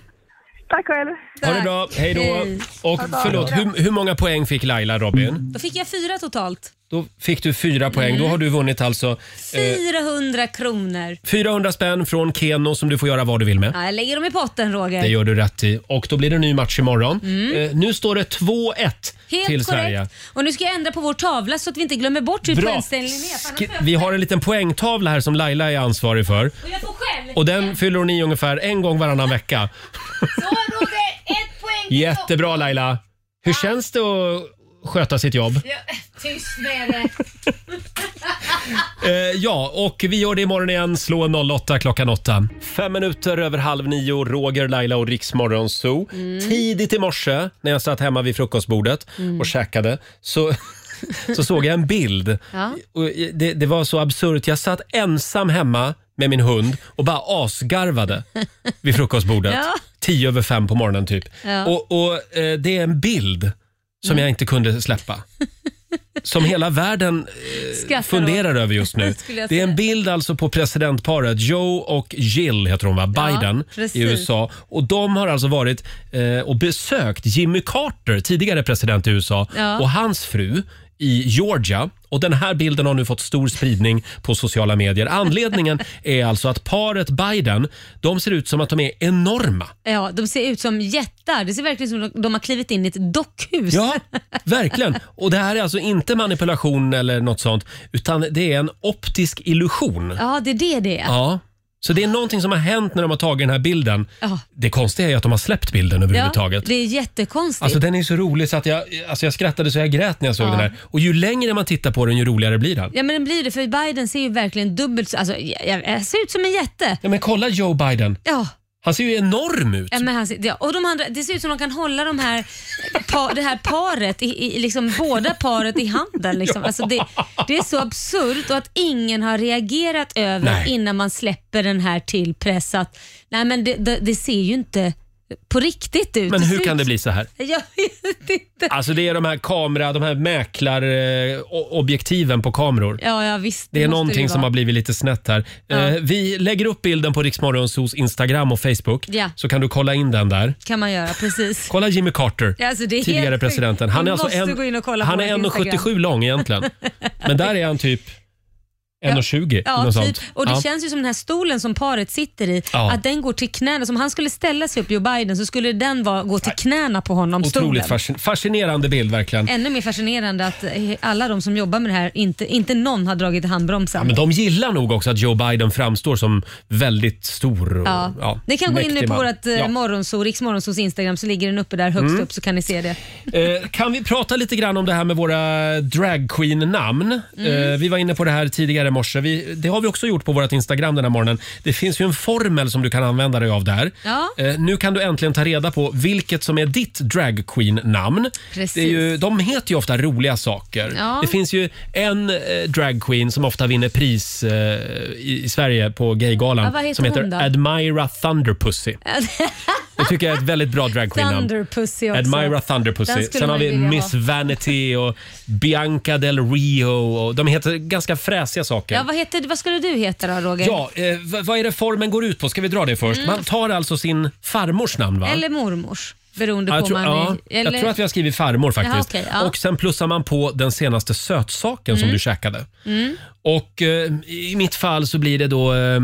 [SPEAKER 5] Tack själv.
[SPEAKER 1] Ha det bra, hej då.
[SPEAKER 2] Hej.
[SPEAKER 1] Och
[SPEAKER 2] Ha det bra.
[SPEAKER 1] förlåt, hur, hur många poäng fick Laila Robin?
[SPEAKER 2] Då fick jag fyra totalt.
[SPEAKER 1] Då fick du fyra poäng.
[SPEAKER 2] Mm.
[SPEAKER 1] Då har du vunnit alltså eh,
[SPEAKER 2] 400 kronor.
[SPEAKER 1] 400 spänn från Keno som du får göra vad du vill med.
[SPEAKER 2] Ja, jag lägger dem i potten, Roger.
[SPEAKER 1] Det gör du rätt i. Och då blir det en ny match imorgon.
[SPEAKER 2] Mm.
[SPEAKER 1] Eh, nu står det 2-1
[SPEAKER 2] Helt
[SPEAKER 1] till
[SPEAKER 2] korrekt.
[SPEAKER 1] Sverige.
[SPEAKER 2] Och nu ska jag ändra på vår tavla så att vi inte glömmer bort hur
[SPEAKER 1] Bra.
[SPEAKER 2] poängställningen är. för annars
[SPEAKER 1] Sk- Vi har en liten poängtavla här som Laila är ansvarig för.
[SPEAKER 2] får jag- Och jag får själv.
[SPEAKER 1] Och den fyller hon i ungefär en gång varannan vecka.
[SPEAKER 2] Så Roger, ett poäng till
[SPEAKER 1] Jättebra Laila! Hur känns det att sköta sitt jobb?
[SPEAKER 2] Ja, Tyst med det.
[SPEAKER 1] Eh, ja, och vi gör det imorgon igen. Slå en 08 klockan 8. Fem minuter över halv nio, Roger, Laila och Riksmorgon Zoo. Tidigt i morse när jag satt hemma vid frukostbordet
[SPEAKER 17] Mm.
[SPEAKER 1] och käkade så, så såg jag en bild.
[SPEAKER 17] Ja.
[SPEAKER 1] Och eh, det, det var så absurt. Jag satt ensam hemma med min hund och bara asgarvade vid frukostbordet.
[SPEAKER 17] Ja.
[SPEAKER 1] Tio över fem på morgonen typ.
[SPEAKER 17] Ja. Mm.
[SPEAKER 1] Och, och eh, det är en bild som jag inte kunde släppa. Som hela världen eh,
[SPEAKER 17] Skrattar
[SPEAKER 1] funderar
[SPEAKER 17] åt.
[SPEAKER 1] över just nu.
[SPEAKER 17] Skulle jag
[SPEAKER 1] Det är
[SPEAKER 17] säga.
[SPEAKER 1] en bild alltså på presidentparet Joe och Jill heter hon va?
[SPEAKER 17] Ja,
[SPEAKER 1] Biden
[SPEAKER 17] precis.
[SPEAKER 1] i USA. Och de har alltså varit eh, och besökt Jimmy Carter, tidigare president i USA,
[SPEAKER 17] Ja.
[SPEAKER 1] och hans fru i Georgia. Och den här bilden har nu fått stor spridning på sociala medier. Anledningen är alltså att paret Biden, de ser ut som att de är enorma.
[SPEAKER 2] Ja, de ser ut som jättar. Det ser verkligen ut som att de har klivit in i ett dockhus.
[SPEAKER 1] Ja, verkligen. Och det här är alltså inte manipulation eller något sånt, utan det är en optisk illusion.
[SPEAKER 2] Ja, det är det det är.
[SPEAKER 1] Ja. Så det är någonting som har hänt när de har tagit den här bilden.
[SPEAKER 2] Ja.
[SPEAKER 1] Det konstiga är ju att de har släppt bilden överhuvudtaget.
[SPEAKER 2] Ja, det är jättekonstigt.
[SPEAKER 1] Alltså den är ju så rolig så att jag, alltså jag skrattade så jag grät när jag såg
[SPEAKER 2] Ja.
[SPEAKER 1] den här. Och ju längre man tittar på den ju roligare blir den.
[SPEAKER 2] Ja men den blir det för Biden ser ju verkligen dubbelt så- alltså, jag, jag, jag ser ut som en jätte.
[SPEAKER 1] Ja men kolla Joe Biden.
[SPEAKER 2] Ja.
[SPEAKER 1] Han ser ju enorm ut.
[SPEAKER 2] Ja, men han, ser- ja, och de andra, det ser ut som de kan hålla de här, pa, det här paret, i, i, liksom, båda paret i handen. Liksom. Alltså det, det är så absurt och att ingen har reagerat över
[SPEAKER 1] Nej.
[SPEAKER 2] innan man släpper den här till press att nej, men det, det, det ser ju inte på riktigt ut.
[SPEAKER 1] Men
[SPEAKER 2] ser
[SPEAKER 1] hur
[SPEAKER 2] ut
[SPEAKER 1] kan det
[SPEAKER 2] som-
[SPEAKER 1] bli så här?
[SPEAKER 2] Jag vet inte.
[SPEAKER 1] Alltså det är de här kamera, de här mäklarobjektiven på kameror.
[SPEAKER 2] Ja, ja visst.
[SPEAKER 1] Det är
[SPEAKER 2] måste
[SPEAKER 1] någonting
[SPEAKER 2] ju
[SPEAKER 1] som
[SPEAKER 2] vara.
[SPEAKER 1] har blivit lite snett här. Eh, vi lägger upp bilden på Riksmorgonsos Instagram och Facebook.
[SPEAKER 2] Ja.
[SPEAKER 1] Så kan du kolla in den där.
[SPEAKER 2] kan man göra, precis.
[SPEAKER 1] Kolla Jimmy Carter,
[SPEAKER 2] Ja, alltså, det är helt
[SPEAKER 1] tidigare
[SPEAKER 2] sjukt.
[SPEAKER 1] presidenten. Han
[SPEAKER 2] Ni
[SPEAKER 1] är, alltså
[SPEAKER 2] måste
[SPEAKER 1] en,
[SPEAKER 2] gå in och kolla på
[SPEAKER 1] han är
[SPEAKER 2] vårt Instagram.
[SPEAKER 1] 1,77 lång egentligen. Men där är han typ 1,20.
[SPEAKER 2] Ja,
[SPEAKER 1] något
[SPEAKER 2] typ.
[SPEAKER 1] sånt.
[SPEAKER 2] Och det
[SPEAKER 1] Ja.
[SPEAKER 2] känns ju som den här stolen som paret sitter i,
[SPEAKER 1] Ja.
[SPEAKER 2] att den går till knäna. Som han skulle ställa sig upp, Joe Biden, så skulle den vara, gå till knäna på honom.
[SPEAKER 1] Otroligt
[SPEAKER 2] stolen.
[SPEAKER 1] fascin- fascinerande bild verkligen.
[SPEAKER 2] Ännu mer fascinerande att eh, alla de som jobbar med det här, inte, inte någon har dragit i handbromsen.
[SPEAKER 1] Ja, men de gillar nog också att Joe Biden framstår som väldigt stor och
[SPEAKER 2] Ja.
[SPEAKER 1] ja,
[SPEAKER 2] Ni kan gå in nu
[SPEAKER 1] mäktig
[SPEAKER 2] på
[SPEAKER 1] man.
[SPEAKER 2] vårt eh, ja. morgonso, Riks Morgonsos Instagram så ligger den uppe där högst
[SPEAKER 1] Mm.
[SPEAKER 2] upp så kan ni se det.
[SPEAKER 1] Eh, kan vi prata lite grann om det här med våra dragqueen-namn?
[SPEAKER 2] Mm.
[SPEAKER 1] Eh, vi var inne på det här tidigare i morse. Vi, det har vi också gjort på vårt Instagram den här morgonen. Det finns ju en formel som du kan använda dig av där.
[SPEAKER 2] Ja.
[SPEAKER 1] Eh, nu kan du äntligen ta reda på vilket som är ditt dragqueen-namn.
[SPEAKER 2] Precis.
[SPEAKER 1] Det är ju, de heter ju ofta roliga saker.
[SPEAKER 2] Ja.
[SPEAKER 1] Det finns ju en eh, dragqueen som ofta vinner pris eh, i, i Sverige på Gaygalan
[SPEAKER 2] Ja, vad heter
[SPEAKER 1] som
[SPEAKER 2] hon då?
[SPEAKER 1] heter Admira Thunderpussy. Det tycker jag är ett väldigt bra dragqueen-namn.
[SPEAKER 2] Thunderpussy också.
[SPEAKER 1] Admira
[SPEAKER 2] Den
[SPEAKER 1] Thunderpussy.
[SPEAKER 2] skulle
[SPEAKER 1] Sen har
[SPEAKER 2] man
[SPEAKER 1] vi
[SPEAKER 2] vilja
[SPEAKER 1] Miss
[SPEAKER 2] ha.
[SPEAKER 1] Vanity och Bianca Del Rio. Och de heter ganska fräsiga saker.
[SPEAKER 2] Ja, vad, heter, vad skulle du heta då Roger?
[SPEAKER 1] Ja, eh, v- vad är det formen går ut på? Ska vi dra det först?
[SPEAKER 2] Mm.
[SPEAKER 1] Man tar alltså sin farmors namn va?
[SPEAKER 2] Eller mormors. Beroende
[SPEAKER 1] Ja,
[SPEAKER 2] på
[SPEAKER 1] jag, tror,
[SPEAKER 2] man
[SPEAKER 1] ja,
[SPEAKER 2] är, eller?
[SPEAKER 1] jag tror att vi har skrivit farmor faktiskt.
[SPEAKER 2] Jaha, okej, ja.
[SPEAKER 1] Och sen plussar man på den senaste sötsaken som
[SPEAKER 2] Mm.
[SPEAKER 1] du käkade.
[SPEAKER 2] Mm.
[SPEAKER 1] Och eh, i mitt fall så blir det då eh, eh,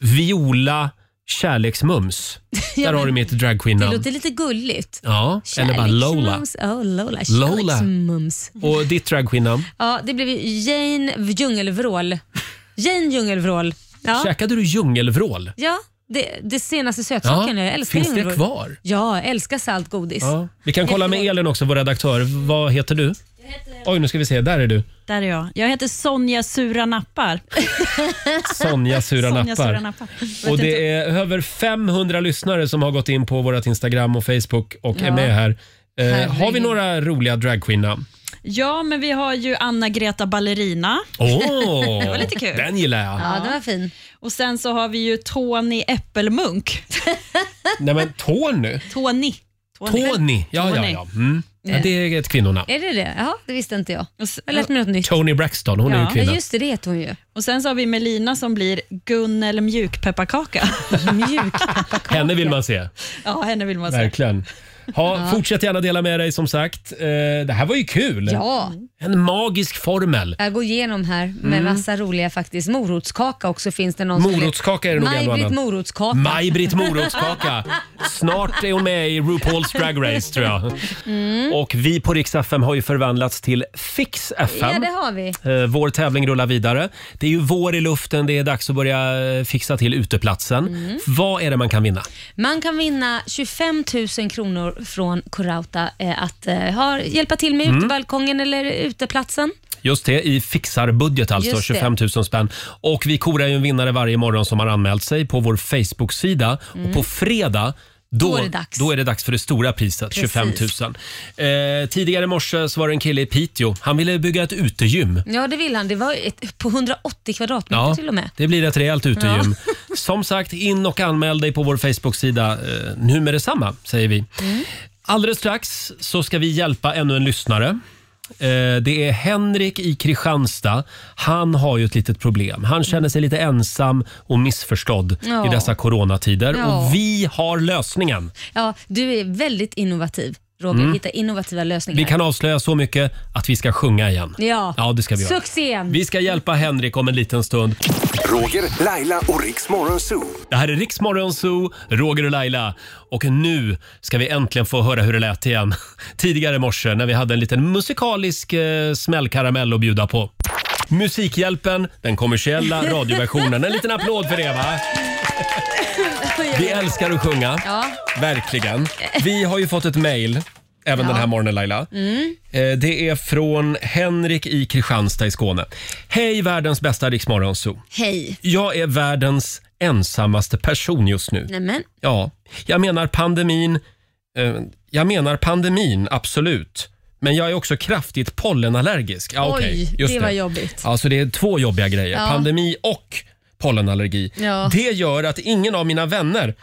[SPEAKER 1] Viola kärleksmums.
[SPEAKER 2] Ja,
[SPEAKER 1] Där har
[SPEAKER 2] men
[SPEAKER 1] du mitt
[SPEAKER 2] Det
[SPEAKER 1] dragqueen-namn.
[SPEAKER 2] låter lite gulligt.
[SPEAKER 1] Ja, eller bara Lola.
[SPEAKER 2] Kärleksmums. Ja, Lola.
[SPEAKER 1] Lola.
[SPEAKER 2] Kärleksmums.
[SPEAKER 1] Och ditt dragqueen-namn?
[SPEAKER 2] Ja, det blev ju Jane Djungelvrål. Jane Djungelvrål. Ja.
[SPEAKER 1] Käkade du djungelvrål?
[SPEAKER 2] Ja, det, det senaste sötsaken.
[SPEAKER 1] Ja,
[SPEAKER 2] Jag älskar
[SPEAKER 1] finns det
[SPEAKER 2] djungelvrål.
[SPEAKER 1] kvar?
[SPEAKER 2] Ja, jag älskar salt godis.
[SPEAKER 1] Ja. Vi kan kolla med Elin också, vår redaktör. Vad heter du? Oj, nu ska vi se. Där är du.
[SPEAKER 3] Där är jag. Jag heter Sonja Sura Nappar.
[SPEAKER 1] Sonja Sura
[SPEAKER 3] Sonja
[SPEAKER 1] Nappar.
[SPEAKER 3] Sura Nappar.
[SPEAKER 1] Och det är över 500 lyssnare som har gått in på vårt Instagram och Facebook och är
[SPEAKER 3] Ja.
[SPEAKER 1] med här. Eh,
[SPEAKER 3] Herregud.
[SPEAKER 1] har vi några roliga dragqueen-namn?
[SPEAKER 3] Ja, men vi har ju Anna-Greta Ballerina.
[SPEAKER 1] Åh!
[SPEAKER 3] det var lite kul.
[SPEAKER 1] Den gillar jag. Ja,
[SPEAKER 2] den var fin.
[SPEAKER 3] Och sen så har vi ju Tony Äppelmunk.
[SPEAKER 1] Nej men Tony.
[SPEAKER 3] Tony.
[SPEAKER 1] Tony. Ja, ja, ja. Mm. ja. Det är ett kvinnonamn.
[SPEAKER 2] Är det det? Jaha, det visste inte jag. Jag har lärt mig något nytt.
[SPEAKER 1] Tony Braxton, hon är ju kvinna.
[SPEAKER 2] det, det heter hon ju.
[SPEAKER 3] Och sen så har vi Melina som blir Gunnel Mjukpepparkaka.
[SPEAKER 2] Mjukpepparkaka.
[SPEAKER 1] Henne vill man se.
[SPEAKER 3] Ja, henne vill
[SPEAKER 2] Alltså.
[SPEAKER 3] man se.
[SPEAKER 1] Verkligen. Ha,
[SPEAKER 3] Ja.
[SPEAKER 1] Fortsätt gärna dela med dig som sagt. Eh, det här var ju kul.
[SPEAKER 2] Ja.
[SPEAKER 1] En magisk formel.
[SPEAKER 2] Jag går igenom här med
[SPEAKER 1] Mm.
[SPEAKER 2] massa roliga faktiskt. Morotskaka också finns det någon
[SPEAKER 1] Morotskaka är det nog en och
[SPEAKER 2] Maj-Britt
[SPEAKER 1] annan.
[SPEAKER 2] morotskaka.
[SPEAKER 1] Maj-Britt Morotskaka. Snart är hon med i RuPaul's Drag Race tror jag.
[SPEAKER 2] Mm.
[SPEAKER 1] Och vi på Rix FM har ju förvandlats till Fix FM.
[SPEAKER 2] Ja, det har vi.
[SPEAKER 1] Eh, Vår tävling rullar vidare. Det är ju vår i luften, det är dags att börja eh, fixa till uteplatsen.
[SPEAKER 2] Mm.
[SPEAKER 1] Vad är det man kan vinna?
[SPEAKER 2] Man kan vinna 25 000 kronor från Corauta eh, att eh, ha, hjälpa till med
[SPEAKER 1] Mm.
[SPEAKER 2] utebalkongen eller uteplatsen.
[SPEAKER 1] Just det, i fixarbudget alltså,
[SPEAKER 2] Just det.
[SPEAKER 1] 25 000 spänn. Och vi korar ju en vinnare varje morgon som har anmält sig på vår Facebook-sida.
[SPEAKER 2] Mm.
[SPEAKER 1] Och på fredag då,
[SPEAKER 2] Då är det dags.
[SPEAKER 1] då är det dags för det stora priset,
[SPEAKER 2] Precis.
[SPEAKER 1] 25 000. Eh, tidigare i morse så var det en kille i Piteå. Han ville bygga ett utegym.
[SPEAKER 2] Ja, det vill han. Det var ett, på 180 kvadratmeter till och med.
[SPEAKER 1] det blir ett rejält utegym. Som sagt, in och anmäl dig på vår Facebook-sida eh, nu med detsamma, säger vi.
[SPEAKER 2] Mm.
[SPEAKER 1] Alldeles strax så ska vi hjälpa ännu en lyssnare. Eh, Det är Henrik i Kristianstad. Han har ju ett litet problem. Han känner sig lite ensam och missförstådd
[SPEAKER 2] Ja.
[SPEAKER 1] i dessa coronatider.
[SPEAKER 2] Ja.
[SPEAKER 1] Och vi har lösningen.
[SPEAKER 2] Ja, du är väldigt innovativ, Roger.
[SPEAKER 1] Mm.
[SPEAKER 2] Hitta innovativa lösningar.
[SPEAKER 1] Vi kan avslöja så mycket att vi ska sjunga igen.
[SPEAKER 2] Ja,
[SPEAKER 1] Ja, det ska vi göra.
[SPEAKER 2] succén.
[SPEAKER 1] Vi ska hjälpa Henrik om en liten stund.
[SPEAKER 15] Roger, Laila och Riks Morgonzoo.
[SPEAKER 1] Det här är Riksmorgon Zoo, Roger och Laila. Och nu ska vi äntligen få höra hur det lät igen. Tidigare i morse när vi hade en liten musikalisk eh, smällkaramell att bjuda på. Musikhjälpen, den kommersiella radioversionen. En liten applåd för det va? Vi älskar att sjunga.
[SPEAKER 2] Ja.
[SPEAKER 1] Verkligen. Vi har ju fått ett mejl även den här morgonen Laila.
[SPEAKER 2] Mm.
[SPEAKER 1] Eh, Det är från Henrik i Kristianstad i Skåne. Hej världens bästa Riksmorgon Zoo.
[SPEAKER 2] Hej.
[SPEAKER 1] Jag är världens ensammaste person just nu.
[SPEAKER 2] Nämen.
[SPEAKER 1] Ja, jag menar pandemin. Eh, jag menar pandemin, absolut. Men jag är också kraftigt pollenallergisk. Ja,
[SPEAKER 2] Oj,
[SPEAKER 1] okej,
[SPEAKER 2] det var jobbigt.
[SPEAKER 1] Alltså det är två jobbiga grejer.
[SPEAKER 2] Ja.
[SPEAKER 1] Pandemi och pollenallergi.
[SPEAKER 2] Ja.
[SPEAKER 1] Det gör att ingen av mina vänner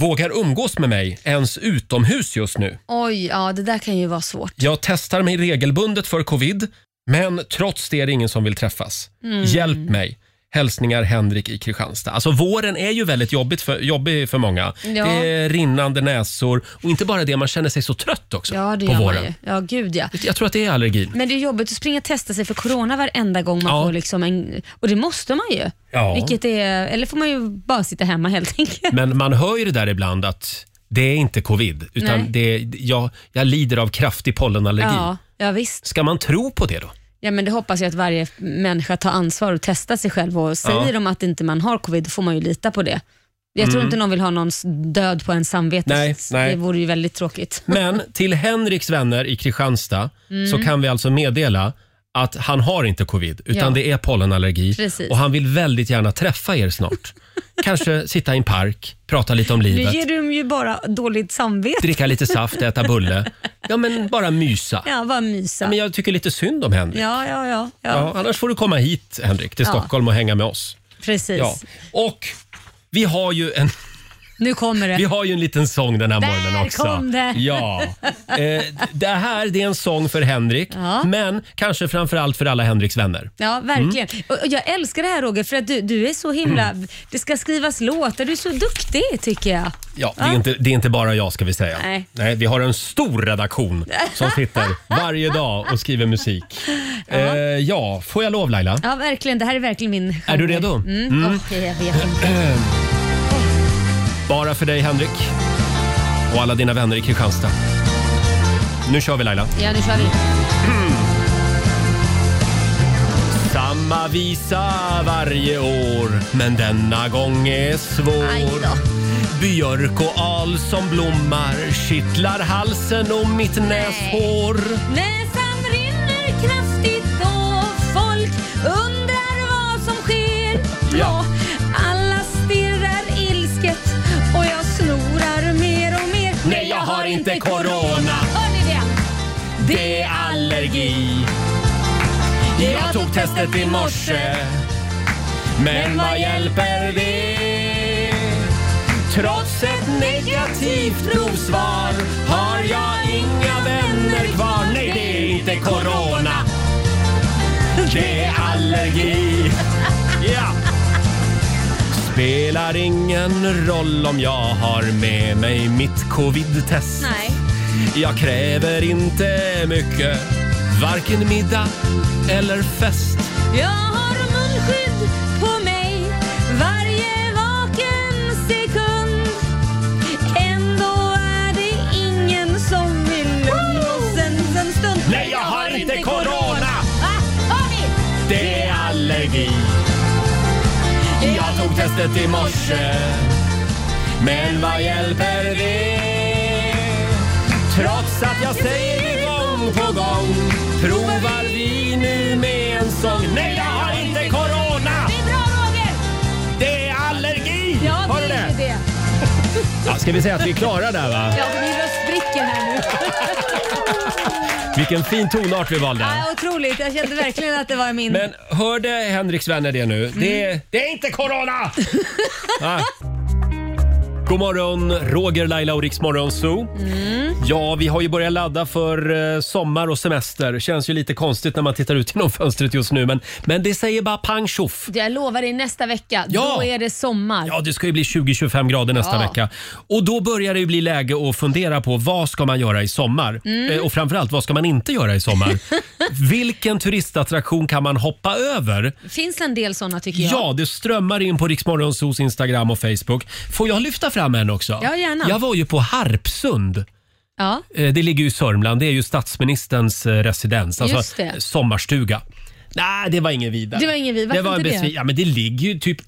[SPEAKER 1] vågar umgås med mig ens utomhus just nu.
[SPEAKER 2] Oj, ja det där kan ju vara svårt.
[SPEAKER 1] Jag testar mig regelbundet för covid, men trots det är det ingen som vill träffas.
[SPEAKER 2] Mm.
[SPEAKER 1] Hjälp mig. Hälsningar Henrik i Kristianstad. Alltså våren är ju väldigt jobbigt för, jobbig för många.
[SPEAKER 2] Ja.
[SPEAKER 1] Det är rinnande näsor och inte bara det, man känner sig så trött också
[SPEAKER 2] Ja, det
[SPEAKER 1] på
[SPEAKER 2] gör
[SPEAKER 1] våren.
[SPEAKER 2] man ju. Ja, gud ja.
[SPEAKER 1] Jag tror att det är allergin.
[SPEAKER 2] Men det är jobbigt att springa och testa sig för corona varenda gång man
[SPEAKER 1] Ja.
[SPEAKER 2] får liksom en... Och det måste man ju.
[SPEAKER 1] Ja.
[SPEAKER 2] Vilket är, eller får man ju bara sitta hemma helt enkelt.
[SPEAKER 1] Men man hör ju det där ibland att det är inte covid,
[SPEAKER 2] Nej.
[SPEAKER 1] utan det är, jag, jag lider av kraftig pollenallergi.
[SPEAKER 2] Ja, ja, visst.
[SPEAKER 1] Ska man tro på det då?
[SPEAKER 2] Ja, men det hoppas jag att varje människa tar ansvar och testar sig själv. Och säger
[SPEAKER 1] Ja.
[SPEAKER 2] de att inte man har covid, då får man ju lita på det. Jag tror
[SPEAKER 1] Mm.
[SPEAKER 2] inte någon vill ha någons död på ens samvete.
[SPEAKER 1] Nej, nej.
[SPEAKER 2] Det vore ju väldigt tråkigt.
[SPEAKER 1] Men till Henriks vänner i Kristianstad
[SPEAKER 2] Mm.
[SPEAKER 1] så kan vi alltså meddela att han har inte covid, utan
[SPEAKER 2] Ja.
[SPEAKER 1] det är pollenallergi.
[SPEAKER 2] Precis.
[SPEAKER 1] Och han vill väldigt gärna träffa er snart. Kanske sitta i en park, prata lite om
[SPEAKER 2] Nu
[SPEAKER 1] livet,
[SPEAKER 2] ger du dem ju bara dåligt samvete.
[SPEAKER 1] dricka lite saft, äta bulle. Ja, men bara mysa.
[SPEAKER 2] Ja, bara mysa.
[SPEAKER 1] Men jag tycker lite synd om Henrik.
[SPEAKER 2] Ja, ja, ja. ja.
[SPEAKER 1] Ja, annars får du komma hit, Henrik, till
[SPEAKER 2] Ja.
[SPEAKER 1] Stockholm och hänga med oss.
[SPEAKER 2] Precis.
[SPEAKER 1] Ja. Och vi har ju en...
[SPEAKER 2] Nu kommer det.
[SPEAKER 1] Vi har ju en liten sång den här
[SPEAKER 2] Där
[SPEAKER 1] morgonen också.
[SPEAKER 2] kom det.
[SPEAKER 1] Ja. Eh, det här det är en sång för Henrik,
[SPEAKER 2] Ja.
[SPEAKER 1] men kanske framförallt för alla Henriks vänner.
[SPEAKER 2] Ja, verkligen. Och
[SPEAKER 1] Mm.
[SPEAKER 2] och jag älskar det här Roger, för att du, du är så himla... Det ska skrivas låtar, du är så duktig tycker jag.
[SPEAKER 1] Ja, det är, inte, det är inte bara jag ska vi säga.
[SPEAKER 2] Nej.
[SPEAKER 1] vi har en stor redaktion som sitter varje dag och skriver musik. Eh, ja, får jag lov Laila?
[SPEAKER 2] Ja, verkligen. Det här är verkligen min genre.
[SPEAKER 1] Är du redo?
[SPEAKER 2] Mm.
[SPEAKER 1] Mm.
[SPEAKER 2] Åh, jag vet inte.
[SPEAKER 1] Eh, Bara för dig Henrik och alla dina vänner i Kristianstad. Nu kör vi Laila.
[SPEAKER 2] Ja, nu kör vi.
[SPEAKER 1] Samma visa varje år, men denna gång är
[SPEAKER 2] Aj
[SPEAKER 1] svår.
[SPEAKER 2] då.
[SPEAKER 1] Björk och al som blommar kittlar halsen och mitt näshår.
[SPEAKER 13] Näsan rinner kraftigt och folk undrar vad som sker.
[SPEAKER 1] Ja.
[SPEAKER 13] Alla stirrar ilsket och jag snorar mer och mer.
[SPEAKER 1] Nej, jag har inte corona.
[SPEAKER 13] Hör ni det?
[SPEAKER 1] Det är allergi. Jag tog testet i morse. Men vad hjälper det? Trots ett negativt provsvar har jag inga vänner kvar. Nej, det är inte corona. Det är allergi. Ja. Spelar ingen roll om jag har med mig mitt covid-test.
[SPEAKER 13] Nej.
[SPEAKER 1] Jag kräver inte mycket, varken middag eller fest.
[SPEAKER 13] Jag har munskydd på mig varje vaken sekund. Ändå är det ingen som vill låtsas en stund.
[SPEAKER 1] Nej, jag har inte corona.
[SPEAKER 13] Ah, hör ni?
[SPEAKER 1] Det är allergi. Jag tog testet i morse, men vad hjälper det? Trots att jag säger det gång på gång provar vi nu med en sång. Nej, jag har inte corona!
[SPEAKER 13] Det är bra Roger!
[SPEAKER 1] Det är allergi!
[SPEAKER 13] Ja,
[SPEAKER 1] Har du
[SPEAKER 13] det är
[SPEAKER 1] det?
[SPEAKER 13] ju det.
[SPEAKER 1] Ja, ska vi säga att vi är klara där va?
[SPEAKER 2] Ja, för min röst spricker här nu.
[SPEAKER 1] Vilken fin tonart vi valde.
[SPEAKER 2] Ja, otroligt. Jag kände verkligen att det var min...
[SPEAKER 1] Men hörde Henriks vänner det nu?
[SPEAKER 2] Mm.
[SPEAKER 1] Det, det är inte corona! ah. God morgon, Roger, Laila och Riks Morgonzoo.
[SPEAKER 13] Mm.
[SPEAKER 1] Ja, vi har ju börjat ladda för eh, sommar och semester. Känns ju lite konstigt när man tittar ut genom fönstret just nu, men, men det säger bara pang tjoff.
[SPEAKER 2] Jag lovar dig, nästa vecka,
[SPEAKER 1] Ja.
[SPEAKER 2] då är det sommar.
[SPEAKER 1] Ja, det ska ju bli 20-25 grader nästa
[SPEAKER 2] Ja.
[SPEAKER 1] vecka. Och då börjar det ju bli läge att fundera på vad ska man göra i sommar?
[SPEAKER 2] Mm.
[SPEAKER 1] Eh, Och framförallt, vad ska man inte göra i sommar? Vilken turistattraktion kan man hoppa över?
[SPEAKER 2] finns en del såna tycker jag.
[SPEAKER 1] Ja, det strömmar in på Riksmorgonsos Instagram och Facebook. Får jag lyfta fram en också?
[SPEAKER 2] Ja, gärna.
[SPEAKER 1] Jag var ju på Harpsund.
[SPEAKER 2] Ja.
[SPEAKER 1] Eh, Det ligger ju i Sörmland. Det är ju statsministerns eh, residens, alltså
[SPEAKER 2] Just det.
[SPEAKER 1] sommarstuga. Nej, det var ingen vidare.
[SPEAKER 2] Det var ingen vidare.
[SPEAKER 1] Det var
[SPEAKER 2] Varför inte det?
[SPEAKER 1] besvi- Ja, men det ligger ju typ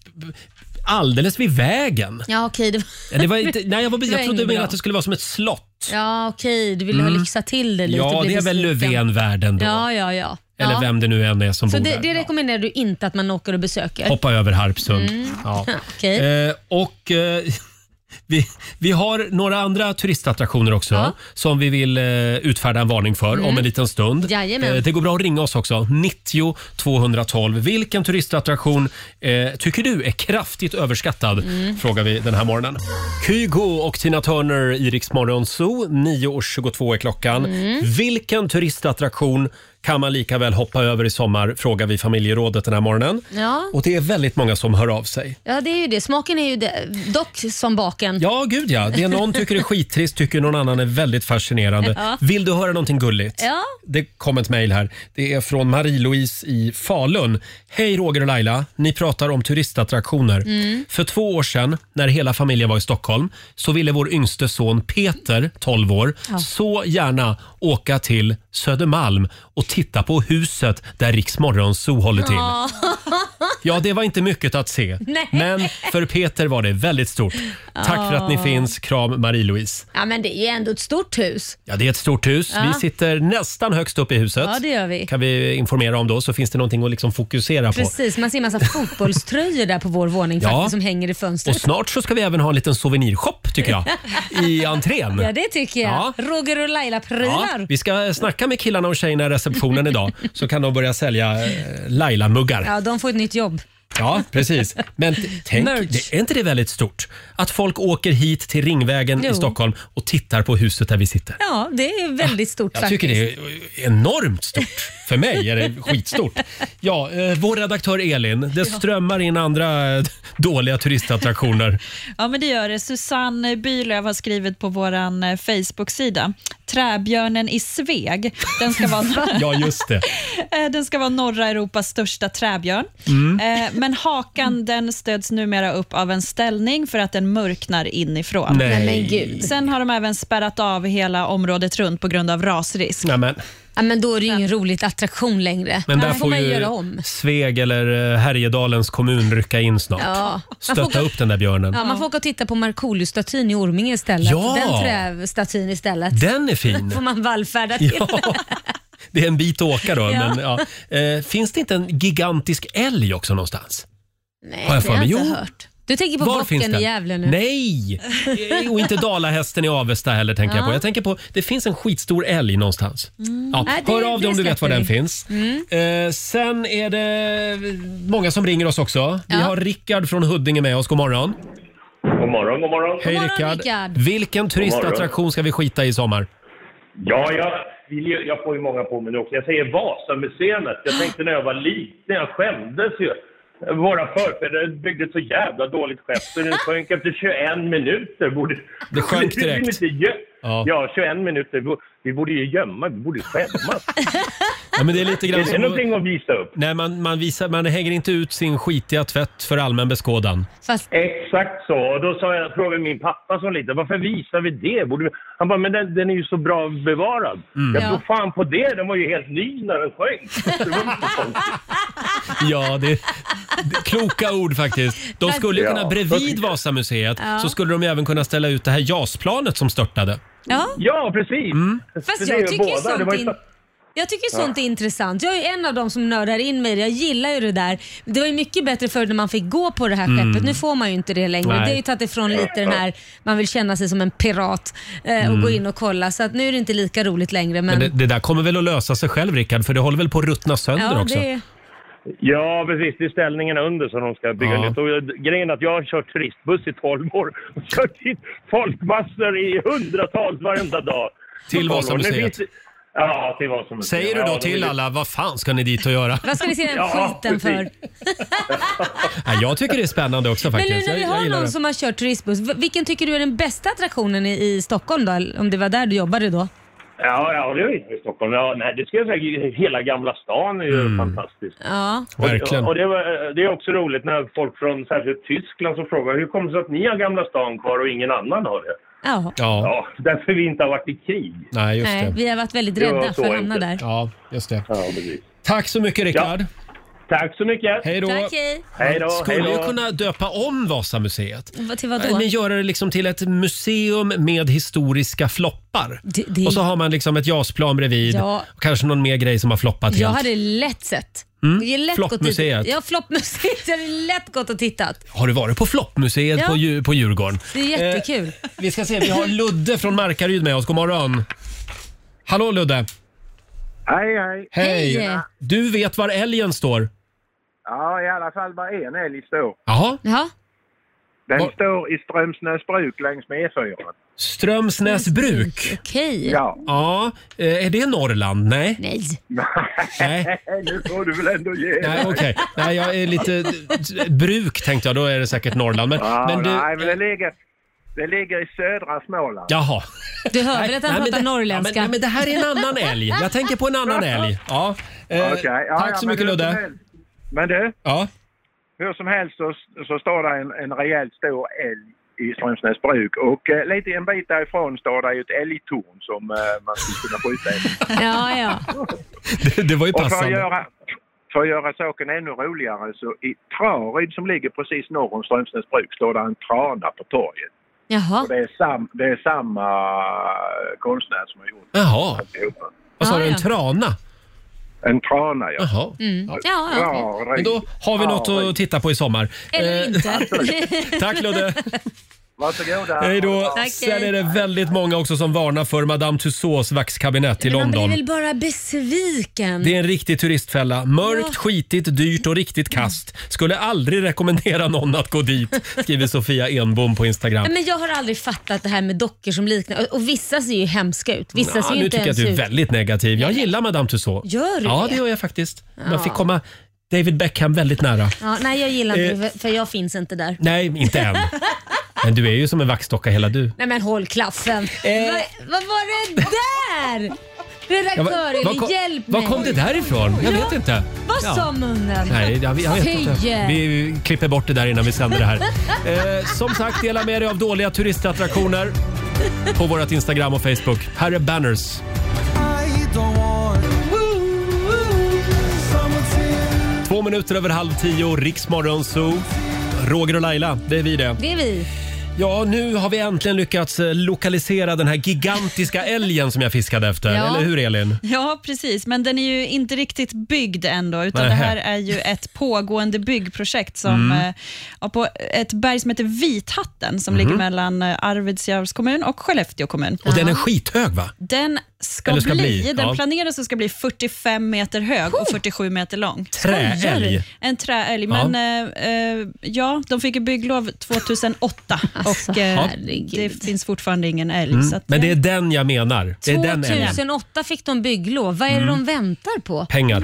[SPEAKER 1] alldeles vid vägen.
[SPEAKER 2] Ja, okej. det
[SPEAKER 1] Ja, Det var inte, nej, jag, var,
[SPEAKER 2] Det var
[SPEAKER 1] jag trodde
[SPEAKER 2] inget
[SPEAKER 1] mer
[SPEAKER 2] bra.
[SPEAKER 1] att det skulle vara som ett slott.
[SPEAKER 2] Ja, okej. Du ville
[SPEAKER 1] Mm.
[SPEAKER 2] lyxa till det lite.
[SPEAKER 1] Ja,
[SPEAKER 2] och bli
[SPEAKER 1] det är väl
[SPEAKER 2] besviken.
[SPEAKER 1] Löfven-världen då.
[SPEAKER 2] Ja, ja, ja.
[SPEAKER 1] Eller
[SPEAKER 2] ja.
[SPEAKER 1] vem det nu än är som
[SPEAKER 2] Så
[SPEAKER 1] bor
[SPEAKER 2] det,
[SPEAKER 1] där.
[SPEAKER 2] det rekommenderar du inte att man åker och besöker?
[SPEAKER 1] Hoppa över Harpsund.
[SPEAKER 2] Mm.
[SPEAKER 1] Ja.
[SPEAKER 2] Okej.
[SPEAKER 1] Eh, och eh, vi, vi har några andra turistattraktioner också
[SPEAKER 2] Ja.
[SPEAKER 1] som vi vill eh, utfärda en varning för
[SPEAKER 2] Mm.
[SPEAKER 1] om en liten stund. Eh,
[SPEAKER 2] Jajamän.
[SPEAKER 1] det går bra att ringa oss också. 90 212. Vilken turistattraktion eh, tycker du är kraftigt överskattad?
[SPEAKER 13] Mm.
[SPEAKER 1] Frågar vi den här morgonen. Kygo och Tina Turner i Rix Morgon Zoo. 9.22 är klockan.
[SPEAKER 13] Mm.
[SPEAKER 1] Vilken turistattraktion kan man lika väl hoppa över i sommar? Frågar vi familjerådet den här morgonen.
[SPEAKER 2] Ja.
[SPEAKER 1] Och det är väldigt många som hör av sig.
[SPEAKER 2] ja, det är ju det. Smaken är ju det. dock som baken.
[SPEAKER 1] Ja, gud ja. Det någon tycker är skittrist tycker någon annan är väldigt fascinerande.
[SPEAKER 2] Ja.
[SPEAKER 1] Vill du höra någonting gulligt?
[SPEAKER 2] Ja.
[SPEAKER 1] Det kom ett mejl här. Det är från Marie-Louise i Falun. Hej Roger och Laila. Ni pratar om turistattraktioner.
[SPEAKER 13] Mm.
[SPEAKER 1] För två år sedan, när hela familjen var i Stockholm, så ville vår yngste son Peter, 12 år,
[SPEAKER 13] Ja.
[SPEAKER 1] så gärna åka till Södermalm och titta på huset där Riks Morgonzoo håller till.
[SPEAKER 13] Ja.
[SPEAKER 1] Ja, det var inte mycket att se.
[SPEAKER 2] Nej.
[SPEAKER 1] Men för Peter var det väldigt stort. Tack för att ni
[SPEAKER 2] Ja.
[SPEAKER 1] finns. Kram Marie-Louise.
[SPEAKER 2] Ja, men det är ju ändå ett stort hus.
[SPEAKER 1] Ja, det är ett stort hus.
[SPEAKER 2] Ja.
[SPEAKER 1] Vi sitter nästan högst upp i huset.
[SPEAKER 2] Ja, det gör vi.
[SPEAKER 1] kan vi informera om då, så finns det någonting att liksom fokusera på.
[SPEAKER 2] Precis, man ser en massa fotbollströjor där på vår våning
[SPEAKER 1] Ja.
[SPEAKER 2] faktiskt som hänger i fönstret.
[SPEAKER 1] Och snart så ska vi även ha en liten souvenirshop tycker jag, i entrén.
[SPEAKER 2] Ja, det tycker jag.
[SPEAKER 1] Ja.
[SPEAKER 2] Roger och Laila-prylar.
[SPEAKER 1] Ja, vi ska snacka med killarna och tjejerna i receptionen idag så kan de börja sälja eh, Laila-muggar.
[SPEAKER 2] Ja, de får ett nytt jobb.
[SPEAKER 1] Ja, precis. Men t- tänk,
[SPEAKER 2] Merch.
[SPEAKER 1] det, är inte det väldigt stort? Att folk åker hit till Ringvägen
[SPEAKER 2] Jo.
[SPEAKER 1] i Stockholm och tittar på huset där vi sitter.
[SPEAKER 2] Ja, det är väldigt stort
[SPEAKER 1] Jag
[SPEAKER 2] faktiskt.
[SPEAKER 1] tycker det är enormt stort. För mig är det skitstort. Ja, eh, vår redaktör Elin, det strömmar in andra eh, dåliga turistattraktioner.
[SPEAKER 3] Ja, men det gör det. Susanne Bylöv har skrivit på vår Facebook-sida. Träbjörnen i Sveg. Den ska vara,
[SPEAKER 1] Ja, just det.
[SPEAKER 3] Eh, den ska vara norra Europas största träbjörn.
[SPEAKER 1] Mm.
[SPEAKER 3] Eh, Men hakan den stöds numera upp av en ställning för att den mörknar inifrån.
[SPEAKER 1] Nej. Nej, men gud.
[SPEAKER 3] Sen har de även spärrat av hela området runt på grund av rasrisk.
[SPEAKER 1] Nej, men,
[SPEAKER 3] Ja, men då är det ingen roligt attraktion längre.
[SPEAKER 1] men där får ju Sveg eller eh, Härjedalens kommun rycka in snart.
[SPEAKER 2] Ja. Man
[SPEAKER 1] Stötta
[SPEAKER 2] får-
[SPEAKER 1] upp den där björnen.
[SPEAKER 2] Ja, man får gå och titta på Markoolio-statyn i Orminge istället.
[SPEAKER 1] Ja.
[SPEAKER 2] Den trästatyn istället.
[SPEAKER 1] Den är fin.
[SPEAKER 2] får man vallfärda till.
[SPEAKER 1] Det är en bit att åka då.
[SPEAKER 2] Ja.
[SPEAKER 1] Men, ja. eh, finns det inte en gigantisk älg också någonstans?
[SPEAKER 2] Nej,
[SPEAKER 1] Har jag
[SPEAKER 2] det
[SPEAKER 1] för mig?
[SPEAKER 2] inte
[SPEAKER 1] Jo.
[SPEAKER 2] hört. Du tänker på
[SPEAKER 1] finns
[SPEAKER 2] bocken
[SPEAKER 1] den?
[SPEAKER 2] i Gävle nu?
[SPEAKER 1] Nej! Eh, Och inte dalahästen i Avesta heller tänker jag på.
[SPEAKER 2] Ja.
[SPEAKER 1] Jag tänker på, det finns en skitstor älg någonstans.
[SPEAKER 2] Mm.
[SPEAKER 1] Ja,
[SPEAKER 2] Nej, det-
[SPEAKER 1] hör av dig
[SPEAKER 2] det
[SPEAKER 1] om du vet var
[SPEAKER 2] släpper
[SPEAKER 1] den
[SPEAKER 2] vi.
[SPEAKER 1] finns.
[SPEAKER 2] Mm.
[SPEAKER 1] Eh, sen är det många som ringer oss också. Vi
[SPEAKER 2] Ja.
[SPEAKER 1] har Rickard från Huddinge med oss. God morgon.
[SPEAKER 17] God morgon, god morgon.
[SPEAKER 1] Hej Rickard. Vilken turistattraktion ska vi skita i i sommar?
[SPEAKER 17] Ja, jag, vill ju, jag får ju många på mig nu också. Jag säger Vasamuseet. Jag tänkte när jag var liten, jag skämdes ju. Våra förfäder byggde ett så jävla dåligt skepp så det sjönk efter 21 minuter. Borde,
[SPEAKER 1] Det sjönk direkt.
[SPEAKER 17] Vi vill inte gö-
[SPEAKER 1] Ja.
[SPEAKER 17] ja. 21 minuter. Vi borde- Vi borde ju gömma, vi borde skämmas.
[SPEAKER 1] Ja, men det är lite grann
[SPEAKER 17] Är det någonting att visa upp?
[SPEAKER 1] Nej, man, man, visar, man hänger inte ut sin skitiga tvätt för allmän beskådan.
[SPEAKER 17] Exakt så. Och då sa jag, frågade min pappa som lite, varför visar vi det? Borde vi... Han bara, men den, den är ju så bra bevarad.
[SPEAKER 1] Mm.
[SPEAKER 17] Jag
[SPEAKER 1] Ja.
[SPEAKER 17] tror fan på det, den var ju helt ny när den sjönk. Det var inte så konstigt.
[SPEAKER 1] Ja, det, det, kloka ord faktiskt. De skulle ju
[SPEAKER 17] Ja.
[SPEAKER 1] kunna, bredvid Vasamuseet,
[SPEAKER 2] Ja.
[SPEAKER 1] så skulle de ju även kunna ställa ut det här JAS-planet som störtade.
[SPEAKER 2] Ja.
[SPEAKER 17] Ja, precis.
[SPEAKER 1] Mm.
[SPEAKER 2] Fast jag tycker ju sånt, in... jag tycker
[SPEAKER 1] Ja.
[SPEAKER 2] sånt är intressant. Jag är en av dem som nördar in mig i det. Jag gillar ju det där. Det var ju mycket bättre förr när man fick gå på det här
[SPEAKER 1] Mm.
[SPEAKER 2] skeppet. Nu får man ju inte det längre.
[SPEAKER 1] Nej.
[SPEAKER 2] Det är ju tagit ifrån lite den här, man vill känna sig som en pirat eh, och
[SPEAKER 1] Mm.
[SPEAKER 2] gå in och kolla. Så att nu är det inte lika roligt längre. Men,
[SPEAKER 1] Men det, det där kommer väl att lösa sig själv Rickard, för det håller väl på att ruttna sönder
[SPEAKER 2] ja,
[SPEAKER 1] också?
[SPEAKER 2] det,
[SPEAKER 17] Ja, precis. Det är ställningarna under som de ska bygga
[SPEAKER 1] Ja.
[SPEAKER 17] nytt. Och jag- grejen är att jag har kört turistbuss i 12 år och kört hit folkmassor i hundratals varenda dag.
[SPEAKER 1] Till
[SPEAKER 17] På 12 år.
[SPEAKER 1] Vasamuseet.
[SPEAKER 17] Nu finns det- Ja, till Vasamuseet.
[SPEAKER 1] Säger du
[SPEAKER 17] Ja,
[SPEAKER 1] då
[SPEAKER 17] de
[SPEAKER 1] till
[SPEAKER 17] vill-
[SPEAKER 1] alla, vad fan ska ni dit och göra?
[SPEAKER 2] vad ska vi se den
[SPEAKER 17] Ja,
[SPEAKER 2] skiten för?
[SPEAKER 17] precis.
[SPEAKER 1] Ja, jag tycker det är spännande också
[SPEAKER 2] Men
[SPEAKER 1] faktiskt.
[SPEAKER 2] nu när vi
[SPEAKER 1] Jag- jag
[SPEAKER 2] har
[SPEAKER 1] gillar
[SPEAKER 2] någon
[SPEAKER 1] det.
[SPEAKER 2] som har kört turistbuss, v- vilken tycker du är den bästa attraktionen i, i Stockholm då? Om det var där du jobbade då?
[SPEAKER 17] Ja, ja, det är ju i Stockholm. Ja, nej, det ska jag säga. Hela Gamla stan är ju
[SPEAKER 1] Mm.
[SPEAKER 17] fantastisk.
[SPEAKER 2] Ja.
[SPEAKER 17] Och- Och, det, var, det är också roligt när folk från särskilt Tyskland som frågar hur kommer det sig att ni har Gamla stan kvar och ingen annan har det?
[SPEAKER 2] Ja.
[SPEAKER 17] Ja, därför vi inte har varit i krig.
[SPEAKER 1] Nej, just
[SPEAKER 2] Nej,
[SPEAKER 1] det.
[SPEAKER 2] vi har varit väldigt
[SPEAKER 17] Det var
[SPEAKER 2] rädda
[SPEAKER 17] så
[SPEAKER 2] för att hamna där.
[SPEAKER 17] enkelt.
[SPEAKER 1] Ja, just det.
[SPEAKER 17] precis.
[SPEAKER 1] Tack så mycket Rickard.
[SPEAKER 17] Tack så mycket.
[SPEAKER 1] Hej då.
[SPEAKER 2] Tack, hej.
[SPEAKER 17] Hej då,
[SPEAKER 1] Man skulle
[SPEAKER 17] hej
[SPEAKER 1] ju
[SPEAKER 17] då.
[SPEAKER 1] kunna döpa om Vasamuseet.
[SPEAKER 2] Vad- Till vadå?
[SPEAKER 1] Men göra det liksom till ett museum med historiska floppar.
[SPEAKER 2] det-
[SPEAKER 1] Och så har man liksom ett jasplan bredvid
[SPEAKER 2] Ja.
[SPEAKER 1] och kanske någon mer grej som har floppat
[SPEAKER 2] Jag
[SPEAKER 1] helt.
[SPEAKER 2] hade lätt sett.
[SPEAKER 1] Mm.
[SPEAKER 2] Jag hade lätt
[SPEAKER 1] Floppmuseet.
[SPEAKER 2] Gått dit. Ja, floppmuseet. Jag hade lätt gått och tittat.
[SPEAKER 1] Har du varit på floppmuseet
[SPEAKER 2] Ja.
[SPEAKER 1] på, Djur- på Djurgården?
[SPEAKER 2] Det är jättekul.
[SPEAKER 1] Eh, Vi ska se, vi har Ludde från Markaryd med oss. God morgon. Hallå Ludde.
[SPEAKER 18] Hej, hej.
[SPEAKER 1] Hej. Du vet var älgen står?
[SPEAKER 18] Ja, i alla fall bara en älg står.
[SPEAKER 1] Jaha.
[SPEAKER 2] Ja.
[SPEAKER 18] Den
[SPEAKER 1] Var-
[SPEAKER 18] står i Strömsnäs bruk längs med E E4.
[SPEAKER 1] Strömsnäsbruk.
[SPEAKER 2] Okej.
[SPEAKER 18] Ja.
[SPEAKER 1] Ja. eh, Är det Norrland? Nej.
[SPEAKER 2] Nej.
[SPEAKER 1] Nej.
[SPEAKER 18] nu får du väl ändå ge
[SPEAKER 1] Nej,
[SPEAKER 18] dig.
[SPEAKER 1] okej. Nej, jag är lite... Bruk tänkte jag, då är det säkert Norrland. Men,
[SPEAKER 18] Ja,
[SPEAKER 1] men du...
[SPEAKER 18] Nej, men det ligger, det ligger i södra Småland.
[SPEAKER 1] Jaha.
[SPEAKER 2] Du hör väl
[SPEAKER 1] Nej,
[SPEAKER 2] att han
[SPEAKER 1] nej, men
[SPEAKER 2] pratar
[SPEAKER 1] det-
[SPEAKER 2] norrländska?
[SPEAKER 1] Ja, men, nej, men det här är en annan älg. Jag tänker på en annan älg. Ja. Eh,
[SPEAKER 18] Okej, ja,
[SPEAKER 1] tack
[SPEAKER 18] ja,
[SPEAKER 1] så
[SPEAKER 18] men
[SPEAKER 1] mycket
[SPEAKER 18] hur som
[SPEAKER 1] Ludde.
[SPEAKER 18] helst- Men du,
[SPEAKER 1] Ja.
[SPEAKER 18] hur som helst så, så står det en, en rejält stor älg i Strömsnäs bruk och eh, lite en bit därifrån står det ju ett älgtorn som eh, man skulle kunna skjuta efter.
[SPEAKER 2] Ja, ja.
[SPEAKER 1] Det, det var ju
[SPEAKER 18] Och för att,
[SPEAKER 1] passande.
[SPEAKER 18] göra, för att göra saken ännu roligare så i Traryd som ligger precis norr om Strömsnäs bruk står det en trana på torget.
[SPEAKER 2] Jaha.
[SPEAKER 18] Och det, är sam, det är samma konstnär som har gjort
[SPEAKER 1] Jaha.
[SPEAKER 18] alltihopa.
[SPEAKER 1] Vad sa
[SPEAKER 18] Ah,
[SPEAKER 1] du? En
[SPEAKER 18] ja.
[SPEAKER 1] trana?
[SPEAKER 18] En trana, ja.
[SPEAKER 1] Jaha.
[SPEAKER 2] Mm. Ja, ja.
[SPEAKER 1] Men då har vi något att titta på i sommar.
[SPEAKER 2] Eller
[SPEAKER 1] Eh,
[SPEAKER 2] inte.
[SPEAKER 1] Tack Ludde.
[SPEAKER 18] Varsågoda.
[SPEAKER 1] Hej då.
[SPEAKER 2] Tack,
[SPEAKER 1] Sen
[SPEAKER 2] hej.
[SPEAKER 1] är det väldigt många också som varnar för Madame Tussauds vaxkabinett i
[SPEAKER 2] Men man blir
[SPEAKER 1] London.
[SPEAKER 2] väl bara besviken?
[SPEAKER 1] Det är en riktig turistfälla. Mörkt,
[SPEAKER 2] Ja.
[SPEAKER 1] skitigt, dyrt och riktigt kast. Skulle aldrig rekommendera någon att gå dit, skriver Sofia Enbom på Instagram.
[SPEAKER 2] Nej, Men jag har aldrig fattat det här med dockor som liknar... och- Och vissa ser ju hemska ut. Vissa
[SPEAKER 1] Nja,
[SPEAKER 2] ser ju
[SPEAKER 1] nu
[SPEAKER 2] inte
[SPEAKER 1] tycker jag
[SPEAKER 2] ens
[SPEAKER 1] att du är
[SPEAKER 2] ut.
[SPEAKER 1] väldigt negativ. Jag gillar Madame Tussauds.
[SPEAKER 2] Gör du
[SPEAKER 1] Ja,
[SPEAKER 2] det?
[SPEAKER 1] det gör jag faktiskt.
[SPEAKER 2] Ja.
[SPEAKER 1] Man fick komma David Beckham väldigt nära.
[SPEAKER 2] Ja, nej, jag gillar inte
[SPEAKER 1] Eh.
[SPEAKER 2] det, för- för jag finns inte där.
[SPEAKER 1] Nej, inte än. Men du är ju som en vaxdocka hela du.
[SPEAKER 2] Nej men håll klaffen. Vad, vad var det där?
[SPEAKER 1] Eh. Ja, va-
[SPEAKER 2] Redaktör,
[SPEAKER 1] va-
[SPEAKER 2] Elin, hjälp mig.
[SPEAKER 1] Var kom det där ifrån? Jag vet inte.
[SPEAKER 2] Vad
[SPEAKER 1] Ja.
[SPEAKER 2] sa munnen?
[SPEAKER 1] Nej, jag, jag vet inte.
[SPEAKER 2] Tje.
[SPEAKER 1] Vi klipper bort det där innan vi sänder det här. Eh, som sagt, dela med dig av dåliga turistattraktioner på vårt Instagram och Facebook. Här är Banners.
[SPEAKER 7] I don't want someone to
[SPEAKER 1] Två minuter över halv tio, Riksmorgon Zoo. Roger och Laila, det är vi det.
[SPEAKER 2] Det är vi.
[SPEAKER 1] Ja, nu har vi äntligen lyckats eh, lokalisera den här gigantiska älgen som jag fiskade efter.
[SPEAKER 3] Ja.
[SPEAKER 1] Eller hur Elin?
[SPEAKER 3] Ja, precis. Men den är ju inte riktigt byggd ändå, utan
[SPEAKER 1] Nähä.
[SPEAKER 3] det här är ju ett pågående byggprojekt som,
[SPEAKER 1] Mm.
[SPEAKER 3] eh, ja, på ett berg som heter Vithatten, som
[SPEAKER 1] Mhm.
[SPEAKER 3] ligger mellan eh, Arvidsjaurs kommun och Skellefteå kommun.
[SPEAKER 1] Och den är skithög va?
[SPEAKER 3] Den ska,
[SPEAKER 1] Eller ska
[SPEAKER 3] bli,
[SPEAKER 1] bli,
[SPEAKER 3] den
[SPEAKER 1] ja.
[SPEAKER 3] planeras att ska bli 45 meter hög och 47 meter lång.
[SPEAKER 1] Träälg.
[SPEAKER 3] Skojar du? En träälg,
[SPEAKER 1] Ja.
[SPEAKER 3] men eh, eh, ja, de fick ju bygglov 2008 och eh, det finns fortfarande ingen älg.
[SPEAKER 1] Alltså, Mm.
[SPEAKER 3] Så att,
[SPEAKER 1] Men det är den jag menar. Det är den älgen.
[SPEAKER 2] 2008 fick de bygglov. Vad är det
[SPEAKER 1] Mm.
[SPEAKER 2] de väntar på?
[SPEAKER 1] Pengar.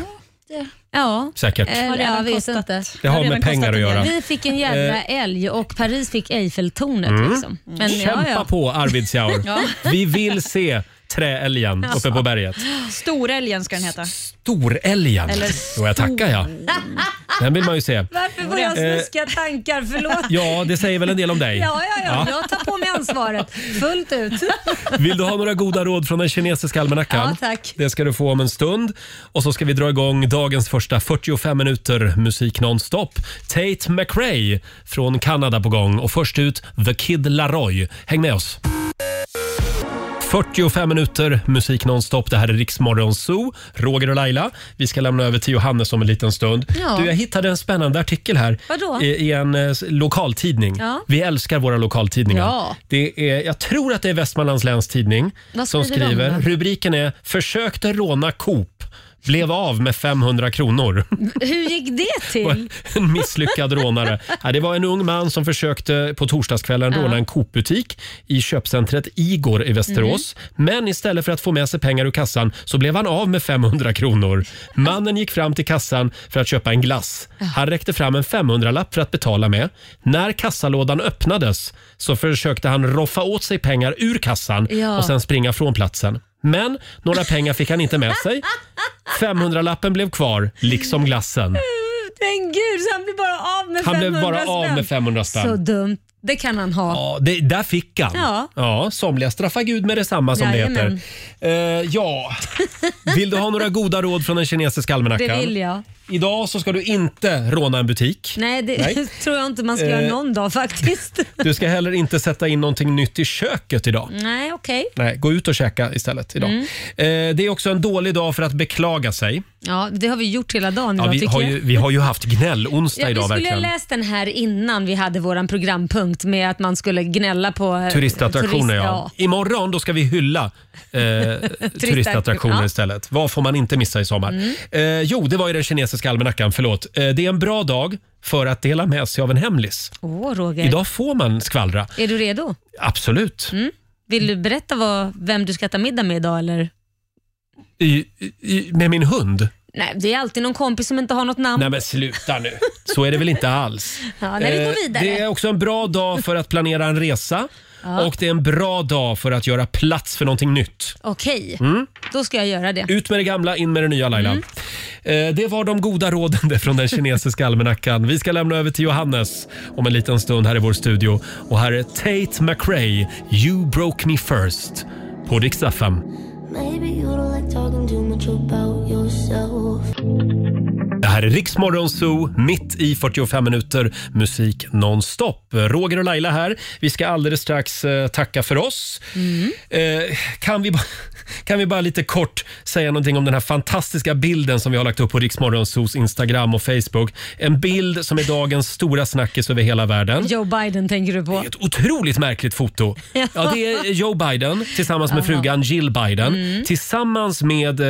[SPEAKER 2] Ja,
[SPEAKER 1] Säkert.
[SPEAKER 2] Eller,
[SPEAKER 1] Har
[SPEAKER 2] jag vet inte.
[SPEAKER 1] Det har med pengar att göra. Eh.
[SPEAKER 2] Vi fick en jävla älg och Paris fick Eiffeltornet.
[SPEAKER 1] Mm.
[SPEAKER 2] Liksom. Men,
[SPEAKER 1] Kämpa
[SPEAKER 2] ja, ja.
[SPEAKER 1] på Arvidsjaur.
[SPEAKER 2] Ja.
[SPEAKER 1] Vi vill se träälgen
[SPEAKER 3] Ja.
[SPEAKER 1] uppe på berget.
[SPEAKER 3] Storälgen ska den heta.
[SPEAKER 1] Storälgen.
[SPEAKER 3] Eller
[SPEAKER 1] Jo, jag tackar jag. Den vill man ju se.
[SPEAKER 2] Varför får jag
[SPEAKER 1] Eh,
[SPEAKER 2] snuskiga tankar? Förlåt.
[SPEAKER 1] Ja, det säger väl en del om dig.
[SPEAKER 2] Ja, ja,
[SPEAKER 1] Ja.
[SPEAKER 2] ja, jag tar på mig ansvaret fullt ut.
[SPEAKER 1] Vill du ha några goda råd från den kinesiska almanackan?
[SPEAKER 2] Ja, tack.
[SPEAKER 1] Det ska du få om en stund. Och så ska vi dra igång dagens första 45 minuter musik nonstop. Tate McRae från Kanada på gång och först ut The Kid Laroi. Häng med oss. 45 minuter musik nonstop. Det här är Riksmorgon Zoo. Roger och Laila. Vi ska lämna över till Johannes om en liten stund.
[SPEAKER 2] Ja.
[SPEAKER 1] Du, jag hittade en spännande artikel här
[SPEAKER 2] Vadå?
[SPEAKER 1] i, i en eh, s- lokaltidning.
[SPEAKER 2] Ja.
[SPEAKER 1] Vi älskar våra lokaltidningar.
[SPEAKER 2] Ja.
[SPEAKER 1] Det är, jag tror att det är Västmanlands läns tidning
[SPEAKER 2] Vad
[SPEAKER 1] som
[SPEAKER 2] skriver de
[SPEAKER 1] skriver.
[SPEAKER 2] då?
[SPEAKER 1] rubriken är “Försökte råna Coop, blev av med 500 kronor”.
[SPEAKER 2] Hur gick det
[SPEAKER 1] Och
[SPEAKER 2] till?
[SPEAKER 1] En misslyckad rånare. Ja, det var en ung man som försökte på torsdagskvällen
[SPEAKER 2] Ja.
[SPEAKER 1] råna en Coop-butik i köpcentret Igor i Västerås.
[SPEAKER 2] Mm.
[SPEAKER 1] Men istället för att få med sig pengar ur kassan så blev han av med 500 kronor. Mannen gick fram till kassan för att köpa en glass. Han räckte fram en 500-lapp för att betala med. När kassalådan öppnades så försökte han roffa åt sig pengar ur kassan
[SPEAKER 2] Ja.
[SPEAKER 1] och sen springa från platsen. Men några pengar fick han inte med sig. 500-lappen blev kvar, liksom glassen.
[SPEAKER 2] Men gud, så han blev bara av med
[SPEAKER 1] Han
[SPEAKER 2] 500
[SPEAKER 1] blev bara
[SPEAKER 2] spänn.
[SPEAKER 1] av med 500 spänn.
[SPEAKER 2] Så dumt. Det kan han ha.
[SPEAKER 1] Ja, det, där fick han.
[SPEAKER 2] Ja.
[SPEAKER 1] somliga straffar Gud med detsamma som det
[SPEAKER 2] Jajamän.
[SPEAKER 1] heter. Eh, ja, vill du ha några goda råd från den kinesiska almanackan?
[SPEAKER 2] Det vill jag.
[SPEAKER 1] Idag så ska du inte råna en butik.
[SPEAKER 2] Nej, det
[SPEAKER 1] Nej.
[SPEAKER 2] tror jag inte man ska
[SPEAKER 1] Eh.
[SPEAKER 2] göra någon dag faktiskt.
[SPEAKER 1] Du ska heller inte sätta in någonting nytt i köket idag.
[SPEAKER 2] Nej, okej.
[SPEAKER 1] Nej, gå ut och käka istället idag.
[SPEAKER 2] Mm.
[SPEAKER 1] Eh, det är också en dålig dag för att beklaga sig.
[SPEAKER 2] Ja, det har vi gjort hela dagen
[SPEAKER 1] Ja,
[SPEAKER 2] idag
[SPEAKER 1] vi,
[SPEAKER 2] tycker
[SPEAKER 1] har
[SPEAKER 2] jag.
[SPEAKER 1] ju, vi har ju haft gnäll-onsdag
[SPEAKER 2] Ja, vi
[SPEAKER 1] idag
[SPEAKER 2] skulle
[SPEAKER 1] verkligen.
[SPEAKER 2] ha läst den här innan vi hade vår programpunkt med att man skulle gnälla på eh,
[SPEAKER 1] Turistattraktioner
[SPEAKER 2] turist-
[SPEAKER 1] ja. Imorgon då ska vi hylla eh, turistattraktioner
[SPEAKER 2] ja.
[SPEAKER 1] istället. Vad får man inte missa i sommar?
[SPEAKER 2] Mm.
[SPEAKER 1] Eh, jo, det var ju den kinesiska almanackan. Förlåt. Eh, det är en bra dag för att dela med sig av en hemlis.
[SPEAKER 2] Åh, Roger.
[SPEAKER 1] Idag får man skvallra.
[SPEAKER 2] Är du redo?
[SPEAKER 1] Absolut.
[SPEAKER 2] Mm. Vill du berätta vad, vem du ska äta middag med idag eller?
[SPEAKER 1] I, i, med min hund?
[SPEAKER 2] Nej, det är alltid någon kompis som inte har något namn.
[SPEAKER 1] Nej men sluta nu. Så är det väl inte alls.
[SPEAKER 2] ja, nej, vi
[SPEAKER 1] Eh,
[SPEAKER 2] går vidare.
[SPEAKER 1] Det är också en bra dag för att planera en resa.
[SPEAKER 2] Ja.
[SPEAKER 1] Och det är en bra dag för att göra plats för någonting nytt.
[SPEAKER 2] Okej,
[SPEAKER 1] Mm.
[SPEAKER 2] då ska jag göra det.
[SPEAKER 1] Ut med det gamla, in med det nya Laila. Eh, Det var de goda råden där från den kinesiska almanackan. Vi ska lämna över till Johannes om en liten stund här i vår studio. Och här är Tate McRae, You broke me first, på Dixtafem.
[SPEAKER 13] Maybe you don't like talking too much about yourself. myself.
[SPEAKER 1] Det här är Riksmorgon Zoo, mitt i 45 minuter musik nonstop. Roger och Laila här. Vi ska alldeles strax eh, tacka för oss. Eh, kan, vi ba- kan vi bara lite kort säga någonting om den här fantastiska bilden som vi har lagt upp på Riksmorgon Zoos Instagram och Facebook. En bild som är dagens stora snackis över hela världen.
[SPEAKER 9] Joe Biden tänker du på.
[SPEAKER 1] Otroligt märkligt foto.
[SPEAKER 9] Ja.
[SPEAKER 1] Ja, det är Joe Biden tillsammans med
[SPEAKER 9] Aha.
[SPEAKER 1] frugan Jill Biden
[SPEAKER 9] Mm.
[SPEAKER 1] tillsammans med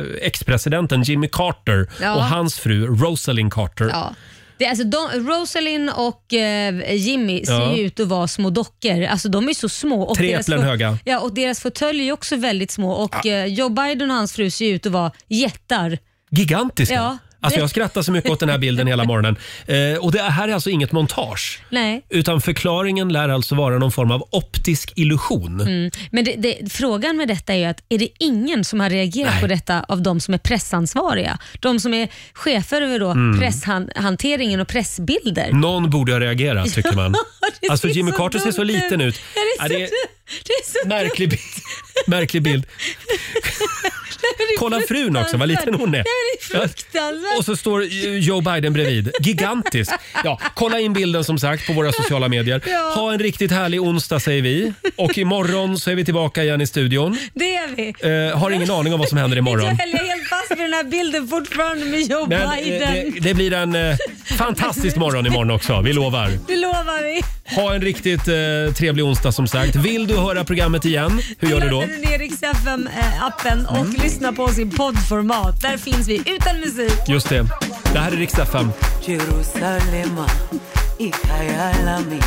[SPEAKER 1] eh, ex-presidenten Jimmy Carter
[SPEAKER 2] Ja.
[SPEAKER 1] och hans fru Rosalind Carter.
[SPEAKER 2] Ja. Det, är alltså, de, Rosalind och eh, Jimmy ser
[SPEAKER 1] Ja.
[SPEAKER 2] ju ut att vara små dockor. Alltså, de är så små. Och
[SPEAKER 1] Tre
[SPEAKER 2] deras
[SPEAKER 1] äpplen
[SPEAKER 2] fot-
[SPEAKER 1] höga.
[SPEAKER 2] Ja, och deras fåtöljer är ju också väldigt små. Och eh, Joe Biden och hans fru ser ju ut att vara jättar.
[SPEAKER 1] Gigantiska.
[SPEAKER 2] Ja.
[SPEAKER 1] Alltså jag skrattar så mycket åt den här bilden hela morgonen. Eh, och det här är alltså inget montage.
[SPEAKER 2] Nej.
[SPEAKER 1] Utan förklaringen lär alltså vara någon form av optisk illusion.
[SPEAKER 2] Mm. Men det, det, frågan med detta är ju att är det ingen som har reagerat på detta av de som är pressansvariga? De som är chefer över då
[SPEAKER 1] Mm.
[SPEAKER 2] presshanteringen och pressbilder.
[SPEAKER 1] Någon borde ha reagerat tycker man.
[SPEAKER 2] Ja, det
[SPEAKER 1] alltså
[SPEAKER 2] ser
[SPEAKER 1] Jimmy
[SPEAKER 2] så
[SPEAKER 1] Carter ser så
[SPEAKER 2] dumt
[SPEAKER 1] liten ut.
[SPEAKER 2] Ja, det,
[SPEAKER 1] Ja,
[SPEAKER 2] är så,
[SPEAKER 1] det är-
[SPEAKER 2] det är så
[SPEAKER 1] Märklig bild. Märklig bild. Kolla frun också, vad liten hon är.
[SPEAKER 2] Det är fruktansvärt.
[SPEAKER 1] Och så står Joe Biden bredvid. Gigantisk. Ja, kolla in bilden som sagt på våra sociala medier.
[SPEAKER 2] Ja.
[SPEAKER 1] Ha en riktigt härlig onsdag säger vi. Och imorgon så är vi tillbaka igen i studion.
[SPEAKER 2] Det är vi.
[SPEAKER 1] Eh, har ingen aning om vad som händer imorgon.
[SPEAKER 2] Jag är helt fast vid den här bilden fortfarande med Joe
[SPEAKER 1] Men eh,
[SPEAKER 2] Biden.
[SPEAKER 1] det, det blir en eh, fantastisk morgon imorgon också. Vi lovar.
[SPEAKER 2] det lovar vi.
[SPEAKER 1] Ha en riktigt eh, trevlig onsdag som sagt. Vill du höra programmet igen, hur gör du då? Mm.
[SPEAKER 2] Laddar du ner Rix FM-appen och lyssna på oss i poddformat. Där finns vi utan musik.
[SPEAKER 1] Just det. Det här är riksdag 5.
[SPEAKER 19] Jerusalema, ikayalami,